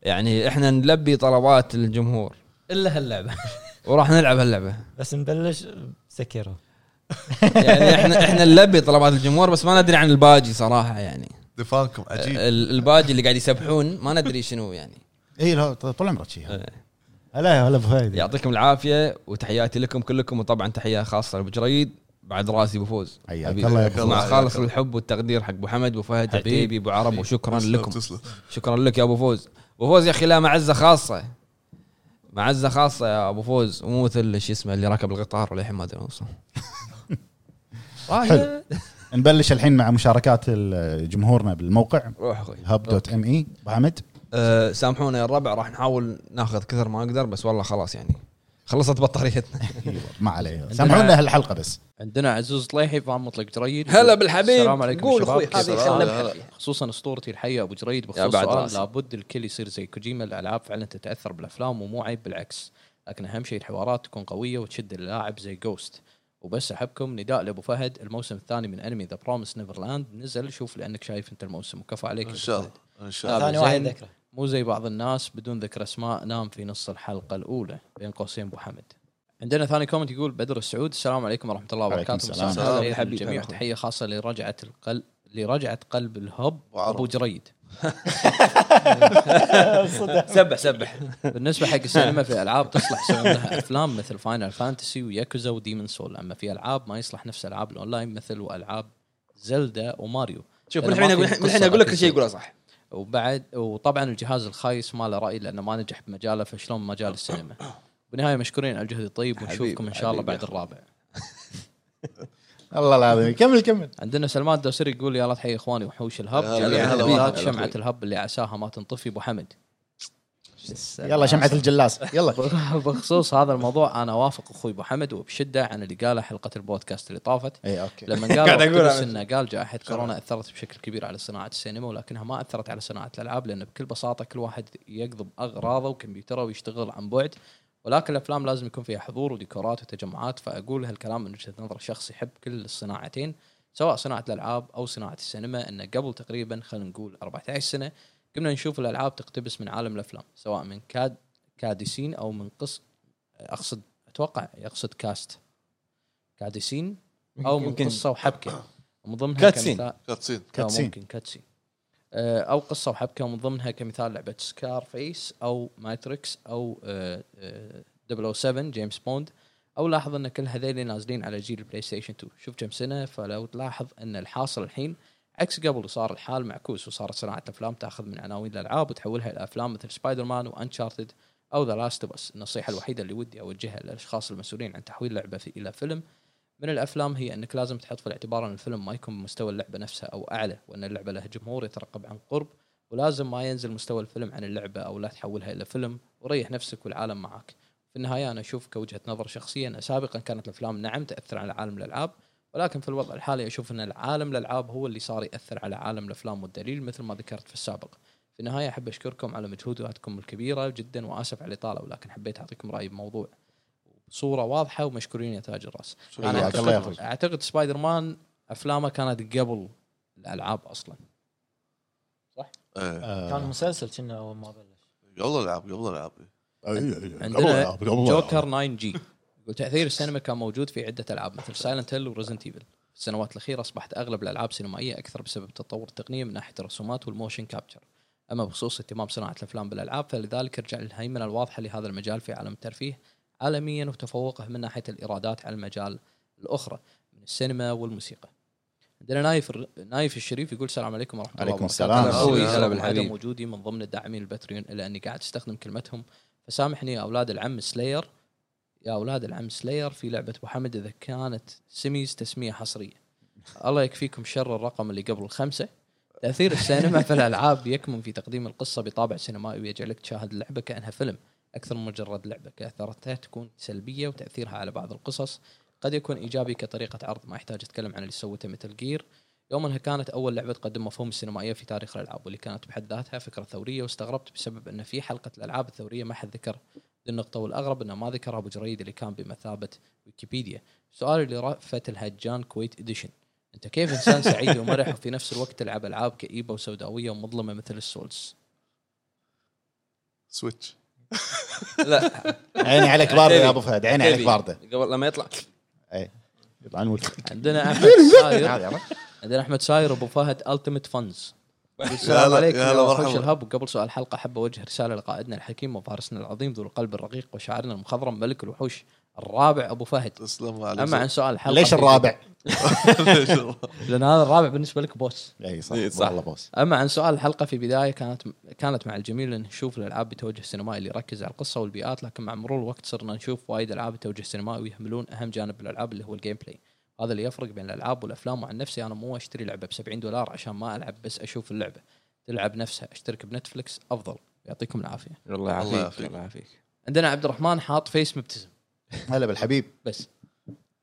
A: يعني احنا نلبي طلبات الجمهور
D: الا هاللعبه
A: وراح نلعب هاللعبه
F: بس نبلش بسكيرو
A: يعني احنا احنا نلبي طلبات الجمهور بس ما ندري عن الباجي صراحه يعني
C: دفانكم عجيب
A: ال- الباجي اللي قاعد يسبحون ما ندري شنو يعني
B: اي لا طول عمرك شي هلا
A: إيه.
B: هلا ابو فهد
A: يعطيكم العافيه وتحياتي لكم كلكم وطبعا تحيه خاصه لابو جريد بعد راسي بفوز
B: حياك الله يا أبو
A: مع
C: فوز.
A: خالص الحب والتقدير حق ابو حمد ابو فهد
D: حبيب.
A: عتيبي ابو عرب وشكرا
C: تسلم،
A: لكم
C: تسلم
A: شكرا لك يا ابو فوز ابو فوز يا اخي لا معزه خاصه معزه خاصه يا ابو فوز مو مثل شو اسمه اللي راكب القطار وللحين ما
B: (laughs)
A: ادري وين وصل رايح.
B: نبلش الحين مع مشاركات ال- جمهورنا بالموقع
A: روح اخوي
B: هاب دوت ام اي ابو حمد
A: أه، سامحونا يا الربع راح نحاول ناخذ كثر ما نقدر بس والله خلاص يعني خلصت بطاريتنا
B: ما عليه سامحونا هالحلقه بس
D: عندنا عزوز طليحي فان مطلق جريد
A: هلا بالحبيب.
D: السلام عليكم
A: قول
D: شباب.
A: أخوي،
D: كيف
A: هذه
D: الحال؟
C: خلنا بحبيب.
D: خصوصا اسطورتي الحيه ابو جريد
A: يا
D: بخصوص
A: بعد
D: سؤال
A: راسي.
D: لابد الكل يصير زي كوجيما الالعاب فعلا تتاثر بالافلام ومو عيب بالعكس لكن اهم شيء الحوارات تكون قويه وتشد اللاعب زي جوست وبس احبكم نداء لابو فهد الموسم الثاني من انمي ذا برومس نيفرلاند نزل شوف لانك شايف انت الموسم وكفى عليك
C: ان
D: أبو
C: شاء
D: فهد.
C: الله ان شاء الله
D: لا،
F: ثاني
D: أبو
F: واحد
D: زين.
F: ذكره
D: مو زي بعض الناس بدون ذكر اسماء نام في نص الحلقه الاولى بين قوسين ابو حمد عندنا ثاني كومنت يقول بدر السعود السلام عليكم ورحمه الله
B: وعليكم
D: وبركاته
B: السلام.
D: مساء الخير
A: السلام.
D: للجميع
A: حبيبي.
D: تحيه خاصه لرجعه القلب لرجعه قلب الهب
C: وعرب.
D: ابو جريد
A: سبح سبح
D: بالنسبه حق السينما في العاب تصلح يسوون لها افلام مثل فاينل فانتسي وياكوزا وديمن سول اما في العاب ما يصلح نفس العاب الاونلاين مثل والعاب زلدا وماريو
A: شوف
D: لأن
A: من الحين
D: ما
A: اقول
D: في
A: من الحين اقول لك
D: قصة
A: شيء يقوله صح
D: وبعد وطبعا الجهاز الخايس ما له راي لانه ما نجح بمجاله فشلون مجال السينما بالنهايه مشكورين على الجهد الطيب ونشوفكم ان شاء الله
A: حبيبي،
D: بعد
A: حبيبي.
D: الرابع
B: الله العظيم كمل كمل
D: عندنا سلمان الدوسري يقول يا لا تحيي اخواني وحوش الهب
C: هلا
A: هلا
D: جميع
A: هلا
D: الهبات
A: هلا
D: شمعه
A: أخوي.
D: الهب اللي عساها ما تنطفي ابو حمد
B: يلا شمعه الجلاس يلا
D: (laughs)
B: (laughs)
D: بخصوص هذا الموضوع انا اوافق اخوي ابو حمد وبشده عن اللي قاله حلقه البودكاست اللي طافت
B: اي اوكي
D: لما
A: (laughs) قاعد أقول
D: قال اوكتوبس
A: أنا.
D: انه قال جائحه كورونا اثرت بشكل كبير على صناعه السينما ولكنها ما اثرت على صناعه الالعاب لان بكل بساطه كل واحد يقضب اغراضه وكمبيوتره ويشتغل عن بعد ولكن الافلام لازم يكون فيها حضور وديكورات وتجمعات فاقول هالكلام من وجهه نظر شخص يحب كل الصناعتين سواء صناعه الالعاب او صناعه السينما ان قبل تقريبا خلينا نقول 14 سنه كنا نشوف الالعاب تقتبس من عالم الافلام سواء من كاد كادسين او من قص اقصد اتوقع يقصد كاست كادسين او من
A: يمكن-
D: قصه وحبكه من ضمنها
A: كاتسين.
D: كمثال-
C: كاتسين
D: آه،
B: كاتسين.
D: ممكن كاتسين آه، او قصه وحبكه ومن ضمنها كمثال لعبه سكار فيس او ماتريكس او آه، آه، 007 جيمس بوند او لاحظ ان كل هذيل نازلين على جيل البلاي ستيشن 2 شوف كم سنه فلو تلاحظ ان الحاصل الحين عكس قبل وصار الحال معكوس وصارت صناعه الافلام تاخذ من عناوين الالعاب وتحولها الى افلام مثل سبايدر مان وانشارتد او ذا لاست اوف اس النصيحه الوحيده اللي ودي اوجهها للاشخاص المسؤولين عن تحويل لعبه في- الى فيلم من الافلام هي انك لازم تحط في الاعتبار ان الفيلم ما يكون بمستوى اللعبه نفسها او اعلى وان اللعبه لها جمهور يترقب عن قرب ولازم ما ينزل مستوى الفيلم عن اللعبه او لا تحولها الى فيلم وريح نفسك والعالم معك في النهايه انا اشوف كوجهه نظر شخصيه ان سابقا كانت الافلام نعم تاثر على عالم الالعاب ولكن في الوضع الحالي اشوف ان العالم الالعاب هو اللي صار ياثر على عالم الافلام والدليل مثل ما ذكرت في السابق في النهايه احب اشكركم على مجهوداتكم الكبيره جدا واسف على الاطاله ولكن حبيت اعطيكم رايي بموضوع بصوره واضحه ومشكورين يا تاج الراس
C: إيه،
D: انا
B: حياك الله يا أخوي.
D: اعتقد اعتقد سبايدر مان افلامه كانت قبل الالعاب اصلا
C: إيه.
B: آه،
D: آه.
F: كان مسلسل كنا اول ما بلش
C: قبل العاب قبل العاب
D: عندنا جوكر 9 جي يقول تاثير السينما كان موجود في عده العاب مثل سايلنت هيل وريزنت ايفل في السنوات الاخيره اصبحت اغلب الالعاب سينمائيه اكثر بسبب تطور التقنيه من ناحيه الرسومات والموشن كابتشر اما بخصوص اهتمام صناعه الافلام بالالعاب فلذلك رجع للهيمنه الواضحه لهذا المجال في عالم الترفيه عالميا وتفوقه من ناحيه الايرادات على المجال الاخرى من السينما والموسيقى عندنا نايف الر- نايف الشريف يقول السلام عليكم ورحمه الله
B: عليكم
D: وبركاته
B: السلام.
D: أنا
A: أخوي،
D: أسف
A: هلا
D: على
A: بالحبيب.
D: عدم وجودي من ضمن الداعمين الباتريون الا اني قاعد استخدم كلمتهم فسامحني يا اولاد العم سلاير يا اولاد العم سلاير في لعبه ابو حمد اذا كانت سيميز تسميه حصريه الله يكفيكم شر الرقم اللي قبل الخمسه تاثير السينما في الالعاب يكمن في تقديم القصه بطابع سينمائي ويجعلك تشاهد اللعبه كانها فيلم اكثر من مجرد لعبه كاثرتها تكون سلبيه وتاثيرها على بعض القصص قد يكون ايجابي كطريقه عرض ما يحتاج اتكلم عن اللي سوته مثل جير يوم انها كانت اول لعبه تقدم مفهوم السينمائيه في تاريخ الالعاب واللي كانت بحد ذاتها فكره ثوريه واستغربت بسبب ان في حلقه الالعاب الثوريه ما حد ذكر ذي النقطة والأغرب أنه ما ذكرها أبو جريد اللي كان بمثابة ويكيبيديا سؤالي لرأفت الهجان كويت إديشن أنت كيف إنسان سعيد ومرح وفي نفس الوقت تلعب ألعاب كئيبة وسوداوية ومظلمة مثل السولز
C: سويتش
A: لا
B: عيني عليك بارده يا ابو فهد عيني عليك
A: تبي.
B: بارده
A: قبل لما يطلع
B: يطلعون وجهك
D: عندنا أحمد ساير
B: تعال يلا.
D: عندنا أحمد ساير وأبو فهد ألتيميت فانز
C: يا
D: السلام
C: هلا-
D: عليكم
C: يا
D: يا
C: هلا
D: وحوش
C: مرحبا.
D: الهب وقبل سؤال الحلقة أحب أوجه رسالة لقائدنا الحكيم وفارسنا العظيم ذو القلب الرقيق وشاعرنا المخضرم ملك الوحوش الرابع أبو فهد
C: تسلم
D: أما عن
C: عليك
D: سؤال الحلقة
B: ليش الرابع؟
C: (laughs)
D: لأن هذا الرابع بالنسبة لك بوس
B: اي صح
A: إي صح.
B: والله بوس
D: اما عن سؤال الحلقه في بدايه كانت كانت مع الجميل ان نشوف الالعاب بتوجه سينمائي اللي يركز على القصه والبيئات لكن مع مرور الوقت صرنا نشوف وايد العاب بتوجه سينمائي ويهملون اهم جانب بالالعاب اللي هو الجيم بلاي هذا اللي يفرق بين الالعاب والافلام وعن نفسي انا مو اشتري لعبه ب 70 دولار عشان ما العب بس اشوف اللعبه تلعب نفسها اشترك بنتفلكس افضل يعطيكم العافيه
A: الله
C: الله
A: يعافيك
C: يعافيك.
A: الله يعافيك
D: عندنا عبد الرحمن حاط فيس مبتسم
B: هلا بالحبيب آه،
D: بس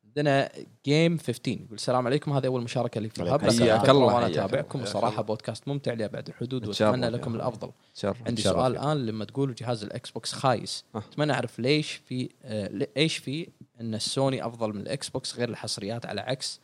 D: عندنا جيم 15 يقول السلام عليكم هذه اول مشاركه لي في الهب
B: عليكم
D: لكن
A: السلام.
D: أفتكر
A: الله
D: وانا
A: حياك الله.
D: اتابعكم الصراحه بودكاست ممتع لابعد الحدود
A: متشرف
D: واتمنى
A: يا
D: لكم
A: أخوي.
D: الافضل
A: شرف
D: عندي
A: شرف.
D: سؤال الان لما تقولوا جهاز الاكس بوكس خايس
A: آه.
D: اتمنى اعرف ليش في آه، لي- ايش في ان السوني افضل من الاكس بوكس غير الحصريات على عكس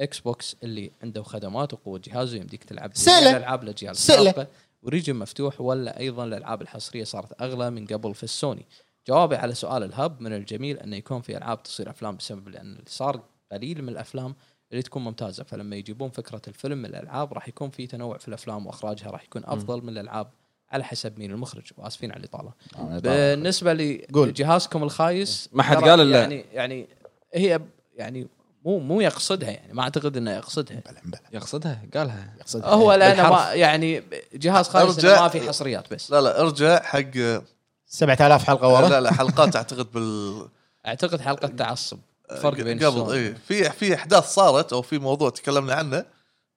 D: اكس بوكس اللي عنده خدمات وقوه جهاز ويمديك تلعب جميع
B: سهلة.
D: الالعاب الاجيال
B: سهلة.
D: السابقه وريجن مفتوح ولا ايضا الالعاب الحصريه صارت اغلى من قبل في السوني جوابي على سؤال الهب من الجميل انه يكون في العاب تصير افلام بسبب لان اللي صار قليل من الافلام اللي تكون ممتازه فلما يجيبون فكره الفيلم من الالعاب راح يكون في تنوع في الافلام واخراجها راح يكون افضل من الالعاب على حسب مين المخرج واسفين على الاطاله بالنسبه
B: قول.
D: لجهازكم الخايس
A: ما حد
D: ترى
A: قال إلا-
D: يعني يعني هي يعني مو مو يقصدها يعني ما اعتقد انه يقصدها
B: بلا بلا
A: يقصدها قالها
B: يقصد
D: هو لانه
A: بالحرف.
D: ما يعني جهاز خايس إنه
C: أرجع-
D: ما في حصريات بس
C: لا لا ارجع حق
B: 7000 حلقه ورا
C: لا لا حلقات اعتقد بال
D: اعتقد حلقه تعصب فرق بين
C: قبل
D: السوني.
C: إيه. اي في في احداث صارت او في موضوع تكلمنا عنه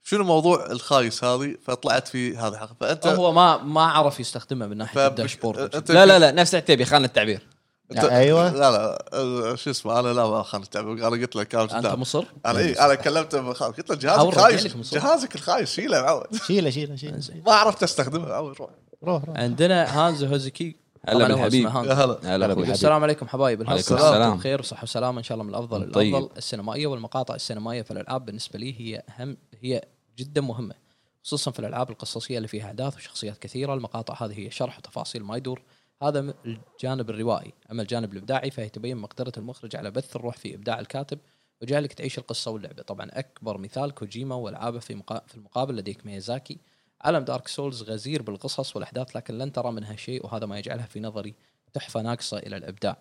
C: شنو موضوع الخايس هذه فطلعت في هذه الحلقه فانت
D: هو ما ما عرف يستخدمها من ناحيه
C: فب-
D: الداشبورد
C: أنت-
A: لا لا لا نفس عتيبي خان التعبير
C: أنت-
B: أيوة.
C: لا لا أه، شو اسمه انا لا ما خلنا انا قلت لك كلام
D: انت
C: جدام.
D: مصر
C: انا اي انا إيه، كلمته من خالد قلت له
D: عور
C: جهازك
D: رجالك
C: خايس
D: مصور.
C: جهازك الخايس شيله معود
B: شيله شيله شيله
C: ما عرفت استخدمه عود روح
B: روح روح
D: عندنا هانز هوزكي
A: هلا
D: طبعاً هو
A: بالحبيب.
D: اسمه هانز.
C: يا هلا
A: هلا
B: أخوي.
A: اخوي
D: السلام عليكم حبايب
A: عليكم
D: السلام.
A: السلام.
D: بخير صحة وسلامة ان شاء الله من الافضل
A: طيب.
D: الافضل السينمائية والمقاطع السينمائية فالالعاب بالنسبة لي هي اهم هي جدا مهمة خصوصا في الالعاب القصصية اللي فيها احداث وشخصيات كثيرة المقاطع هذه هي شرح وتفاصيل ما يدور هذا م- الجانب الروائي اما الجانب الابداعي فهي تبين مقدرة المخرج على بث الروح في ابداع الكاتب وجعلك تعيش القصة واللعبة طبعا اكبر مثال كوجيما والعابه في مقا... في المقابل لديك ميازاكي عالم دارك سولز غزير بالقصص والاحداث لكن لن ترى منها شيء وهذا ما يجعلها في نظري تحفه ناقصه الى الابداع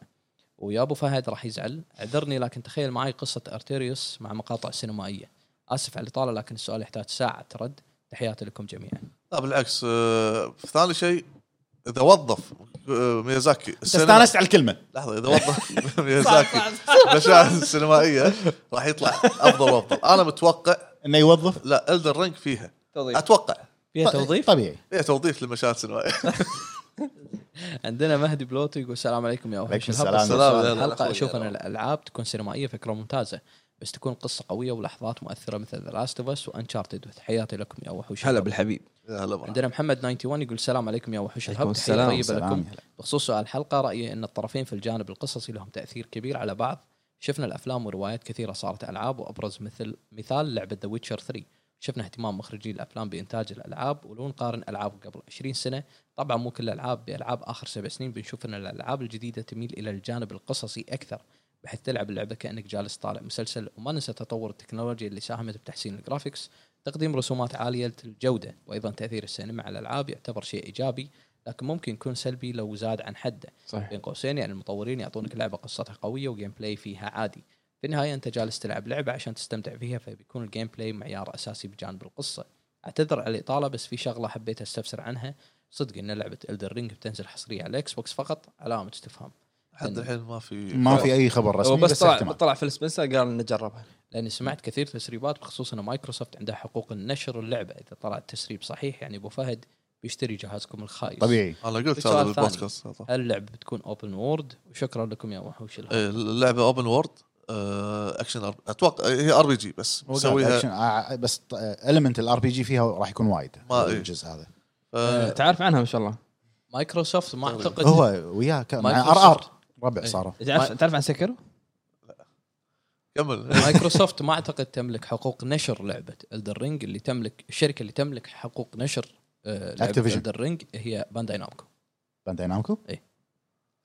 D: ويا ابو فهد راح يزعل اعذرني لكن تخيل معي قصه ارتيريوس مع مقاطع سينمائيه اسف على الاطاله لكن السؤال يحتاج ساعه رد تحياتي لكم جميعا
C: لا طيب، بالعكس آه، ثاني شيء اذا وظف آه، ميازاكي
B: بس استانست على الكلمه
C: لحظه اذا وظف ميازاكي
D: (laughs)
C: مشاهد سينمائيه راح يطلع افضل وافضل انا متوقع
B: انه يوظف
C: لا الدر رينج فيها
A: توظيف.
C: اتوقع
D: فيها
B: طيب،
D: توظيف
B: طبيعي
C: فيها توظيف للمشاهد السينمائيه
D: عندنا مهدي بلوتو يقول السلام عليكم يا وحش
B: عليكم
D: الهب. السؤال
B: السلام.
C: السلام. يلا،
D: الحلقه
C: أخوي،
D: اشوف ان
C: يلا.
D: الالعاب تكون سينمائيه فكره ممتازه بس تكون قصه قويه ولحظات مؤثره مثل ذا لاست اوف اس وانشارتد وتحياتي لكم يا وحوش
A: هلا
D: الهب.
A: بالحبيب
C: (laughs) يا هلا مرحبا.
D: عندنا محمد 91 يقول السلام عليكم يا وحوش
A: عليكم
D: الهب
A: السلام.
D: السلام طيبه
B: سلام.
D: لكم بخصوص سؤال الحلقه رايي ان الطرفين في الجانب القصصي لهم تاثير كبير على بعض شفنا الافلام وروايات كثيره صارت العاب وابرز مثل مثال لعبه ذا ويتشر 3 شفنا اهتمام مخرجي الافلام بانتاج الالعاب ولو نقارن العاب قبل 20 سنه طبعا مو كل الالعاب بالعاب اخر سبع سنين بنشوف ان الالعاب الجديده تميل الى الجانب القصصي اكثر بحيث تلعب اللعبه كانك جالس طالع مسلسل وما ننسى تطور التكنولوجيا اللي ساهمت بتحسين الجرافيكس تقديم رسومات عاليه الجوده وايضا تاثير السينما على الالعاب يعتبر شيء ايجابي لكن ممكن يكون سلبي لو زاد عن حده
A: صحيح.
D: بين قوسين يعني المطورين يعطونك لعبه قصتها قويه وجيم بلاي فيها عادي في النهايه انت جالس تلعب لعبه عشان تستمتع فيها فبيكون الجيم بلاي معيار اساسي بجانب القصه اعتذر على الاطاله بس في شغله حبيت استفسر عنها صدق ان لعبه الدر رينج بتنزل حصريه على الاكس بوكس فقط علامه استفهام
C: لحد الحين ما في
B: ما في اي خبر
A: هو
B: رسمي
A: بس
B: بس
A: طلع
B: احتمال
A: طلع في السبنسر قال نجربها
D: لاني سمعت كثير تسريبات بخصوص ان مايكروسوفت عندها حقوق النشر اللعبه اذا طلع التسريب صحيح يعني ابو فهد بيشتري جهازكم الخايس
B: طبيعي
C: انا قلت هذا
D: سؤال ثاني.
C: بالبودكاست هذا.
D: هل اللعبه بتكون اوبن وورد وشكرا لكم يا وحوش الهب.
C: إيه، اللعبه اوبن وورد اكشن أر- اتوقع هي ار بي جي بس مسويها
B: أكشن، آه، بس المنت الار بي جي فيها راح يكون وايد
C: ما-
B: الجزء هذا
C: آه،
A: تعرف عنها ما شاء الله
D: مايكروسوفت ما اعتقد
B: هو وياه كان مع ار ار ربع صاروا
A: تعرف تعرف عن سكر
D: (laughs)
C: كمل
D: مايكروسوفت ما اعتقد تملك حقوق نشر لعبه الدر رينج اللي تملك الشركه اللي تملك حقوق نشر آه، لعبه
B: Activision.
D: الدر رينج هي بانداي نامكو
B: بانداي نامكو؟
D: إيه.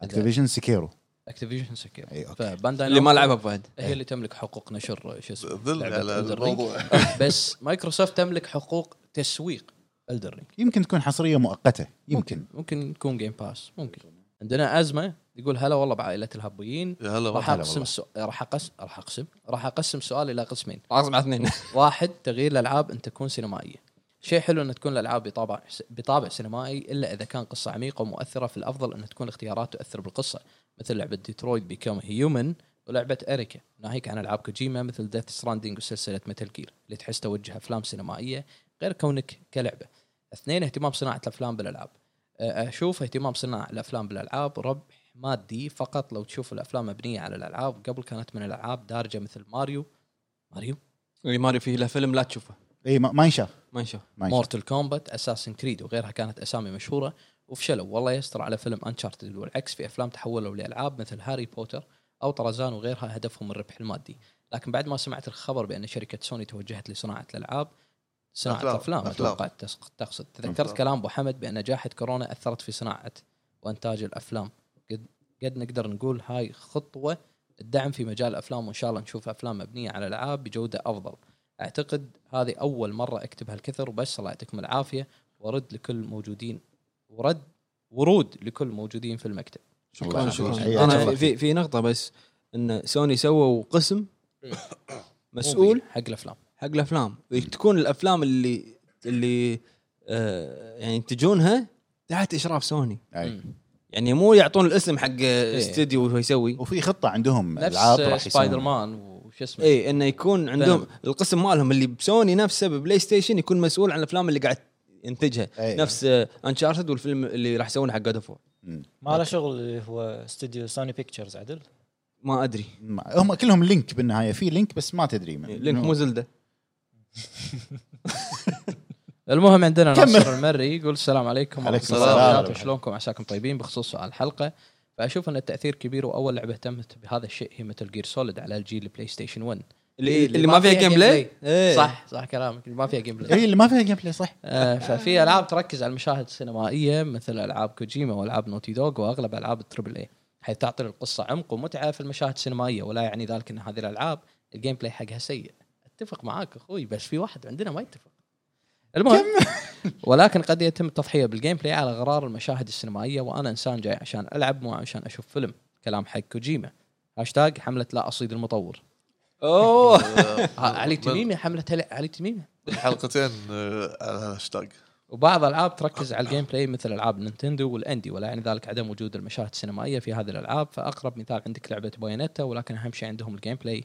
B: اكتيفيجن سكيرو
D: اكتيفيجن سكير
B: إيه، أوكي.
D: فبانداي
A: اللي ما
D: نامكو
A: لعبها فهد
D: هي اللي تملك حقوق نشر آه، شو اسمه
C: ذل
D: لعبة
C: على
D: Elden Ring.
C: الموضوع
D: بس مايكروسوفت تملك حقوق تسويق الدر رينج
B: يمكن تكون حصريه مؤقته يمكن
D: ممكن يكون جيم باس ممكن عندنا ازمه يقول هلا والله بعائله الهبويين
C: يا
D: (laughs)
C: هلا
D: راح
C: مرحبا.
B: هلا
D: اقسم
B: والله.
D: سو... راح اقسم راح اقسم راح اقسم سؤالي الى قسمين
A: خلاص مع اثنين
D: واحد تغيير الالعاب ان تكون سينمائيه شيء حلو ان تكون الالعاب بطابع بطابع سينمائي الا اذا كان قصه عميقه ومؤثره في الافضل ان تكون الاختيارات تؤثر بالقصه مثل لعبه ديترويت بيكم هيومن ولعبه اريكا ناهيك عن العاب كوجيما مثل ديث ستراندنج وسلسله متل جير اللي تحس توجه افلام سينمائيه غير كونك كلعبه اثنين اهتمام صناعه الافلام بالالعاب أه، اشوف اهتمام صناعه الافلام بالالعاب ربح مادي فقط لو تشوف الافلام مبنيه على الالعاب قبل كانت من الالعاب دارجه مثل ماريو ماريو
A: (laughs) اللي ماري فيه له فيلم لا تشوفه
B: اي إيه، ما ما ينشاف
A: ما نشوف
B: ما ينشاف
D: مورتل كومبات اساسن كريد وغيرها كانت اسامي مشهوره وفشلوا والله يستر على فيلم انشارتد والعكس في افلام تحولوا لالعاب مثل هاري بوتر او طرزان وغيرها هدفهم الربح المادي لكن بعد ما سمعت الخبر بان شركه سوني توجهت لصناعه الالعاب صناعه
C: أفلام.
D: افلام
C: أفلام.
D: اتوقع تس- تقصد تذكرت
C: أفلام.
D: كلام ابو حمد بان جائحه كورونا اثرت في صناعه وانتاج الافلام قد قد نقدر نقول هاي خطوه الدعم في مجال الافلام وان شاء الله نشوف افلام مبنيه على العاب بجوده افضل اعتقد هذه اول مره اكتب هالكثر وبس الله يعطيكم العافيه ورد لكل موجودين ورد ورود لكل موجودين في المكتب
B: شكراً.
A: شكراً.
B: حياك
A: انا
B: الله.
A: في في نقطه بس ان سوني سووا (coughs) قسم مسؤول
D: حق الافلام
A: حق الافلام تكون الافلام اللي اللي آه يعني ينتجونها تحت اشراف سوني
B: أي.
A: يعني مو يعطون الاسم حق استديو وهو يسوي
B: وفي خطه عندهم العاب راح
D: نفس سبايدر
B: يسوون
D: مان وش اسمه
A: اي انه إيه، يكون عندهم القسم مالهم اللي بسوني نفسه ببلاي ستيشن يكون مسؤول عن الافلام اللي قاعد ينتجها
B: إيه.
A: نفس انشارتد والفيلم اللي راح يسوونه حق جاد اوف
F: ما له شغل اللي هو استوديو سوني بيكتشرز عدل
A: ما ادري
B: ما- هم كلهم لينك بالنهايه في لينك بس ما تدري من
A: إيه، لينك مو زلده
D: المهم عندنا
B: كمل.
D: ناصر المري يقول السلام عليكم
B: عليكم
D: ورحمة الله
B: السلام.
D: وبركاته. شلونكم عساكم طيبين بخصوص سؤال الحلقه فاشوف ان التاثير كبير واول لعبه اهتمت بهذا الشيء هي مثل جير سوليد على الجيل بلاي ستيشن 1
A: إيه، اللي, اللي ما فيها جيم بلاي إيه.
D: صح صح كلامك اللي ما فيها جيم بلاي
B: اي إيه، اللي ما فيها جيم بلاي صح
D: آه، ففي العاب تركز على المشاهد السينمائيه مثل العاب كوجيما والعاب نوتي دوغ واغلب العاب التربل اي حيث تعطي القصه عمق ومتعه في المشاهد السينمائيه ولا يعني ذلك ان هذه الالعاب الجيم بلاي حقها سيء اتفق معاك اخوي بس في واحد عندنا ما يتفق المهم ولكن قد يتم التضحيه بالجيم بلاي على غرار المشاهد السينمائيه وانا انسان جاي عشان العب مو عشان اشوف فيلم كلام حق كوجيما هاشتاج حمله لا اصيد المطور
A: اوه
D: ها، علي تميمي حمله علي تميمي
C: حلقتين آه، على هالهاشتاج
D: وبعض الالعاب تركز على الجيم بلاي مثل العاب نينتندو والاندي ولا يعني ذلك عدم وجود المشاهد السينمائيه في هذه الالعاب فاقرب مثال عندك لعبه بايونيتا ولكن اهم شيء عندهم الجيم بلاي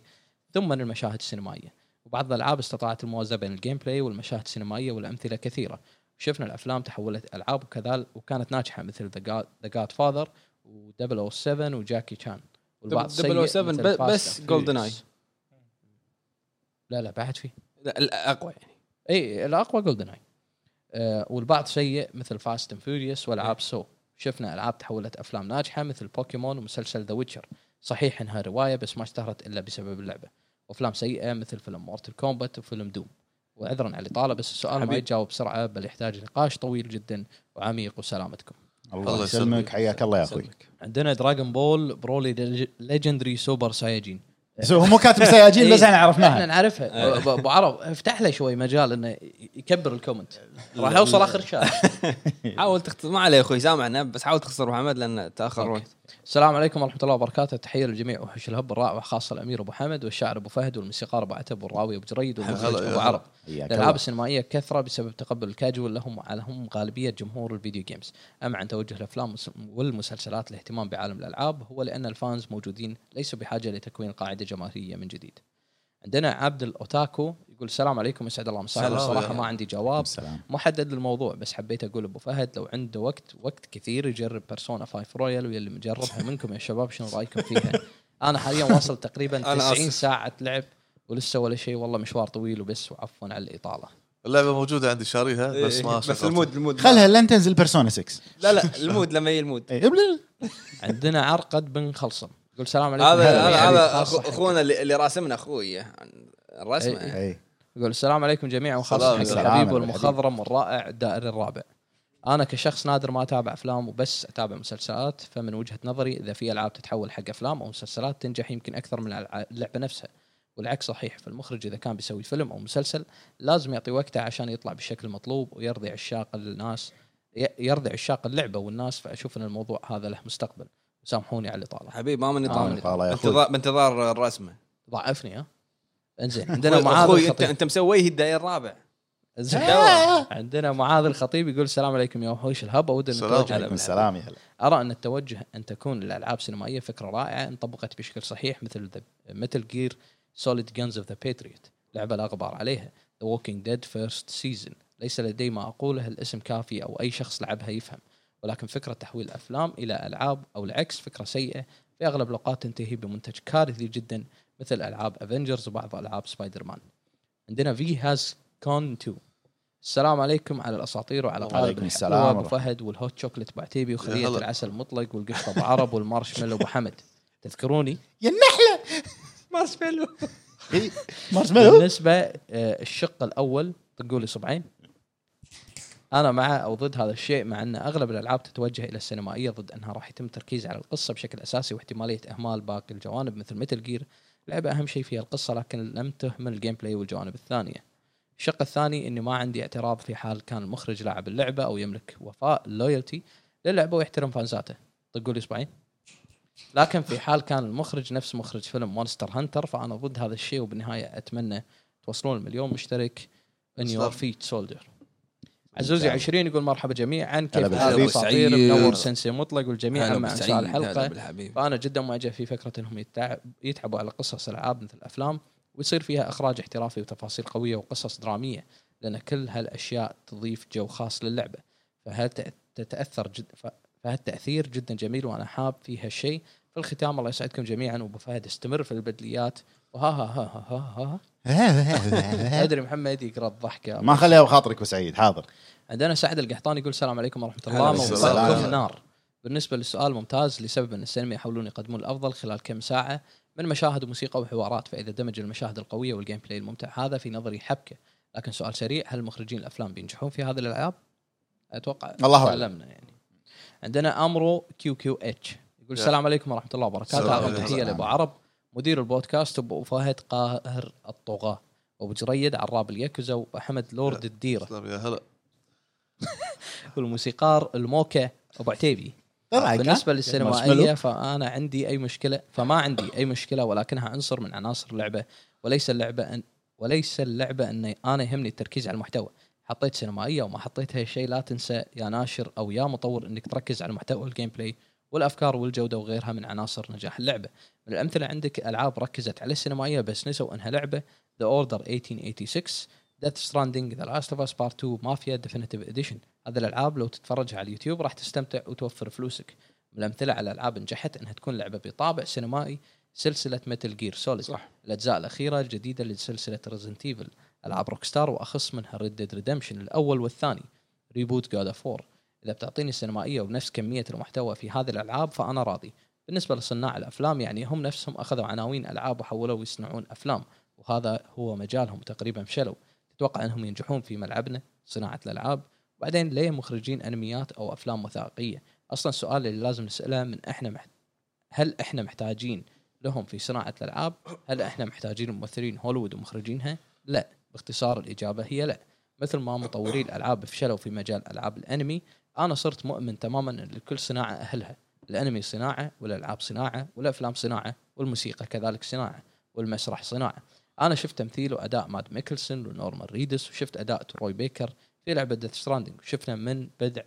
D: ثم المشاهد السينمائيه وبعض الالعاب استطاعت الموازنه بين الجيم بلاي والمشاهد السينمائيه والامثله كثيره شفنا الافلام تحولت العاب وكذلك وكانت ناجحه مثل ذا جاد فاذر و007 وجاكي شان والبعض سيء
A: 007
D: مثل
A: ب-
D: Fast
A: بس
D: and
A: GoldenEye.
D: Furious. لا لا بعد في
A: (laughs) لا الاقوى يعني
D: اي الاقوى جولدن اي إيه، آه والبعض سيء مثل فاست اند فيوريوس والعاب سو شفنا العاب تحولت افلام ناجحه مثل بوكيمون ومسلسل ذا ويتشر صحيح انها روايه بس ما اشتهرت الا بسبب اللعبه وافلام سيئه مثل فيلم مورتل كومبات وفيلم دوم وعذرا على الاطاله بس السؤال ما
A: حبيبي.
D: يتجاوب بسرعه بل يحتاج نقاش طويل جدا وعميق وسلامتكم
B: الله
C: يسلمك.
B: يسلمك حياك الله يا اخوي
D: عندنا دراغون بول برولي ليجندري سوبر سايجين
B: سو إيه، هو مو كاتب سياجين بس احنا
D: احنا
B: عرفناها
D: نعرفها أبو- ابو عرب افتح له شوي مجال انه يكبر الكومنت راح اوصل اخر شهر
A: (laughs) حاول تختصر ما عليه يا اخوي سامعنا بس حاول تخسر محمد لان تاخر
D: أوكي.
A: وقت
D: السلام عليكم ورحمه الله وبركاته تحيه للجميع وحش الهب الرائع وخاصه الامير ابو حمد والشاعر ابو فهد والموسيقار ابو عتب والراوي ابو جريد والمخرج
C: هلا يا
D: ابو عرب
B: حياك
D: الالعاب
B: الله.
D: السينمائيه كثره بسبب تقبل الكاجوال لهم عليهم غالبيه جمهور الفيديو جيمز اما عن توجه الافلام والس- والمسلسلات الاهتمام بعالم الالعاب هو لان الفانز موجودين ليسوا بحاجه لتكوين قاعده جماهيريه من جديد عندنا عبد الاوتاكو يقول السلام عليكم يسعد الله مساءكم
C: سلام.
D: صراحه ما عندي جواب
B: السلام
D: محدد للموضوع بس حبيت اقول ابو فهد لو عنده وقت وقت كثير يجرب بيرسونا 5 رويال ويلي مجربها منكم يا شباب شنو رايكم فيها؟ (laughs) انا حاليا واصل تقريبا
A: أنا
D: 90
A: آسف.
D: ساعه لعب ولسه ولا شيء والله مشوار طويل وبس وعفوا على الاطاله.
C: اللعبه موجوده عندي شاريها بس ما
A: إيه. بس
C: شغلتها.
A: المود المود
B: خلها لين تنزل بيرسونا 6
A: لا لا المود لما يجي المود
B: إيه، بل-
D: عندنا عرقد بن خلصم يقول السلام عليكم
A: (laughs) هذا هذا
D: جميعاً.
A: هذا إيه.
D: خاصة
A: أخو-
D: حق-
A: اخونا اللي اللي راسمنا اخوي عن الرسمه
D: إيه.
B: إيه.
D: يقول السلام عليكم جميعا وخاصه
C: سلام.
D: حق
B: سلام
D: الحبيب
B: على
D: والمخضرم والرائع الدائري الرابع. انا كشخص نادر ما اتابع افلام وبس اتابع مسلسلات فمن وجهه نظري اذا في العاب تتحول حق افلام او مسلسلات تنجح يمكن اكثر من الع- اللعبه نفسها والعكس صحيح فالمخرج اذا كان بيسوي فيلم او مسلسل لازم يعطي وقته عشان يطلع بالشكل المطلوب ويرضي عشاق الناس ي- يرضي عشاق اللعبه والناس فاشوف ان الموضوع هذا له مستقبل سامحوني على الاطاله
A: حبيبي ما من
D: آمن
A: نظام
B: الله يا أخوي.
A: بانتظار بانتظار الرسمه
D: ضعفني ها انزين عندنا
A: عندنا
D: معاذ
A: اخوي انت
D: الخطيب
A: انت مسويه الداير الرابع
D: انزين.
A: آه.
D: عندنا معاذ الخطيب يقول السلام عليكم يا وحوش الهب اود ان
C: السلام
D: أتوجه
B: عليكم السلام يا هلا
D: ارى ان التوجه ان تكون الالعاب السينمائيه فكره رائعه انطبقت بشكل صحيح مثل متل جير سوليد جنز اوف ذا باتريوت لعبه لا غبار عليها ذا ووكينج ديد فيرست سيزون ليس لدي ما اقوله الاسم كافي او اي شخص لعبها يفهم ولكن فكره تحويل الافلام الى العاب او العكس فكره سيئه في اغلب الاوقات تنتهي بمنتج كارثي جدا مثل العاب افنجرز وبعض العاب سبايدر مان عندنا في هاز كون 2 السلام عليكم على الاساطير وعلى
B: وعليكم
D: طالب
B: السلام
D: الحلوة ابو
B: ورحمة.
D: فهد والهوت شوكلت ابو عتيبي وخليه
C: يا هلا.
D: العسل المطلق والقشطه ابو عرب والمارشميلو ابو حمد
C: (laughs)
D: تذكروني
B: يا النحله
A: مارشميلو
B: (laughs) إيه،
D: (laughs)
B: مارشميلو
D: بالنسبه آه، الشق الاول طقوا لي صبعين انا مع او ضد هذا الشيء مع ان اغلب الالعاب تتوجه الى السينمائيه ضد انها راح يتم التركيز على القصه بشكل اساسي واحتماليه اهمال باقي الجوانب مثل متل جير لعبه اهم شيء فيها القصه لكن لم تهمل الجيم بلاي والجوانب الثانيه الشق الثاني اني ما عندي اعتراض في حال كان المخرج لاعب اللعبه او يملك وفاء لويالتي للعبه ويحترم فانزاته طقوا لي اصبعين لكن في حال كان المخرج نفس مخرج فيلم مونستر هانتر فانا ضد هذا الشيء وبالنهايه اتمنى توصلون المليون مشترك ان يور فيت سولدر عزوزي 20 يقول مرحبا جميعا
A: هلا
D: كيف حالك
A: بالحبيب
D: اساطير
A: سعيد.
D: منور سنسي مطلق والجميع
A: هلا
D: مع
A: بالسعيد،
D: انشاء
A: هلا
D: الحلقه
A: بالحبيب
D: فانا جدا معجب في فكره انهم يتعب يتعبوا على قصص العاب مثل الافلام ويصير فيها اخراج احترافي وتفاصيل قويه وقصص دراميه لان كل هالاشياء تضيف جو خاص للعبه فهل تأ- تتاثر جد ف- فهالتاثير جدا جميل وانا حاب في هالشيء في الختام الله يسعدكم جميعا وابو فهد استمر في البدليات وها ها ها ها ها, ها. ادري محمد يقرا الضحكه
B: ما خليها بخاطرك وسعيد حاضر
D: عندنا سعد القحطاني يقول السلام عليكم ورحمه
A: هلا
D: الله
A: بالسلام.
D: موفقكم نار بالنسبه للسؤال ممتاز لسبب ان السينما يحاولون يقدمون الافضل خلال كم ساعه من مشاهد وموسيقى وحوارات فاذا دمج المشاهد القويه والجيم بلاي الممتع هذا في نظري حبكه لكن سؤال سريع هل مخرجين الافلام بينجحون في هذه الالعاب؟ اتوقع
B: الله أعلم.
D: تعلمنا يعني عندنا امرو كيو كيو اتش يقول
C: يا.
D: السلام عليكم ورحمه الله وبركاته
C: السلام
D: اعطي
C: عليكم.
D: تحيه لابو عرب مدير البودكاست ابو فهد قاهر الطغاه ابو جريد عراب اليكوزا واحمد لورد الديره
C: سلام يا هلا
D: والموسيقار الموكا ابو عتيبي
B: طيب،
D: بالنسبه للسينمائيه
B: مارشميلو.
D: فانا عندي اي مشكله فما عندي اي مشكله ولكنها عنصر من عناصر اللعبه وليس اللعبه ان وليس اللعبه ان انا يهمني التركيز على المحتوى حطيت سينمائيه وما حطيتها شيء لا تنسى يا ناشر او يا مطور انك تركز على المحتوى والجيم بلاي والافكار والجوده وغيرها من عناصر نجاح اللعبه من الامثله عندك العاب ركزت على السينمائيه بس نسوا انها لعبه ذا اوردر 1886 ديث ستراندنج ذا لاست اوف اس بارت 2 مافيا ديفينيتيف اديشن هذه الالعاب لو تتفرجها على اليوتيوب راح تستمتع وتوفر فلوسك من الامثله على العاب نجحت انها تكون لعبه بطابع سينمائي سلسله متل جير سوليد
B: صح.
D: الاجزاء الاخيره الجديده لسلسله ريزنت ايفل العاب روك ستار واخص منها ريد ديد ريدمشن الاول والثاني ريبوت جاد اوف وور اذا بتعطيني السينمائيه وبنفس كميه المحتوى في هذه الالعاب فانا راضي بالنسبه لصناع الافلام يعني هم نفسهم اخذوا عناوين العاب وحولوا يصنعون افلام وهذا هو مجالهم تقريبا فشلوا تتوقع انهم ينجحون في ملعبنا صناعه الالعاب وبعدين ليه مخرجين انميات او افلام وثائقيه اصلا السؤال اللي لازم نساله من احنا محت... هل احنا محتاجين لهم في صناعه الالعاب هل احنا محتاجين ممثلين هوليوود ومخرجينها لا باختصار الاجابه هي لا مثل ما مطوري الالعاب فشلوا في مجال العاب الانمي انا صرت مؤمن تماما ان لكل صناعه اهلها الانمي صناعه والالعاب صناعه والافلام صناعه والموسيقى كذلك صناعه والمسرح صناعه انا شفت تمثيل واداء ماد ميكلسون ونورمان ريدس وشفت اداء تروي بيكر في لعبه ديث ستراندنج شفنا من بدع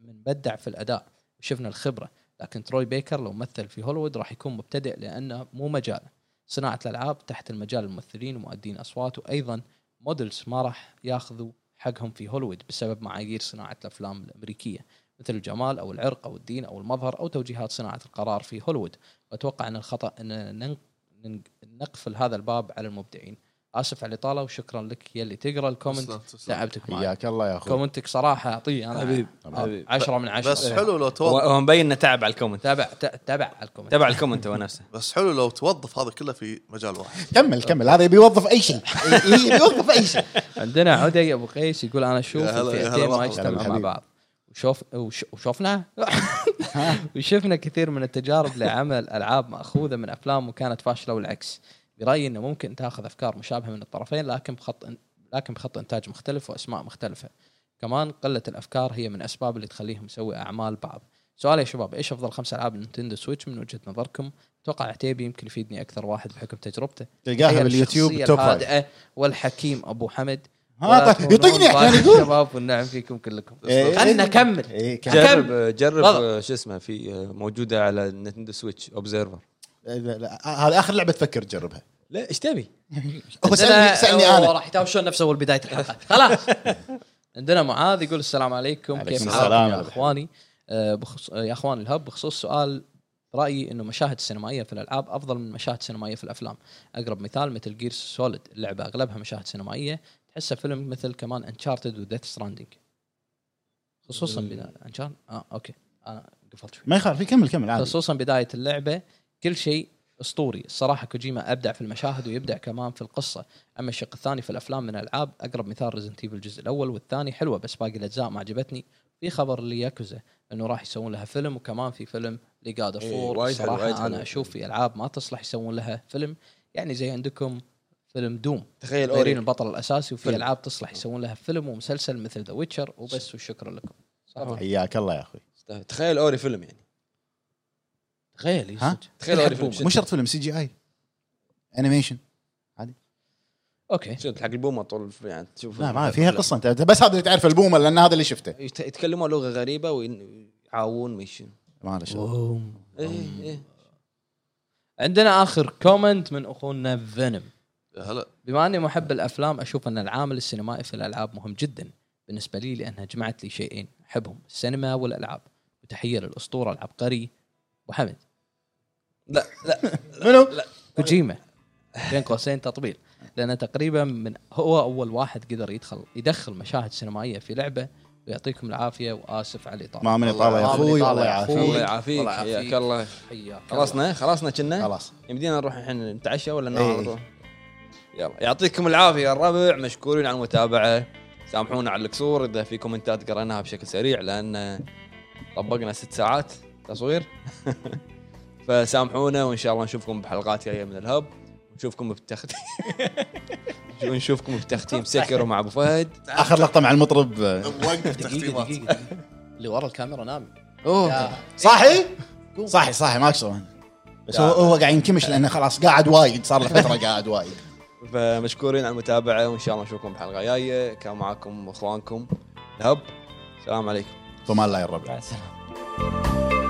D: من بدع في الاداء وشفنا الخبره لكن تروي بيكر لو مثل في هوليوود راح يكون مبتدئ لانه مو مجاله صناعه الالعاب تحت المجال الممثلين ومؤدين اصوات وايضا مودلز ما راح ياخذوا حقهم في هوليوود بسبب معايير صناعه الافلام الامريكيه مثل الجمال او العرق او الدين او المظهر او توجيهات صناعه القرار في هوليوود واتوقع ان الخطا ان نن- نن- نقفل هذا الباب على المبدعين اسف على الاطاله وشكرا لك يلي تقرا الكومنت
C: تسلم، تسلم.
D: تعبتك معي
B: حياك الله يا اخوي
D: كومنتك صراحه اعطيه انا
A: حبيب.
D: حبيب 10 من 10
C: بس حلو لو
A: هو
C: توضح
A: هو مبين انه تعب على الكومنت
D: تابع ت- تابع الكومنت
A: تبع الكومنت هو نفسه
C: بس حلو لو توظف هذا كله في مجال واحد
B: كمل كمل هذا يبي يوظف اي شيء يبي يوظف اي شيء
D: عندنا عدي ابو قيس يقول انا اشوف
C: يا هلا- يا
D: الفئتين
C: هلا
D: ما
C: والله.
D: يجتمعوا مع
B: حبيبي.
D: بعض وشوف وش- وشوفنا (laughs) وشفنا كثير من التجارب لعمل العاب ماخوذه من افلام وكانت فاشله والعكس برايي انه ممكن تاخذ افكار مشابهه من الطرفين لكن بخط لكن بخط انتاج مختلف واسماء مختلفه كمان قله الافكار هي من الاسباب اللي تخليهم يسوي اعمال بعض سؤال يا شباب ايش افضل خمس العاب نينتندو سويتش من وجهه نظركم اتوقع عتيبي يمكن يفيدني اكثر واحد بحكم تجربته
B: تلقاها
D: تخيل
B: باليوتيوب
D: الشخصية
B: توب فايف.
D: الهادئة والحكيم ابو حمد
B: ها،
D: ولا
B: طيب، يطقني
D: تكونون
B: عشان
D: ضايع
B: يقول.
D: الشباب والنعم فيكم كلكم
B: إيه.
D: خلنا نكمل
B: إيه، كان-
A: (laughs) جرب جرب آه،
D: تفضل.
A: شو اسمه في موجوده على نتندو سويتش اوبزرفر
B: لا، لا، آه، هذا اخر لعبه تفكر تجربها
A: لا ايش تبي؟
B: هو سالني سالني انا
D: راح يتهاوشون نفسه اول بدايه الحلقه
B: (laughs)
D: خلاص عندنا معاذ يقول السلام عليكم
B: عليكم
D: كيف
B: السلام
D: حالكم
B: يا
D: يا
B: أبو
D: اخواني آه، بخص- آه، يا اخوان الهب بخصوص سؤال رايي انه مشاهد سينمائيه في الالعاب افضل من مشاهد سينمائيه في الافلام اقرب مثال مثل جير سوليد اللعبه اغلبها مشاهد سينمائيه تحسها فيلم مثل كمان انشارتد وديث ستراندنج خصوصا
B: إيه.
D: بدا انشارتد اه اوكي انا آه، قفلت شوي
B: ما يخالف إيه، كمل كمل عادي
D: خصوصا بدايه اللعبه كل شيء اسطوري الصراحه كوجيما ابدع في المشاهد ويبدع كمان في القصه اما الشق الثاني في الافلام من الالعاب اقرب مثال ريزنت ايفل الجزء الاول والثاني حلوه بس باقي الاجزاء ما عجبتني في خبر لياكوزا انه راح يسوون لها فيلم وكمان في فيلم لجاد اوف
A: إيه، وايد حلو، وايد
D: صراحه
A: حلو.
D: انا اشوف في العاب ما تصلح يسوون لها فيلم يعني زي عندكم فيلم دوم
A: تخيل
D: غيرين
A: اوري
D: البطل الاساسي وفي
A: إيه، فيلم.
D: العاب تصلح يسوون لها فيلم ومسلسل مثل ذا ويتشر وبس وشكرا لكم صح ولا؟
B: حياك الله يا اخوي
A: تخيل اوري فيلم يعني
D: تخيل
B: ها؟
D: يصير.
A: تخيل اوري
D: الحكومة.
A: فيلم
B: مو شرط فيلم سي جي اي انيميشن
D: اوكي
A: شنو حق البومه طول الف- يعني تشوف
B: لا ما
A: الحلقة
B: فيها
A: كلها.
B: قصه انت بس هذا اللي تعرف البومه لان هذا اللي شفته
A: يت- يتكلمون لغه غريبه ويعاون ميشن
B: ما له شغل
D: أوم.
A: ايه ايه
D: عندنا اخر كومنت من اخونا فينوم
C: يا هلا
D: بما اني محب الافلام اشوف ان العامل السينمائي في الالعاب مهم جدا بالنسبه لي لانها جمعت لي شيئين احبهم السينما والالعاب وتحيه للاسطوره العبقري وحمد
A: لا لا
B: (laughs) منو؟
D: كوجيما بين قوسين تطبيل لانه تقريبا من هو اول واحد قدر يدخل يدخل مشاهد سينمائيه في لعبه ويعطيكم العافيه واسف على الاطاله
B: ما من طالع يا
D: ما من
B: اخوي
D: إطالة
B: الله
D: يا
B: يعافيك
D: أخوي.
A: الله يعافيك
D: الله يعافيك.
A: حياك الله
D: حياك
A: خلصنا خلصنا كنا
B: خلاص
A: يمدينا نروح الحين نتعشى ولا ننام على
B: إيه.
A: طول يلا يعطيكم العافيه يا الربع مشكورين على المتابعه سامحونا على القصور اذا في كومنتات قرأناها بشكل سريع لان طبقنا ست ساعات تصوير (laughs) فسامحونا وان شاء الله نشوفكم بحلقات جايه من الهب ونشوفكم (laughs) بتختيم ونشوفكم بتختيم سكر مع ابو فهد
B: اخر لقطه مع المطرب آه،
C: (laughs) وقف
D: دقيقه
C: تختيمات
D: دقيقه اللي ورا الكاميرا نام
A: اوه
D: يا-
B: صاحي صاحي صاحي ما اقصر بس هو هو قاعد ينكمش لانه خلاص قاعد وايد صار له فتره قاعد وايد
A: فمشكورين على المتابعه وان شاء الله نشوفكم بحلقه جايه كان معاكم اخوانكم الهب السلام عليكم
B: فما الله يا الربع
G: بعد سنة.